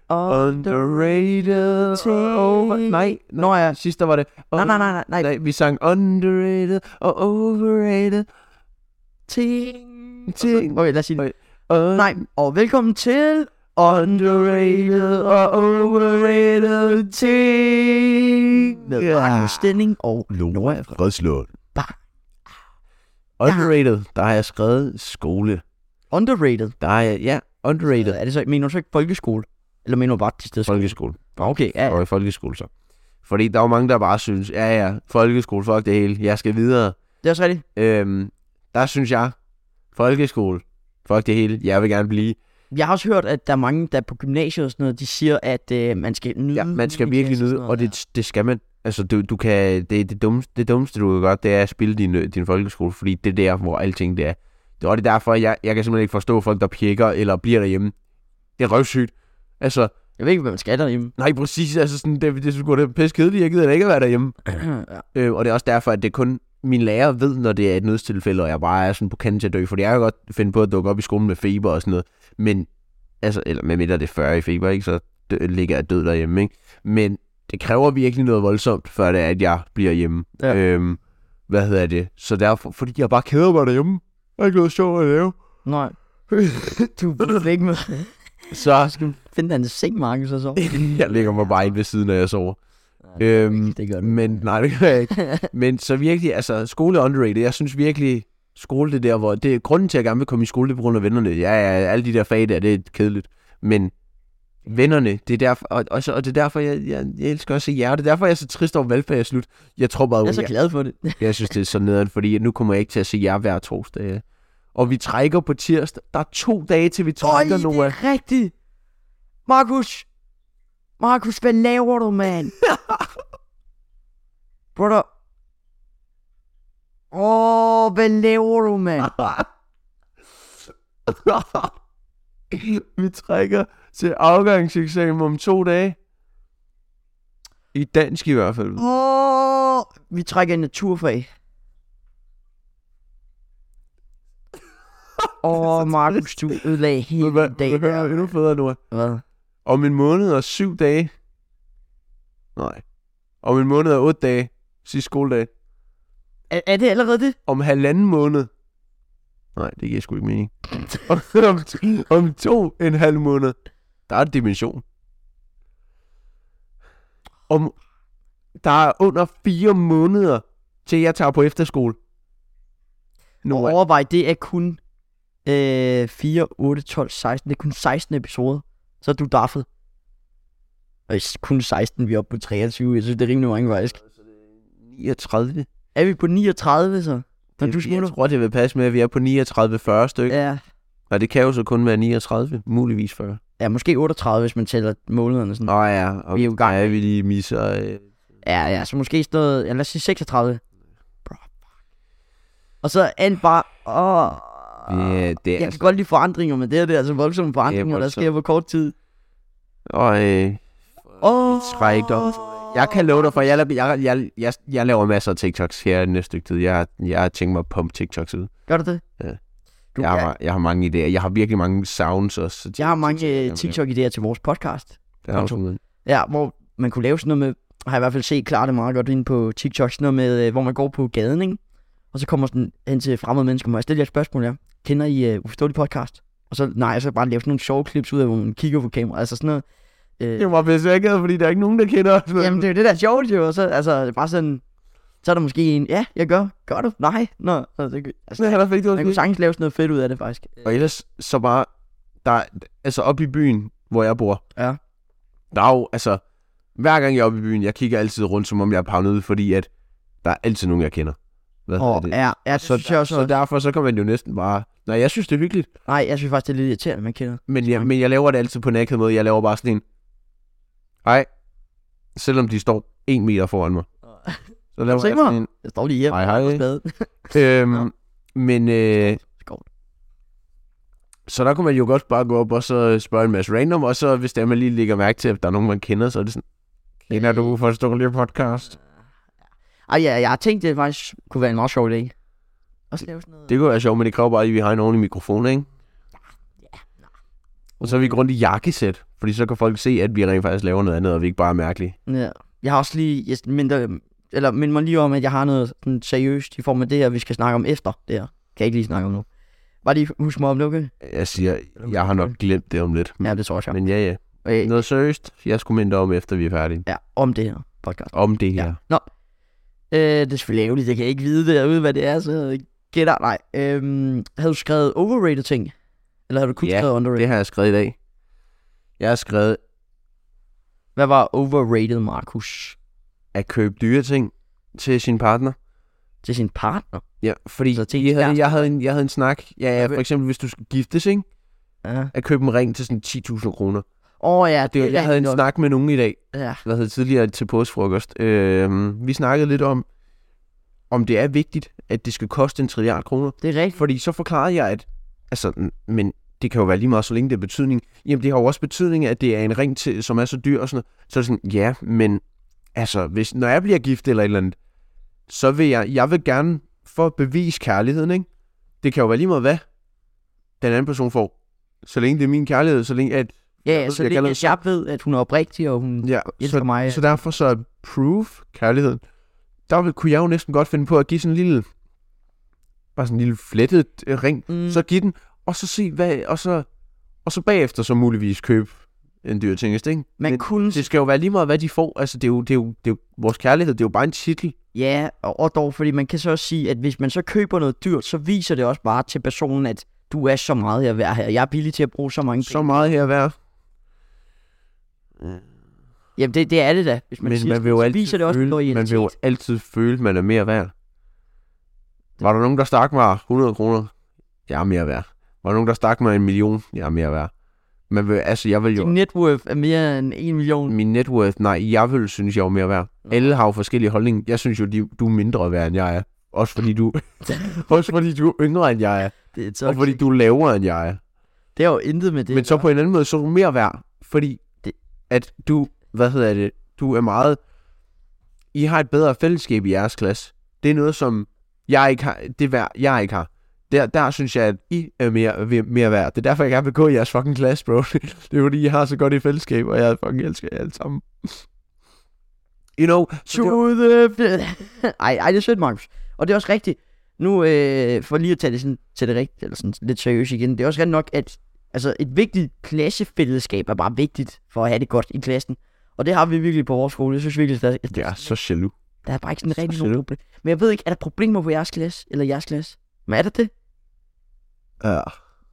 Speaker 2: Og...
Speaker 1: Underrated. Over... Nej,
Speaker 2: Nå, ja.
Speaker 1: sidst der var det.
Speaker 2: Nej, nej, nej, nej, nej.
Speaker 1: Nej, vi sang underrated og overrated.
Speaker 2: Ting.
Speaker 1: Ting.
Speaker 2: Okay, lad os sige det.
Speaker 1: Okay. Und-
Speaker 2: Nej, og velkommen til...
Speaker 1: Underrated og overrated ting.
Speaker 2: Med Markus Stenning og Nora fra
Speaker 1: Fredslund.
Speaker 2: Bare.
Speaker 1: Underrated, der har jeg skrevet skole.
Speaker 2: Underrated.
Speaker 1: Der har jeg, ja, underrated.
Speaker 2: Er det så, mener du så ikke folkeskole? Eller mener du bare til stedet?
Speaker 1: Folkeskole.
Speaker 2: Okay, ja.
Speaker 1: Og i folkeskole så. Fordi der er jo mange, der bare synes, ja ja, folkeskole, fuck det hele, jeg skal videre.
Speaker 2: Det er også rigtigt.
Speaker 1: Øhm, der synes jeg, folkeskole, fuck det hele, jeg vil gerne blive.
Speaker 2: Jeg har også hørt, at der er mange, der er på gymnasiet og sådan noget, de siger, at øh, man skal nyde.
Speaker 1: Ja, man skal
Speaker 2: i
Speaker 1: virkelig
Speaker 2: klassen
Speaker 1: nyde,
Speaker 2: sådan
Speaker 1: og
Speaker 2: noget
Speaker 1: det, det skal man. Altså, du, du kan, det, det, dummeste, det dummeste, du kan gøre, det er at spille din, øh, din folkeskole, fordi det er der, hvor alting det er. Det var det er derfor, jeg, jeg kan simpelthen ikke forstå folk, der pjekker eller bliver derhjemme. Det er røvsygt. Altså,
Speaker 2: der. Jeg ved ikke, hvad man skal derhjemme.
Speaker 1: nej, præcis, altså sådan, det, det, det, det er pisse kedeligt, jeg gider da ikke at være derhjemme.
Speaker 2: ja.
Speaker 1: Øh, og det er også derfor, at det er kun min lærer ved, når det er et nødstilfælde, og jeg bare er sådan på kanten til at dø, fordi jeg kan godt finde på at dukke op i skolen med feber og sådan noget. Men, altså, eller med mindre det er 40 i feber, ikke? så dø, ligger jeg død derhjemme. Ikke? Men det kræver virkelig noget voldsomt, før det er, at jeg bliver hjemme.
Speaker 2: Ja.
Speaker 1: Øhm, hvad hedder det? Så derfor, fordi jeg bare keder mig derhjemme. Jeg har ikke noget sjovt at lave.
Speaker 2: Nej. du er ikke med.
Speaker 1: Så
Speaker 2: skal finde dig en seng, Markus, og så.
Speaker 1: jeg ligger mig bare ind ved siden, når jeg sover. Øhm,
Speaker 2: Det gør du.
Speaker 1: Men nej, det kan jeg ikke. Men så virkelig, altså skole er underrated. Jeg synes virkelig, skole det er der, hvor det er grunden til, at jeg gerne vil komme i skole, det er på grund af vennerne. Ja, ja, alle de der fag der, det er kedeligt. Men vennerne, det er derfor, og, og, så, og det er derfor, jeg, jeg, jeg elsker også jer, og det er derfor, jeg er så trist over valgfag er slut. Jeg tror bare,
Speaker 2: Jeg
Speaker 1: jeg,
Speaker 2: er så glad for det.
Speaker 1: jeg synes, det er så nederen, fordi nu kommer jeg ikke til at se jer hver torsdag. Og vi trækker på tirsdag. Der er to dage, til vi
Speaker 2: Øj,
Speaker 1: trækker,
Speaker 2: det
Speaker 1: Noah.
Speaker 2: er rigtigt. Markus. Markus, hvad laver du, mand? Brother. Åh, oh, hvad laver du, mand?
Speaker 1: Vi trækker til afgangseksamen om to dage. I dansk i hvert fald.
Speaker 2: Åh, oh, vi trækker i naturfag. Åh, oh, Markus, du ødelagde
Speaker 1: Ved du
Speaker 2: hele
Speaker 1: Hvad,
Speaker 2: din
Speaker 1: hvad
Speaker 2: dag.
Speaker 1: hører endnu federe nu?
Speaker 2: Hvad?
Speaker 1: Om en måned og syv dage. Nej. Om en måned og otte dage. Sidste skoledag.
Speaker 2: Er, er det allerede det?
Speaker 1: Om halvanden måned. Nej, det giver sgu ikke mening. om, om to en halv måned. Der er en dimension. Om, der er under fire måneder, til jeg tager på efterskole.
Speaker 2: Og
Speaker 1: Nå,
Speaker 2: overvej, det er kun øh, 4, 8, 12, 16. Det er kun 16 episoder. Så er du daffet. Og s- kun 16, vi er oppe på 23. Jeg synes, det er rimelig mange faktisk.
Speaker 1: 39.
Speaker 2: Er vi på 39 så? Når
Speaker 1: Det-
Speaker 2: du
Speaker 1: jeg
Speaker 2: smutter?
Speaker 1: tror, det vil passe med, at vi er på 39-40 stykker. Ja.
Speaker 2: Ja.
Speaker 1: Og det kan jo så kun være 39, muligvis 40.
Speaker 2: ja, måske 38, hvis man tæller månederne sådan.
Speaker 1: Nå ja, og
Speaker 2: Vi er jo i gang.
Speaker 1: Ja, vi lige misser... Øh,
Speaker 2: Ja, ja, så måske sådan noget, ja, lad os sige 36. Bro, fuck. Og så er alt bare, åh,
Speaker 1: ja, det er altså-
Speaker 2: jeg kan godt lide forandringer, men det her det er altså voldsomme forandringer, der
Speaker 1: voldsomt.
Speaker 2: sker på kort tid.
Speaker 1: Og øh,
Speaker 2: Åh,
Speaker 1: trækker. Jeg kan love dig for, jeg, la- jeg, jeg, jeg, jeg laver masser af TikToks her i næste stykke tid. Jeg, jeg har tænkt mig at pumpe TikToks ud.
Speaker 2: Gør du det?
Speaker 1: Ja.
Speaker 2: Du,
Speaker 1: Jeg har, jeg har mange idéer. Jeg har virkelig mange sounds også. så
Speaker 2: Jeg har mange øh,
Speaker 1: jamen,
Speaker 2: TikTok-idéer til vores podcast.
Speaker 1: det er også noget.
Speaker 2: Ja, hvor man kunne lave sådan noget med, har jeg i hvert fald set klart det meget godt inde på TikTok, sådan noget med, øh, hvor man går på gaden, ikke? Og så kommer sådan hen til fremmede mennesker, må jeg stille jer et spørgsmål, ja? Kender I øh, uforståelig podcast? Og så, nej, så bare lave sådan nogle sjove klips ud af, hvor man kigger på kamera, altså sådan noget. Øh,
Speaker 1: Det var besækket, fordi der er ikke nogen, der kender os.
Speaker 2: jamen, det er jo det, der er sjovt, jo. Og så, altså, det er bare sådan, så er der måske en, ja, jeg gør, gør du? Nej, nå. Altså, det, altså,
Speaker 1: han har fik det
Speaker 2: man kunne sagtens lave sådan noget fedt ud af det, faktisk.
Speaker 1: Og ellers så bare, der, er- altså op i byen, hvor jeg bor.
Speaker 2: Ja.
Speaker 1: Der er jo, altså, hver gang jeg er oppe i byen, jeg kigger altid rundt, som om jeg er pavnet ud, fordi at der er altid nogen, jeg kender. Hvad er
Speaker 2: Og
Speaker 1: det?
Speaker 2: ja, ja, det
Speaker 1: så,
Speaker 2: synes jeg også.
Speaker 1: så derfor så kan man jo næsten bare, nej, jeg synes, det er hyggeligt,
Speaker 2: Nej, jeg synes faktisk, det er lidt irriterende, at man kender.
Speaker 1: men jeg, men jeg laver det altid på en akavet måde. Jeg laver bare sådan en, hej, selvom de står en meter foran mig. Så laver
Speaker 2: Se
Speaker 1: jeg
Speaker 2: mig.
Speaker 1: sådan en,
Speaker 2: Jeg står lige hjemme.
Speaker 1: hej, hej.
Speaker 2: Hey.
Speaker 1: Øhm, men øh,
Speaker 2: Skål.
Speaker 1: så der kunne man jo godt bare gå op og så spørge en masse random, og så hvis der man lige lægger mærke til, at der er nogen, man kender, så er det sådan, kender du forståelige podcast?
Speaker 2: Ej, ja, jeg har tænkt, det faktisk kunne være en meget sjov idé. Også lave sådan noget.
Speaker 1: Det kunne være sjovt, men det kræver bare, at vi har en ordentlig mikrofon, ikke? Og så er vi ikke rundt i jakkesæt, fordi så kan folk se, at vi rent faktisk laver noget andet, og vi ikke bare er mærkelige.
Speaker 2: Ja. Jeg har også lige, jeg minder, eller minder mig lige om, at jeg har noget sådan seriøst i form af det her, vi skal snakke om efter det her. Kan jeg ikke lige snakke om nu. Bare lige husk mig om det, okay?
Speaker 1: Jeg siger, jeg har nok glemt det om lidt.
Speaker 2: Ja, det tror jeg.
Speaker 1: Men ja, ja.
Speaker 2: Okay,
Speaker 1: Noget seriøst, jeg skulle minde dig om, efter vi er færdige.
Speaker 2: ja, om det her podcast.
Speaker 1: Om det her.
Speaker 2: Ja. Nå. Øh, det er selvfølgelig ærgerligt, jeg kan ikke vide derude, hvad det er, så jeg gætter. Nej. Øhm, havde du skrevet overrated ting? Eller havde du kun
Speaker 1: Ja,
Speaker 2: skrevet underrated?
Speaker 1: Det har jeg skrevet i dag. Jeg har skrevet,
Speaker 2: Hvad var overrated, Markus?
Speaker 1: at købe dyre ting til sin partner.
Speaker 2: Til sin partner?
Speaker 1: Ja, fordi
Speaker 2: Så
Speaker 1: så
Speaker 2: til
Speaker 1: jeg, havde,
Speaker 2: kæresten.
Speaker 1: jeg, havde en, jeg havde en snak. Ja, ja,
Speaker 2: Okay.
Speaker 1: for eksempel, hvis du skal giftes, ikke?
Speaker 2: Ja.
Speaker 1: At købe en ring til sådan 10.000 kroner.
Speaker 2: Åh oh, ja,
Speaker 1: Det, var- jeg havde en
Speaker 2: rigtigt
Speaker 1: snak med nogen i dag,
Speaker 2: nok. Ja.
Speaker 1: hvad hedder tidligere til påskefrokost. Øh, vi snakkede lidt om, om det er vigtigt, at det skal koste en trilliard kroner.
Speaker 2: Det er rigtigt.
Speaker 1: Fordi så forklarede jeg, at altså, m- men det kan jo være lige meget, så længe det har betydning. Jamen, det har jo også betydning, at det er en ring, til, som er så dyr og sådan noget. Så er det sådan, ja, men altså, hvis, når jeg bliver gift eller et eller andet, så vil jeg, jeg vil gerne for at bevise kærligheden, ikke? Det kan jo være lige meget, hvad den anden person får. Så længe det er min kærlighed, så længe at...
Speaker 2: Ja,
Speaker 1: ved,
Speaker 2: så
Speaker 1: jeg
Speaker 2: det,
Speaker 1: kalder
Speaker 2: jeg,
Speaker 1: det
Speaker 2: jeg ved, at hun er oprigtig, og hun
Speaker 1: Ja,
Speaker 2: elsker
Speaker 1: så,
Speaker 2: mig.
Speaker 1: så derfor så er proof kærligheden. Der vil, kunne jeg jo næsten godt finde på at give sådan en lille... Bare sådan en lille flettet øh, ring
Speaker 2: mm,
Speaker 1: så give den, og så se, hvad, og så, og så bagefter så muligvis købe en dyr tingest, ikke?
Speaker 2: man
Speaker 1: men
Speaker 2: kunne...
Speaker 1: Det skal jo være lige meget, hvad de får. Altså, det er jo, det er jo, det er jo vores kærlighed, det er jo bare en titel.
Speaker 2: Ja, og, og dog, fordi man kan så også sige, at hvis man så køber noget dyrt, så viser det også bare til personen, at du er så meget her værd her. Jeg er billig til at bruge så mange
Speaker 1: Så
Speaker 2: penge.
Speaker 1: meget her værd.
Speaker 2: Jamen, det, det er det da, hvis man
Speaker 1: Men
Speaker 2: siger,
Speaker 1: man vil jo
Speaker 2: så
Speaker 1: altid
Speaker 2: viser det også
Speaker 1: føle,
Speaker 2: loyalitet.
Speaker 1: man vil jo altid føle, at man er mere værd. Var der nogen, der stak mig 100 kroner? Jeg er mere værd. Var der nogen, der stak mig en million? Jeg er mere værd. Man vil, altså, jeg vil jo... Mm.
Speaker 2: Din net worth er mere end 1 million.
Speaker 1: Min net worth, nej, jeg vil synes, jeg er mere værd. Alle har jo forskellige holdninger. Jeg synes jo, de, du er mindre værd, end jeg er. Også fordi du, også fordi du er yngre, end jeg er.
Speaker 2: Det er toxic.
Speaker 1: Og fordi du er lavere, end jeg er.
Speaker 2: Det er jo intet med det.
Speaker 1: Men så på en anden måde, så er du mere værd. Fordi
Speaker 2: Det-
Speaker 1: at du, hvad hedder det, du er meget... I har et bedre fællesskab i jeres klasse. Det er noget, som jeg ikke har. Det er værd, jeg ikke har. Der, der synes jeg, at I er mere, mere værd. Det er derfor, jeg gerne vil gå i jeres fucking klasse, bro. Det er fordi, I har så godt et fællesskab, og jeg fucking elsker jer alle sammen. You know, så det-
Speaker 2: To the... ej, ej, det er sødt, Markus. Og det er også rigtigt. Nu, øh, for lige at tage det, sådan, til det rigtigt, eller sådan lidt seriøst igen, det er også rigtigt nok, at altså, et vigtigt klassefællesskab er bare vigtigt for at have det godt i klassen. Og det har vi virkelig på vores skole. Jeg synes virkelig, at der,
Speaker 1: jeg er så jaloux.
Speaker 2: der er bare ikke sådan
Speaker 1: så
Speaker 2: rigtig
Speaker 1: siger
Speaker 2: nogen
Speaker 1: du.
Speaker 2: problemer. Men jeg ved ikke, er der problemer på jeres klasse? Eller jeres klasse? Men er der det?
Speaker 1: Ja.
Speaker 2: Det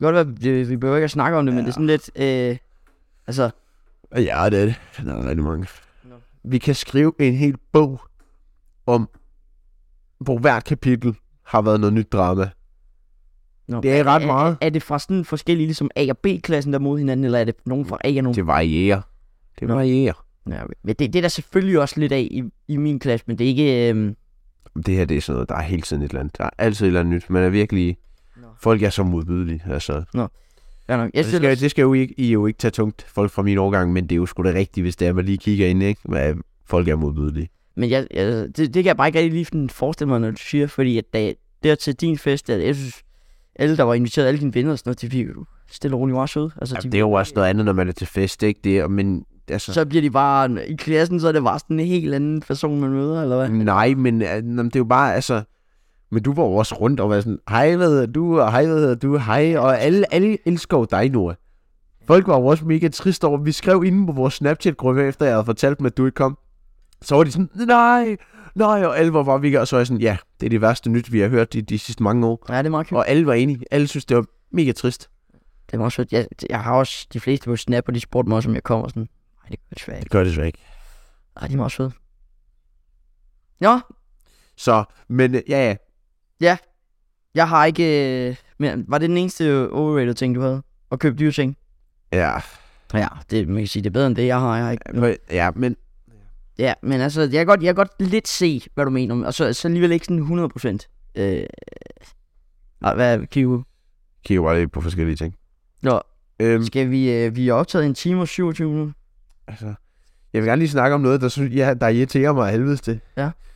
Speaker 2: kan Godt være, det, vi behøver ikke at snakke om det, ja. men det er sådan lidt... Øh, altså,
Speaker 1: Ja, det er det. Der er rigtig mange.
Speaker 2: Nå.
Speaker 1: Vi kan skrive en hel bog om, hvor hvert kapitel har været noget nyt drama.
Speaker 2: Nå.
Speaker 1: Det er ret meget.
Speaker 2: er det fra sådan forskellige, ligesom A og B-klassen, der er mod hinanden, eller er det nogen fra A og nogen
Speaker 1: Det varierer. Det
Speaker 2: Nå.
Speaker 1: varierer.
Speaker 2: Ja, okay. men det, det er der selvfølgelig også lidt af i, i min klasse, men det er ikke... Øhm,
Speaker 1: Det her, det er sådan noget, der er hele tiden et eller andet. Der er altid et eller andet nyt. Man er virkelig...
Speaker 2: Nå.
Speaker 1: Folk er så modbydelige, altså.
Speaker 2: ja, nok. Jeg
Speaker 1: Det skal,
Speaker 2: stiller,
Speaker 1: det skal jo ikke, I jo ikke tage tungt folk fra min årgang, men det er jo sgu da rigtigt, hvis det er, man lige kigger ind, ikke? Hvad, folk er modbydelige.
Speaker 2: men jeg, jeg, det, det kan jeg bare ikke rigtig lige sådan forestille mig, når du siger, fordi at da, der til din fest, at jeg synes, alle, der var inviteret, alle dine venner og sådan noget, de virker jo stille og roligt meget søde. Altså,
Speaker 1: Jamen,
Speaker 2: de,
Speaker 1: det er jo også noget andet, når man er til fest, ikke? Det er, men altså,
Speaker 2: Så bliver de bare... I klassen, så er det bare sådan en helt anden person, man møder, eller hvad?
Speaker 1: Nej, men øh, nå, men det er jo bare, altså... Men du var jo også rundt og var sådan, hej, hvad hedder du, og hej, hvad hedder du, hej, og alle, alle elsker jo dig, Nora. Folk var jo også mega triste over, vi skrev inde på vores Snapchat-gruppe, efter jeg havde fortalt dem, at du ikke kom. Så var de sådan, nej, nej, og alle var bare virkelig, og så var jeg sådan, ja, det er det værste nyt, vi har hørt de, de sidste mange år.
Speaker 2: Ja, det er meget cute.
Speaker 1: Og alle var enige, alle synes, det var mega trist.
Speaker 2: Det er meget sødt. Jeg, jeg har også de fleste på Snap, og de spurgte mig også, om jeg kommer sådan. Nej, det gør det svært.
Speaker 1: gør det så ikke.
Speaker 2: Ej, de er meget søde. Nå,
Speaker 1: Så, men øh, ja, ja,
Speaker 2: Jeg har ikke... Øh, men var det den eneste overrated ting, du havde? At købe dyre ting?
Speaker 1: ja,
Speaker 2: Ja, det, man kan sige, det er bedre end det, jeg har. Jeg har ikke,
Speaker 1: men- ja, men
Speaker 2: ja, men altså, jeg kan, godt, jeg kan godt lidt se, hvad du mener. Og så, så alligevel ikke sådan 100 procent. Øh, nej, hvad kigger du?
Speaker 1: kigger bare lidt på forskellige ting.
Speaker 2: Nå.
Speaker 1: Øhm,
Speaker 2: Skal vi... Øh, vi er optaget en time og 27 minutter.
Speaker 1: Altså, jeg vil gerne lige snakke om noget, der, synes, ja, der irriterer mig af helvedes til.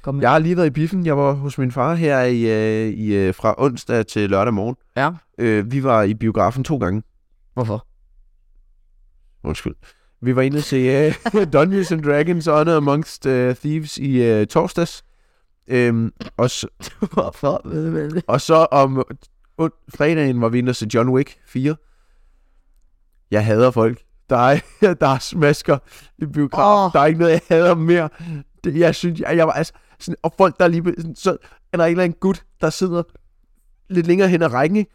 Speaker 2: Kom med.
Speaker 1: Jeg har lige været i biffen. Jeg var hos min far her i, øh, i, øh, fra onsdag til lørdag morgen.
Speaker 2: Ja.
Speaker 1: Øh, vi var i biografen to gange.
Speaker 2: Hvorfor?
Speaker 1: Undskyld. Vi var inde og se øh, Dungeons and Dragons Honor Amongst øh, Thieves i øh, torsdags. Øhm, og, s-
Speaker 2: Hvorfor? Ved du, hvad det er?
Speaker 1: og så om und- fredagen var vi inde og se John Wick 4. Jeg hader folk. Der er, der er smasker i biografen.
Speaker 2: Åh,
Speaker 1: Der er ikke noget, jeg hader mere. Det, jeg synes, jeg, jeg var altså... Sådan, og folk, der er lige... blevet Sådan, så er der en eller anden gut, der sidder lidt længere hen ad rækken, ikke?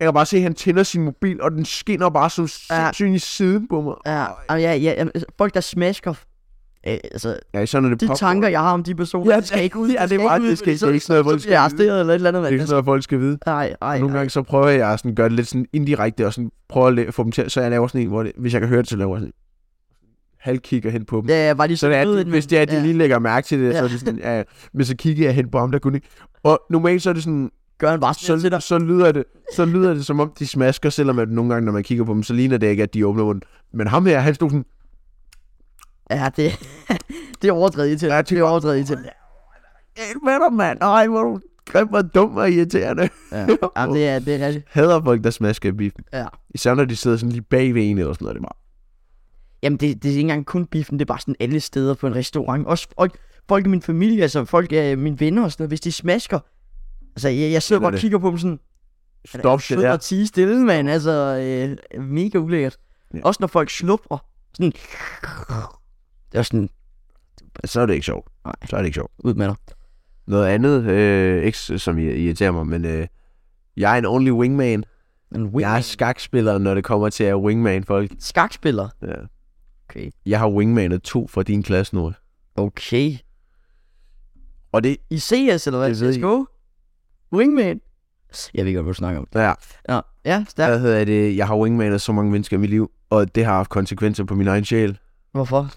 Speaker 1: Jeg kan bare se, at han tænder sin mobil, og den skinner bare som
Speaker 2: Ja.
Speaker 1: sindssygt i siden på mig.
Speaker 2: ja, jamen, ja, ja, jamen, folk, der smasker... Øh, altså,
Speaker 1: Ja, sådan er det
Speaker 2: de
Speaker 1: pop-
Speaker 2: tanker, jeg har om de personer,
Speaker 1: Ja,
Speaker 2: det skal ikke ud.
Speaker 1: ja, det er meget, det skal,
Speaker 2: fordi
Speaker 1: det skal ikke sådan noget,
Speaker 2: så,
Speaker 1: folk
Speaker 2: så bliver jeg
Speaker 1: skal vide.
Speaker 2: arresteret eller et eller andet.
Speaker 1: Det er ikke
Speaker 2: mand.
Speaker 1: sådan noget, folk skal vide.
Speaker 2: Ej, ej,
Speaker 1: Nogle gange så prøver jeg sådan at gøre det lidt sådan indirekte, og sådan prøver at la- få dem til, så jeg laver sådan en, hvor det, hvis jeg kan høre det, så laver jeg sådan en halvkigger hen på dem.
Speaker 2: Ja, ja, bare lige
Speaker 1: Så det er,
Speaker 2: ved,
Speaker 1: de,
Speaker 2: at-
Speaker 1: hvis det er, at de
Speaker 2: ja,
Speaker 1: ja. lige lægger mærke til det, ja. så
Speaker 2: Ja.
Speaker 1: er det sådan, ja, ja. men så kigger jeg hen på ham, der kunne ikke. Og normalt så er det sådan,
Speaker 2: Gør han bare sådan til
Speaker 1: så,
Speaker 2: dig.
Speaker 1: så, lyder det, så lyder det som om, de smasker, selvom at nogle gange, når man kigger på dem, så ligner det ikke, at de åbner munden. Men ham her, han stod sådan,
Speaker 2: Ja, det, det er overdrevet til.
Speaker 1: Ja,
Speaker 2: det er overdrevet til.
Speaker 1: "Hey, hvad er der, mand? Ej, hvor er du grim og dum og irriterende.
Speaker 2: Ja, Jamen, det er, det er rigtigt.
Speaker 1: Hader folk, der smasker i biffen.
Speaker 2: Ja.
Speaker 1: Især når de sidder sådan lige bag ved en eller sådan noget. Det er bare,
Speaker 2: Jamen, det, det er ikke engang kun biffen, det er bare sådan alle steder på en restaurant. Også folk, folk i min familie, altså folk af mine venner og sådan noget, hvis de smasker. Altså, jeg, jeg sidder
Speaker 1: Sådan er
Speaker 2: bare og
Speaker 1: det.
Speaker 2: kigger på dem sådan,
Speaker 1: Stop det
Speaker 2: sød
Speaker 1: der.
Speaker 2: og tige stille, mand. Altså, øh, mega ulækkert.
Speaker 1: Ja.
Speaker 2: Ja. Også når folk slupper. Sådan, det er sådan,
Speaker 1: Så er det ikke sjovt.
Speaker 2: Nej.
Speaker 1: Så er det ikke sjovt.
Speaker 2: ud med dig.
Speaker 1: Noget andet, øh, ikke s- som ir- irriterer mig, men øh, jeg er en only wingman.
Speaker 2: En
Speaker 1: Jeg er
Speaker 2: wingman.
Speaker 1: skakspiller, når det kommer til at wingman folk.
Speaker 2: Skakspiller.
Speaker 1: Ja.
Speaker 2: Okay.
Speaker 1: Jeg har wingmanet to fra din klasse nu.
Speaker 2: Okay.
Speaker 1: Og det,
Speaker 2: I CS, eller hvad?
Speaker 1: Det ved jeg
Speaker 2: CSGO? Wingman? Jeg ved ikke, hvad du snakker om.
Speaker 1: ja,
Speaker 2: Ja, ja, stærkt.
Speaker 1: hvad hedder det, jeg har wingmanet så mange mennesker i mit liv, Og det har haft konsekvenser på min egen sjæl.
Speaker 2: Hvorfor?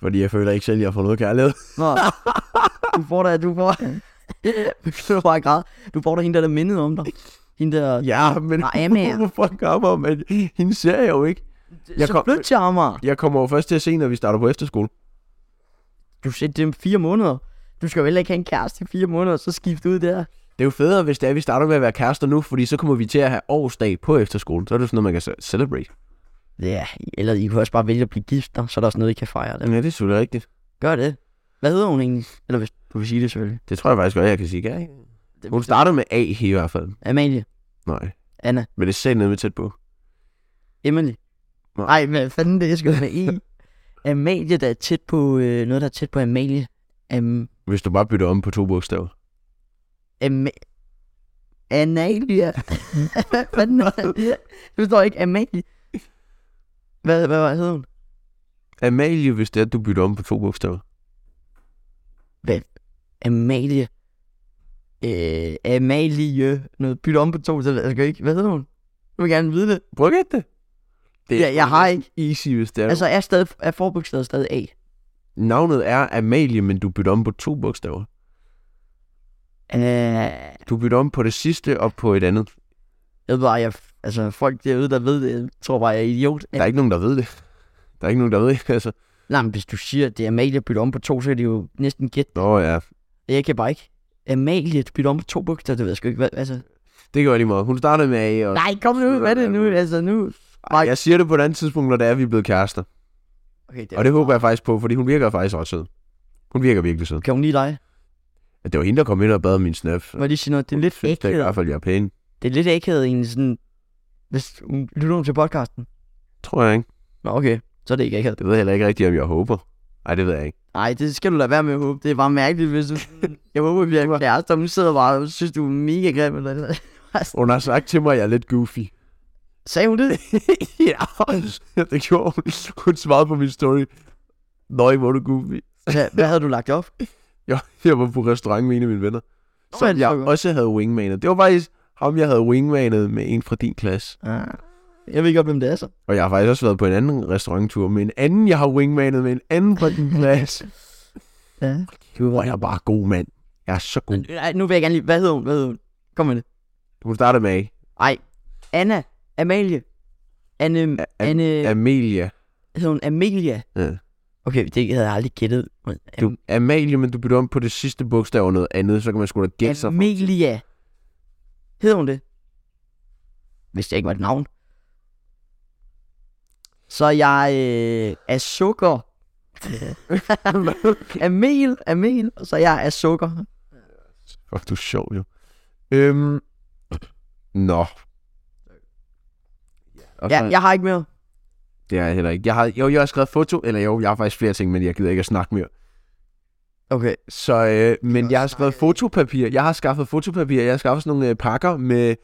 Speaker 1: Fordi jeg føler ikke selv, jeg har fået noget kærlighed.
Speaker 2: Nå, du får da, du får... du får bare græd. Du får da hende, der er mindet om dig. Hende der...
Speaker 1: Ja, men
Speaker 2: Nej, jeg er med.
Speaker 1: hvorfor kommer om, at hende ser jeg jo ikke?
Speaker 2: Jeg
Speaker 1: Jeg
Speaker 2: så
Speaker 1: kom-
Speaker 2: flyt til Amager.
Speaker 1: Jeg kommer jo først til at se, når vi starter på efterskole.
Speaker 2: Du har set dem fire måneder. Du skal jo heller ikke have en kæreste i fire måneder, så skifte ud der.
Speaker 1: Det er jo federe, hvis det er, vi starter med at være kærester nu, fordi så kommer vi til at have årsdag på efterskolen. Så er det sådan noget, man kan ce- celebrate.
Speaker 2: Ja, eller I kunne også bare vælge at blive gift, og så er der også noget, I kan fejre det.
Speaker 1: Ja, det er selvfølgelig rigtigt.
Speaker 2: Gør det. Hvad hedder hun egentlig? Eller hvis du vil sige det selvfølgelig.
Speaker 1: Det tror jeg faktisk godt, jeg kan sige. Ja, ikke?
Speaker 2: Det-
Speaker 1: Hun starter med A i hvert fald.
Speaker 2: Amalie.
Speaker 1: Nej,
Speaker 2: Anna.
Speaker 1: men det er selv med tæt på.
Speaker 2: Emily.
Speaker 1: Nå.
Speaker 2: Nej, hvad fanden det er sgu med I? Amalie, der er tæt på... Øh, noget, der er tæt på Amalie. Am...
Speaker 1: Hvis du bare bytter om på to bogstaver.
Speaker 2: Am... Analia. hvad fanden er det? Du står ikke Amalie. Hvad, hvad, hvad hedder hun?
Speaker 1: Amalie, hvis det er, at du bytter om på to bogstaver.
Speaker 2: Amalie. Øh, Amalie. Noget bytte om på to, så ved jeg sgu ikke. Hvad hedder hun? Du vil gerne vide det.
Speaker 1: Prøv at gætte det. det
Speaker 2: Ja, jeg har ikke.
Speaker 1: Easy, hvis det er. Altså...
Speaker 2: Altså, er, stadig, er forbogstavet stadig A?
Speaker 1: Navnet er Amalie, men du bytter om på to bogstaver.
Speaker 2: Øh,
Speaker 1: Du bytter om på det sidste og på et andet.
Speaker 2: jeg ved bare, jeg, altså, folk derude, der ved det, jeg tror bare, jeg er idiot.
Speaker 1: Der er ikke nogen, der ved det. Der er ikke nogen, der ved det. Altså.
Speaker 2: Nej, men hvis du siger, at det er Amalie, bytter om på to, så er det jo næsten gæt.
Speaker 1: Nå ja,
Speaker 2: Jeg kan bare ikke. Amalie, bytter om på to bogstaver, det ved jeg sgu ikke. Hvad, altså.
Speaker 1: det gør lige meget. Hun startede med A, og
Speaker 2: Nej, kom nu, hvad er det nu? Altså, nu.
Speaker 1: Ej, jeg siger det på et andet tidspunkt, når det er, vi er blevet kærester.
Speaker 2: Okay, det
Speaker 1: Og det håber jeg faktisk på, fordi hun virker faktisk også sød. Hun virker virkelig sød.
Speaker 2: Kan hun lide dig?
Speaker 1: Det var hende, der kom ind og bad om min snap.
Speaker 2: Må jeg lige sige noget? Det er lidt
Speaker 1: Synes da i
Speaker 2: ægthed.
Speaker 1: hvert fald, jeg er pæn.
Speaker 2: Det er lidt ægthed, egentlig sådan... Hvis hun lytter hun til podcasten.
Speaker 1: Tror jeg ikke.
Speaker 2: Nå, okay. Så er det ikke ægthed.
Speaker 1: Det ved jeg heller ikke rigtigt, om jeg håber. Nej, det ved jeg ikke.
Speaker 2: Nej, det skal du lade være med at håbe. Det er bare mærkeligt, hvis du... Jeg håber, vi bliver kærester, men nu sidder bare og synes, du er mega grim eller noget.
Speaker 1: Hun har sagt til mig, at jeg er lidt goofy.
Speaker 2: Sagde hun det?
Speaker 1: ja, det gjorde hun. Hun svarede på min story. Nøj, hvor er du goofy.
Speaker 2: Hvad, hvad havde du lagt op?
Speaker 1: Jeg, jeg var på restaurant med en af mine venner. Så
Speaker 2: men
Speaker 1: jeg
Speaker 2: så godt.
Speaker 1: også havde wingmanet. Det var faktisk ham, jeg havde wingmanet med en fra din klasse.
Speaker 2: Ah. Jeg ved ikke, hvem det er så.
Speaker 1: Og jeg har faktisk også været på en anden restauranttur med en anden, jeg har wingmanet med en anden fra din klasse.
Speaker 2: Ja.
Speaker 1: Hvor jeg er bare god, mand. Jeg er så god.
Speaker 2: Nej, nu vil jeg gerne lige... Hvad hedder hun? Hvad hedder hun? Kom med det.
Speaker 1: Hun starter med A.
Speaker 2: Ej. Anna. Amalie. Anne...
Speaker 1: A- A-
Speaker 2: Anne...
Speaker 1: Amelia.
Speaker 2: hedder hun Amelia?
Speaker 1: Ja.
Speaker 2: Okay, det havde jeg aldrig gættet. Men
Speaker 1: Du, Amalie, men du bytter om på det sidste bogstav og noget andet, så kan man sgu da gætte sig. frem.
Speaker 2: Amelia. Hed hun det? Hvis det ikke var et navn. Så jeg øh, er sukker. Amel, Amel, og så jeg er sukker.
Speaker 1: Åh, du er sjov, jo. Øhm, nå. Og
Speaker 2: Ja,
Speaker 1: så-
Speaker 2: jeg har ikke mere.
Speaker 1: Det er jeg heller ikke. Jeg har, jo, jeg har skrevet foto, eller jo, jeg har faktisk flere ting, men jeg gider ikke at snakke mere.
Speaker 2: Okay.
Speaker 1: Så, øh, men
Speaker 2: godt
Speaker 1: jeg har skrevet
Speaker 2: snakke.
Speaker 1: fotopapir. Jeg har skaffet fotopapir. Jeg har skaffet sådan nogle øh, pakker med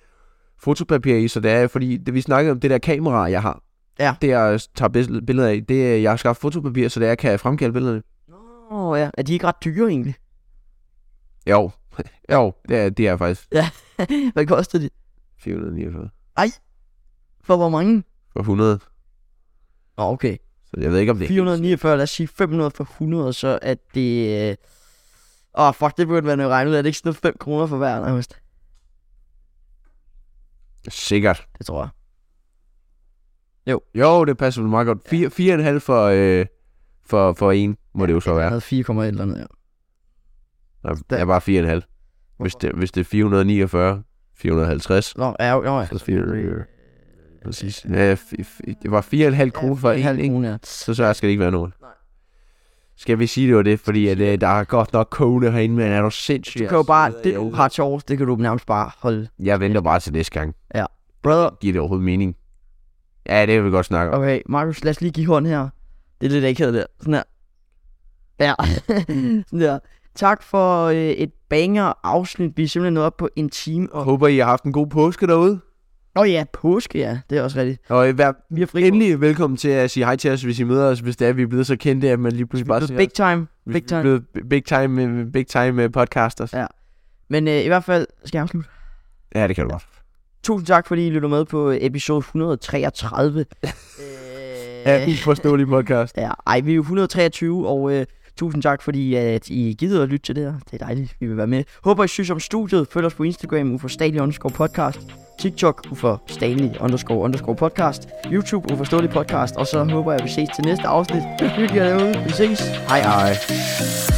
Speaker 1: fotopapir i, så det er, fordi det, vi snakkede om det der kamera, jeg har.
Speaker 2: Ja.
Speaker 1: Det, jeg tager billed- billeder af, det er, jeg har skaffet fotopapir, så det er, jeg kan fremkalde billederne.
Speaker 2: Åh oh, ja, er de ikke ret dyre egentlig?
Speaker 1: Jo, jo, det er, det er faktisk
Speaker 2: Hvad koster de?
Speaker 1: 449
Speaker 2: For hvor mange?
Speaker 1: for 100.
Speaker 2: Nå, okay.
Speaker 1: Så jeg ved ikke, om det er
Speaker 2: 449, lad os sige 500 for 100, så at det... øh, Åh, oh, fuck, det burde være noget regnet ud. Er det ikke sådan noget 5 kroner for hver nærmest?
Speaker 1: sikkert.
Speaker 2: Det tror jeg.
Speaker 1: Jo, det passer vel meget godt. 4, 4,5 for, øh, for, for en, må det jo så
Speaker 2: Jeg
Speaker 1: være.
Speaker 2: havde 4,1 eller noget. Ja.
Speaker 1: Nej, det er bare 4,5. Hvis det, hvis det er 449, 450,
Speaker 2: Nå, ja, jo, jo, ja.
Speaker 1: så er det 400. Præcis. Ja, f- f- det var 4,5 kroner for en,
Speaker 2: halv
Speaker 1: ikke?
Speaker 2: krone, ja.
Speaker 1: Så så skal det ikke være nogen. Skal vi sige, det var det? Fordi at, øh, der er godt nok kogende herinde, men er du sindssyg?
Speaker 2: Du kan jo
Speaker 1: altså?
Speaker 2: bare, det du har til års, det kan du nærmest bare holde.
Speaker 1: Jeg venter bare til næste gang.
Speaker 2: Brother,
Speaker 1: Giver det overhovedet mening? Ja, det vil vi godt snakke om.
Speaker 2: okay, Markus, lad os lige give hånd her. Det er lidt akavet der. Sådan her. Ja, sådan der. Tak for øh, et banger afsnit. Vi er simpelthen nået op på en time. Og...
Speaker 1: Håber, I har haft en god påske derude.
Speaker 2: Nå ja, påske, ja. Det er også rigtigt.
Speaker 1: Og øh, vær
Speaker 2: Vi er fri.
Speaker 1: endelig velkommen til at sige hej til os, hvis I møder os, hvis det er, vi er blevet så kendte, at man lige pludselig bare siger,
Speaker 2: Big time.
Speaker 1: hvis vi
Speaker 2: Big
Speaker 1: er
Speaker 2: time.
Speaker 1: blevet b- big time, øh, big time øh, podcasters.
Speaker 2: Ja. Men øh, i hvert fald skal jeg afslutte.
Speaker 1: Ja, det kan du godt.
Speaker 2: Tusind tak, fordi I lytter med på episode 133. øh,
Speaker 1: af uforståelig podcast.
Speaker 2: Ja, ej, vi er jo 123, og øh, tusind tak, fordi at I gider at lytte til det her. Det er dejligt, vi vil være med. Håber, I synes om studiet. Følg os på Instagram, uforståelig underscore podcast. TikTok, uforståelig underscore underscore podcast. YouTube, uforståelig podcast. Og så håber jeg, at vi ses til næste afsnit. Hyggeligt derude. Vi ses. Hej, hej.